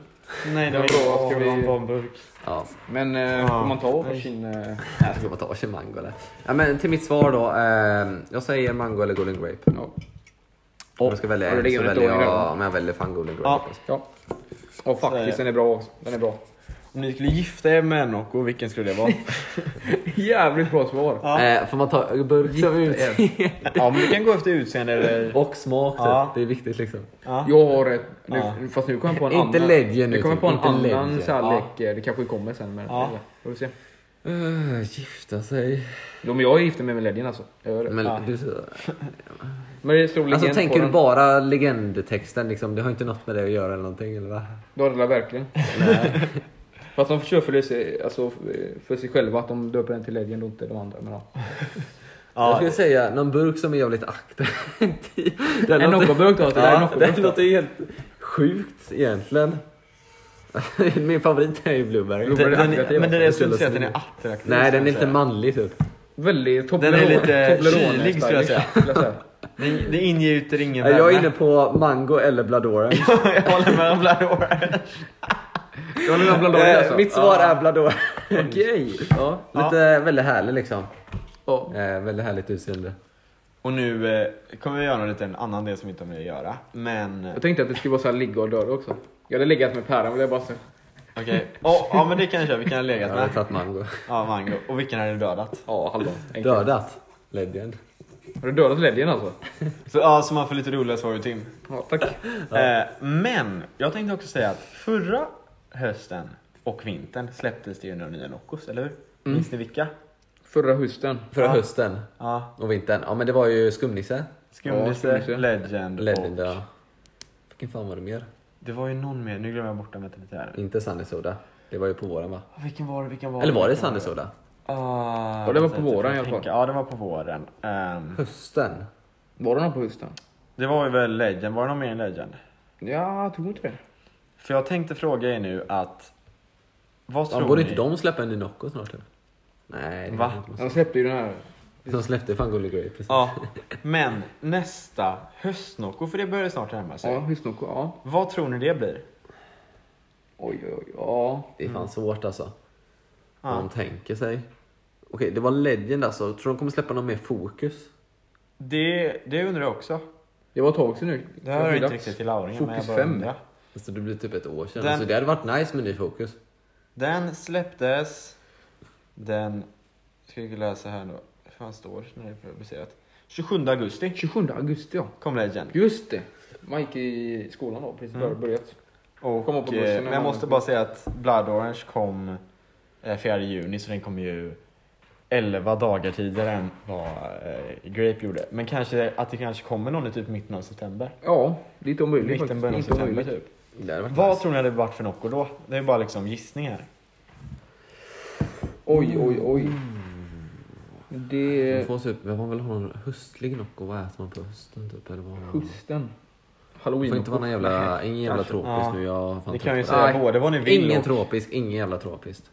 Nej, det
var
var
inte
bra.
bra.
Ska
Ska vi-
vi ha en burk?
Ja.
Men eh, får man ta varsin... Eh,
Jag ska bara ta varsin mango eller? Ja, men till mitt svar då. Eh, jag säger mango eller golden grape.
ja.
Om jag ska välja
ja, det
en
ligger
så
en
väljer
dålig
jag,
där.
men jag väljer fan golden grape.
Ja.
alltså.
ja. Och faktiskt,
Så är
den är bra också. Den är bra.
Om ni skulle gifta er med Nocco, vilken skulle det vara?
Jävligt bra svar.
Ja.
Eh, får man ta burk som utseende?
ja, men vi kan gå efter utseende eller...
Och smak typ.
Ja.
Det är viktigt liksom.
Ja.
Jag har ett... Nu,
Ja.
Fast nu kommer jag på en annan.
Inte Legend nu,
Nu kommer jag på en
typ. Inte
annan
Legend.
så här
Ja.
lek. eh, Det kanske kommer sen. Men,
Ja.
ja. Får vi se.
Eh, gifta sig.
Jo, men jag är gift med min Legend alltså. Jag gör det.
Men,
Ja.
du,
Men det är stor legend
alltså,
på
tänker du
den.
bara legendtexten liksom? Det har inte något med det att göra eller någonting eller va?
Du har det där verkligen. Fast de kör för, det sig, alltså, för sig själva att de döper den till Legend och inte de andra. Men, ja.
Jag
Ja.
skulle säga någon burk som är jävligt aktiv. Den
En Noccoburk då? Det där är
Ja, det
Noccoburk då.
låter ju helt sjukt egentligen. Min favorit är ju Blueberry.
Den, den,
attraktiv,
men det är det jag skulle
alltså.
säga, att den är attraktiv.
Nej,
skulle
den är
jag
inte
säga.
manlig typ.
Väldigt
Den
Toblerone.
är lite
Toblerone
kylig, skulle jag
stylish, jag säga.
Det, det ingjuter ingen
Nej, Jag är inne på mango eller Blood Orange.
jag håller med om Blood Orange.
Det var den bland
Eh,
alltså.
Mitt svar är Blood Orange.
Okej. Ja.
Lite väldigt härlig liksom.
Ja.
Eh, väldigt härligt utseende.
Och nu eh, kommer vi göra en liten annan del som vi inte har med att göra. Men
Jag tänkte att det skulle vara så här ligga och döda också. Jag hade legat med päron vill jag bara säga.
okej, Åh, ja men det kan jag köra, vilken har jag
Jag
legat
hade
med?
tagit mango.
Ja, mango. Och vilken har du dödat?
Ja, halva. Enkelt.
Dödat. Legend.
Har du dödat ledjen alltså?
Så, ja, så man får lite roliga svar ur Tim.
Ja, tack.
Eh, men jag tänkte också säga att förra hösten och vintern släpptes det ju några nya Noccos, eller
Mm.
hur? Minns ni vilka?
Förra hösten.
Förra
Ja.
hösten
Ja,
och vintern. Ja men det var ju skumnisse.
Skumnisse,
Ja, Skumnisse.
Legend,
Legend
och...
ja. Vilken fan var det mer?
Det var ju någon mer, nu glömmer jag bort den vänta lite här.
Inte Sunny Soda. Det var ju på våren va?
Ah, Vilken var det? Vilken var
Eller var det
vilken
Sunny Soda?
Ah,
Ja, det var
vänta
på
lite,
våren
jag
i alla fall.
tänker. Ja, det var på våren. Ehm,
Hösten.
Var det någon på hösten?
det var ju väl Legend, var det någon mer än Legend?
Ja, jag tror inte det.
För jag tänkte fråga er nu att... Vad
Ja,
tror
borde
ni?
inte de släppa en ny Nocco snart? eller? Nej. det
Va?
kan inte
De släppte ju den här.
vara så. De släppte fan Golden Grey precis.
Ja, men nästa höstnocco, för det börjar snart närma sig.
Ja, höstnocco. Ja.
Vad tror ni det blir?
Oj, oj, oj. Ja.
Det är fan svårt alltså.
Ja.
Vad de tänker sig. Okej, det var Legend alltså. Tror de kommer släppa någon mer fokus?
Det, det undrar jag också.
Det var ett tag sedan nu.
Det här är
Det
inte
dags.
riktigt till lauringen, men jag
Fokus
bara
fem.
undrar.
Alltså det blir typ ett år sedan.
Den-
Alltså, det hade varit nice med ny fokus.
Den släpptes den... Ska vi läsa här nu. Hur fan står det när det är publicerat? 27 augusti
27 augusti ja.
kom Legend.
Just det. Man gick i skolan då, precis mm. börjat.
Och,
Kom upp på bussen
eh,
när
men jag
man-
måste bara säga att Blood Orange kom eh, 4 juni så den kom ju 11 dagar tidigare än vad eh, Grape gjorde. Men kanske att det kanske kommer någon i typ mitten av september.
Ja, det är inte omöjligt
Mitten, början av
faktiskt. Inte
september
omöjligt.
typ.
Det hade varit
Vad
nice.
tror ni hade varit för Nocco då? Det är bara liksom gissningar.
Oj, oj, oj.
Mm.
Det...
Mm.
Man får typ, man vill ha någon höstlig Nocco. Vad äter man på hösten typ? Eller vad? Det
Hösten.
får inte vara någon
Halloween.
jävla, ingen jävla
Kanske.
tropisk
Ja.
nu. Jag har fan
Ni
trött
kan ju
på
säga
det.
både vad ni
Nej,
vill
Ingen
och,
tropisk, ingen jävla tropiskt.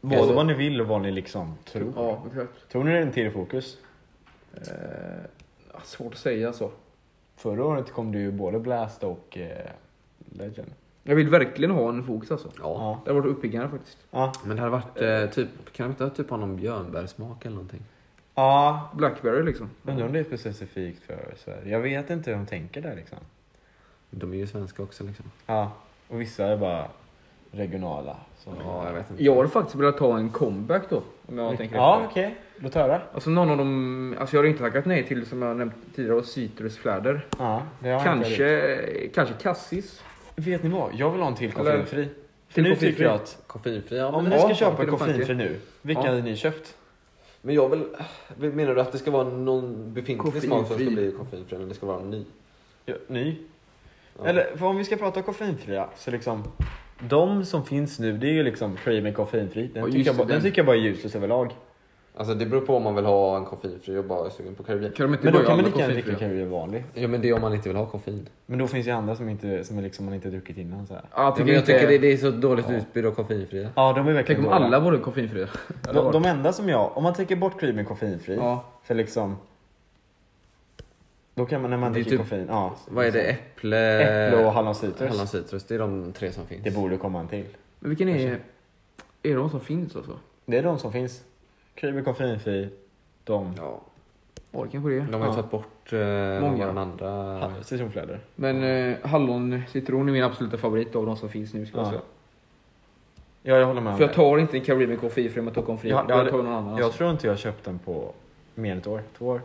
både vad ni vill och vad ni liksom tror.
Ja, exakt.
Tror ni det är en till fokus?
Eh, ja, svårt att säga så.
Förra året kom det ju både Blast och eh, Legend.
Jag vill verkligen ha en fokus alltså.
Ja.
Ja.
Det har varit uppiggande faktiskt.
Ja.
Men det hade varit eh, typ, kan de inte ha typ ha någon björnbärsmak eller någonting?
ja.
Blackberry liksom.
Undrar om det är specifikt för Sverige. Jag vet inte hur de tänker där liksom.
De är ju svenska också liksom.
Ja, och vissa är bara regionala. Så.
Ja, jag vet inte.
Jag har faktiskt velat ta en comeback då. Om jag tänker
Ja,
efter.
okej. Låt höra.
Alltså någon av dem, alltså jag har inte tackat nej till som jag nämnt tidigare, och citrusfläder.
Ja, det har jag inte
Kanske,
gjort.
eh, kanske kassis.
Vet ni vad? Jag vill ha en till
Eller-
koffeinfri. För
Till
nu
koffeinfri?
tycker jag att
Koffeinfria? Ja,
om
men,
ni
ja,
ska
fan,
köpa
till
en
en tanke.
koffeinfri nu, vilka
Ja.
hade ni köpt?
men jag vill... Menar du att det ska vara någon befintlig smak som ska
Koffeinfri.
bli koffeinfri? Eller det ska vara en ny?
Ja, Ny?
Ja.
Eller för om vi ska prata koffeinfria så liksom de som finns nu det är ju liksom Craven koffeinfri. Den,
Ja,
tycker
just
jag,
det,
bara, den
den.
tycker jag bara är useless överlag.
Alltså det beror på om man vill ha en koffeinfri och bara är sugen på Karibien.
Kan de inte
Men då
börja
kan man
alla
lika gärna
koffeinfria?
dricka Craven vanlig.
Ja men det är om man inte vill ha koffein.
Men då finns det ju andra som, inte, som är liksom man inte druckit innan. Så här.
Ja, jag
Ja,
tycker
men jag
inte-
tycker det, det är så dåligt utbud av koffeinfria.
Ja, de är
Tänk
verkligen
om
dåliga.
alla vore koffeinfria. Det hade
De,
varit-
de enda som jag, om man tänker bort Craven koffeinfri,
Ja.
för liksom... Då kan man, när man
Det är
dricker
typ-
koffein, ja.
Vad är det? Äpple...
Äpple och hallonsitrus.
Hallon citrus. Det är de tre som finns.
Det borde komma en till.
Men vilken är... Är det de som finns alltså?
Det är de som finns. Craven koffeinfri, de...
Ja.
Ja, det kanske det är.
De har ju
Ja.
tagit bort eh,
Många.
några andra...
Ja. Citronfläder.
Men eh, hallon, citron är min absoluta favorit av de som finns nu ska jag
Ja,
säga.
Ja, jag håller med om
För jag
det.
tar inte en Caribbean koffein för jag tar koffein.
Ja,
Jag,
det
jag
hade-
tar någon annan.
Jag
Alltså.
tror inte jag köpt den på mer än ett år. Två år.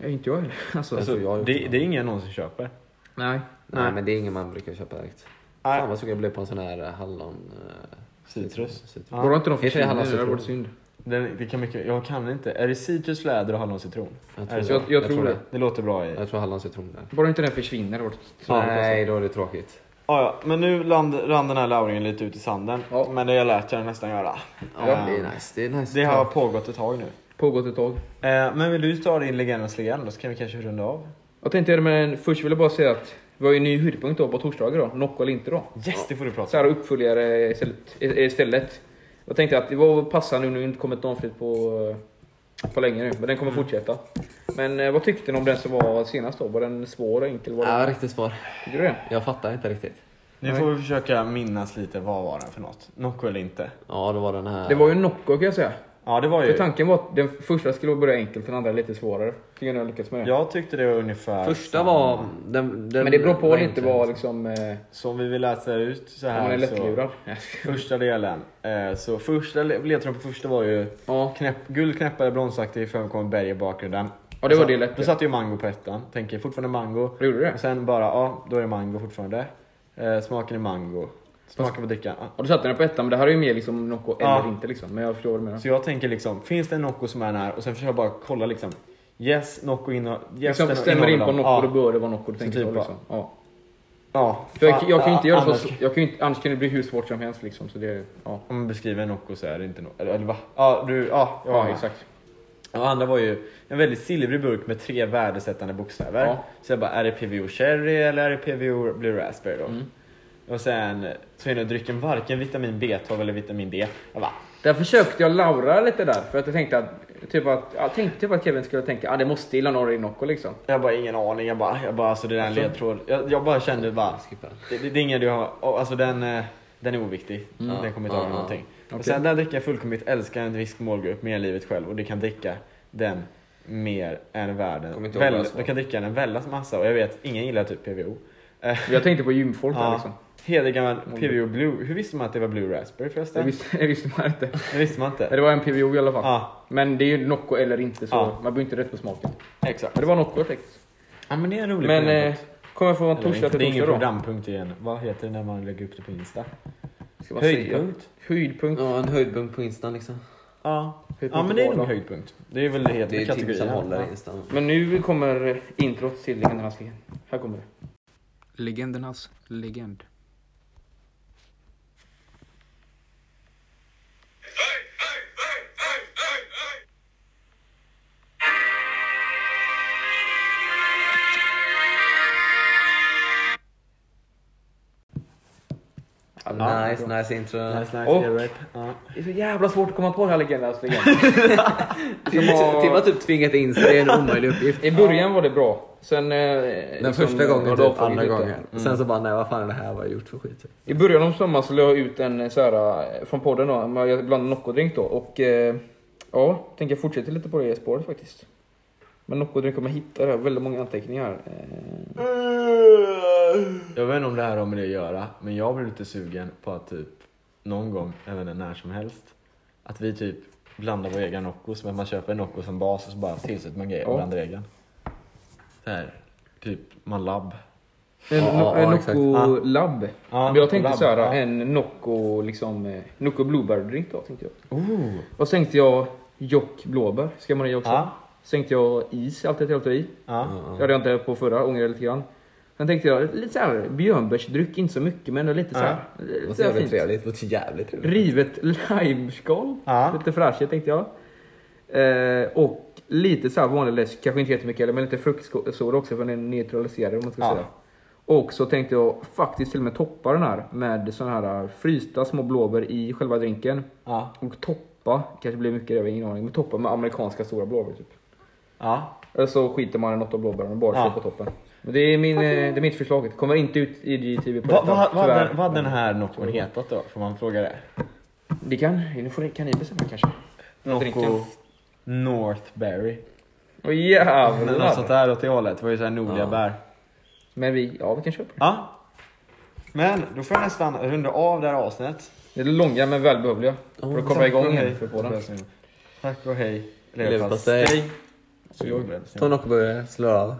Jag, inte jag heller. Alltså,
Jag
Alltså,
tror jag har gjort
det,
det.
det är ingen någon som köper.
Nej.
Nej,
Nej.
men det är ingen man brukar köpa direkt.
Nej.
Fan vad sugen jag blev på en sån här eh, hallon... eh,
Citrus.
citrus.
Ja.
Borde inte de
Heter det
försvinna nu?
hallon
Det hade
citron?
varit synd.
Den, det kan mycket, jag kan inte. Är det citrus, läder och halloncitron?
Jag
Är det
tror,
så?
Jag, jag tror det.
Det låter bra i...
Jag tror hallon citron där.
Bara inte den försvinner. Det hade varit tråkigt,
Nej, då är det tråkigt.
Ja, ja, men nu land, rann den här lauringen lite ut i sanden.
Ja.
Men det har jag lärt jag nästan göra.
Ja, det
Ehm,
är nice. Det är nice.
Det har pågått ett tag nu.
alltså. Pågått ett tag.
Eh, men vill du ta din legendens legend då så kan vi kanske runda av.
Jag tänkte göra men först vill jag bara säga att vi har ju en ny höjdpunkt då på torsdagar då. Nocco eller inte då.
Yes, det får du
Så
prata
här
om.
uppföljare istället. istället. Jag tänkte att det var passande nu när det inte kommit någon flit på, på länge nu. Men den kommer fortsätta. Men eh, vad tyckte ni om den som var senast då? Var den svår och enkel? Var
Ja,
den,
riktigt svår.
tyckte du det?
Jag fattar inte riktigt.
Nu får vi försöka minnas lite vad var den för något. Nocco eller inte.
Ja, då var den här...
Det var ju Nocco kan jag säga.
Ja, det var
För
ju...
tanken var att den första skulle börja enkelt, den andra lite svårare. Tycker ni har lyckats med det?
Jag tyckte det var ungefär
Första
samma.
var... Den, den
Men det beror på
var
lite
enkel.
vad liksom... Eh,
Som vi vill läsa ut så
om
här.
man är
så-
lättlurad.
Första delen. Eh, så första le- ledtråden på första var ju
Ja.
knäpp, guld, knäppare, bronsaktig, femkommen berg i bakgrunden.
Ja, det var
Så-
det lätt.
Då satte ju Mango på ettan. Tänker fortfarande Mango.
Gjorde du det?
Och sen bara, ja, då är det Mango fortfarande. Eh, smaken är Mango. Smaken på drickan. ja.
Och du satte den på ettan, men det här är ju mer liksom Nocco
Ja.
eller inte liksom. Men jag förstår vad du menar.
Så jag tänker liksom, finns det en Nocco som är den här? Och sen försöker jag bara kolla liksom. Yes, Nocco in och... Yes,
liksom
den
stämmer in på
innehåller dem.
Nocco, då bör det vara Nocco. Du tänker
typ
så
bara-
liksom. Ja.
Ja.
För jag,
Fan,
jag kan ju
ja,
inte göra
annars-
så, jag kan ju inte, annars kan det bli hur svårt som helst liksom. Så det, ja.
Om man beskriver Nocco så är det inte Nocco. Eller, eller va? Ja, du, ja. jag
Ja,
med.
exakt.
Ja, andra var ju en väldigt silvrig burk med tre värdesättande bokstäver.
Ja.
Så jag bara, är det PVO Cherry eller är det PVO Blue Raspberry då?
Mm.
Och sen så hinner drycken varken vitamin B12 eller vitamin D. Jag bara,
Där försökte jag laura lite där, för att jag tänkte att, typ att, jag tänkte typ att Kevin skulle tänka att ah, det måste gilla några i Nocco liksom.
jag bara ingen aning. Jag bara, jag bara alltså det där är en ledtråd. Jag, jag bara kände bara,
Skippa.
det, det, det är ingen du har, och, alltså den, eh, den är oviktig. Den kommer inte
Mm. Ja,
ha
ja.
någonting.
Okej.
Och sen den drycken jag fullkomligt älskar en viss målgrupp mer än livet själv och det kan dricka den mer än
Kommer
världen.
inte
Väl,
ihåg vad det var.
de kan dricka den en väldigt massa och jag vet, ingen gillar typ PVO. Eh,
Jag tänkte på gymfolk där
Ja.
liksom.
Hedergammal PVO Blue. Hur visste man att det var Blue Raspberry
Det
förresten?
visste, det visste man inte.
Det visste man
Men
inte.
Det var en PVO i alla fall.
Ja,
Men det är ju Nocco eller inte så
Ja.
man behöver inte rätt på smaken.
exakt.
Men det var Nocco jag tänkte.
Ja men det är en rolig
Men eh,
programpunkt.
kommer jag få
Eller
torsdag
inte,
till
Det är ingen
torsdag då?
programpunkt igen. Vad heter det när man lägger upp det på Insta?
Ska man säga?
Höjdpunkt?
Höjdpunkt.
Ja, en höjdpunkt på instan liksom.
Ja. Ja
Höjdpunkt
men det är
på
nog
vardag.
höjdpunkt. Det är väl det
Det är
heter
ju tips som håller
kategorin.
instan.
Men nu kommer introt till Legendernas legend. Här kommer det. Legendernas legend. Ja,
Nice, nice intro.
Nice,
Och-
nice, yeah, right. Ja.
Alltså, Det är så jävla svårt att komma på det här Legendernas legend.
Tim Tim har typ tvingat in sig i en omöjlig uppgift.
I början var det bra. Sen... eh, liksom,
Den första
ja,
gången,
då
typ
får vi
andra
lite.
gången. Sen så bara, nej vad fan är det här? Vad har jag gjort för skit?
I början av sommaren så la jag ut en så här, eh, från podden då, men jag blandade Nocco-drink då och eh, ja, tänker jag fortsätta lite på det spåret faktiskt. Men Nocco-drink kommer jag hitta det, här, väldigt många anteckningar. Eh,
Jag vet inte om det här har med det att göra, men jag blir lite sugen på att typ någon gång, även när som helst, att vi typ blandar vår egen Nocco, som att man köper en Nocco som bas och så bara tillsätter man grejer och
Ja.
blandar egen. Så här, typ man labb.
en
ja,
en
exakt.
Nocco-labb.
Ja,
men jag tänkte
Nocco-labb,
så här,
ja.
en Nocco, liksom, eh, Nocco Blueberry-drink då tänkte jag.
Oh.
Och så tänkte jag Jock blåbär, ska man ha i också.
Ja.
Så tänkte jag is, alltid alltid i.
Ja.
Det hade jag inte på förra, ångrar jag lite grann. Sen tänkte jag lite såhär björnbärsdryck, inte så mycket men ändå lite såhär.
Det
Lite
låter
så här
jävligt
fint.
trevligt. Det låter jävligt trevligt.
Rivet limeskal.
Ja.
Lite fräschigt tänkte jag. Eh, och lite så här vanlig läsk, kanske inte jättemycket heller, men lite fruktsoda också för den neutraliserar om man ska
Ja.
säga. Och så tänkte jag faktiskt till och med toppa den här med sådana här eh, frysta små blåbär i själva drinken.
Ja.
Och toppa, kanske blir mycket det, jag har ingen aning, men toppa med amerikanska stora blåbär typ.
ja.
Eller så skiter man i något av blåbären och bara
Ja.
kör på toppen. Men det, är min, eh, det är mitt förslag, det kommer inte ut i GTV på
Vad va, va,
listan,
vad
tyvärr.
hade- vad hade den här Noccon hetat då? Får man fråga det?
Det kan, nu får, kan ni bestämma kanske.
Nocco
Drinken.
Northberry.
Åh
Något sånt
jävlar!
där åt det hållet. Det var ju såhär nordliga
Ja.
bär.
Men vi, ja vi kan köpa det.
Ja. Men då får jag nästan runda av det här avsnittet.
Det är långa men välbehövliga. för att komma igång igen för
på
podden.
den. Tack och hej.
Leverpastej.
Så jag glömde.
Ta en Noccoburgare, slå av.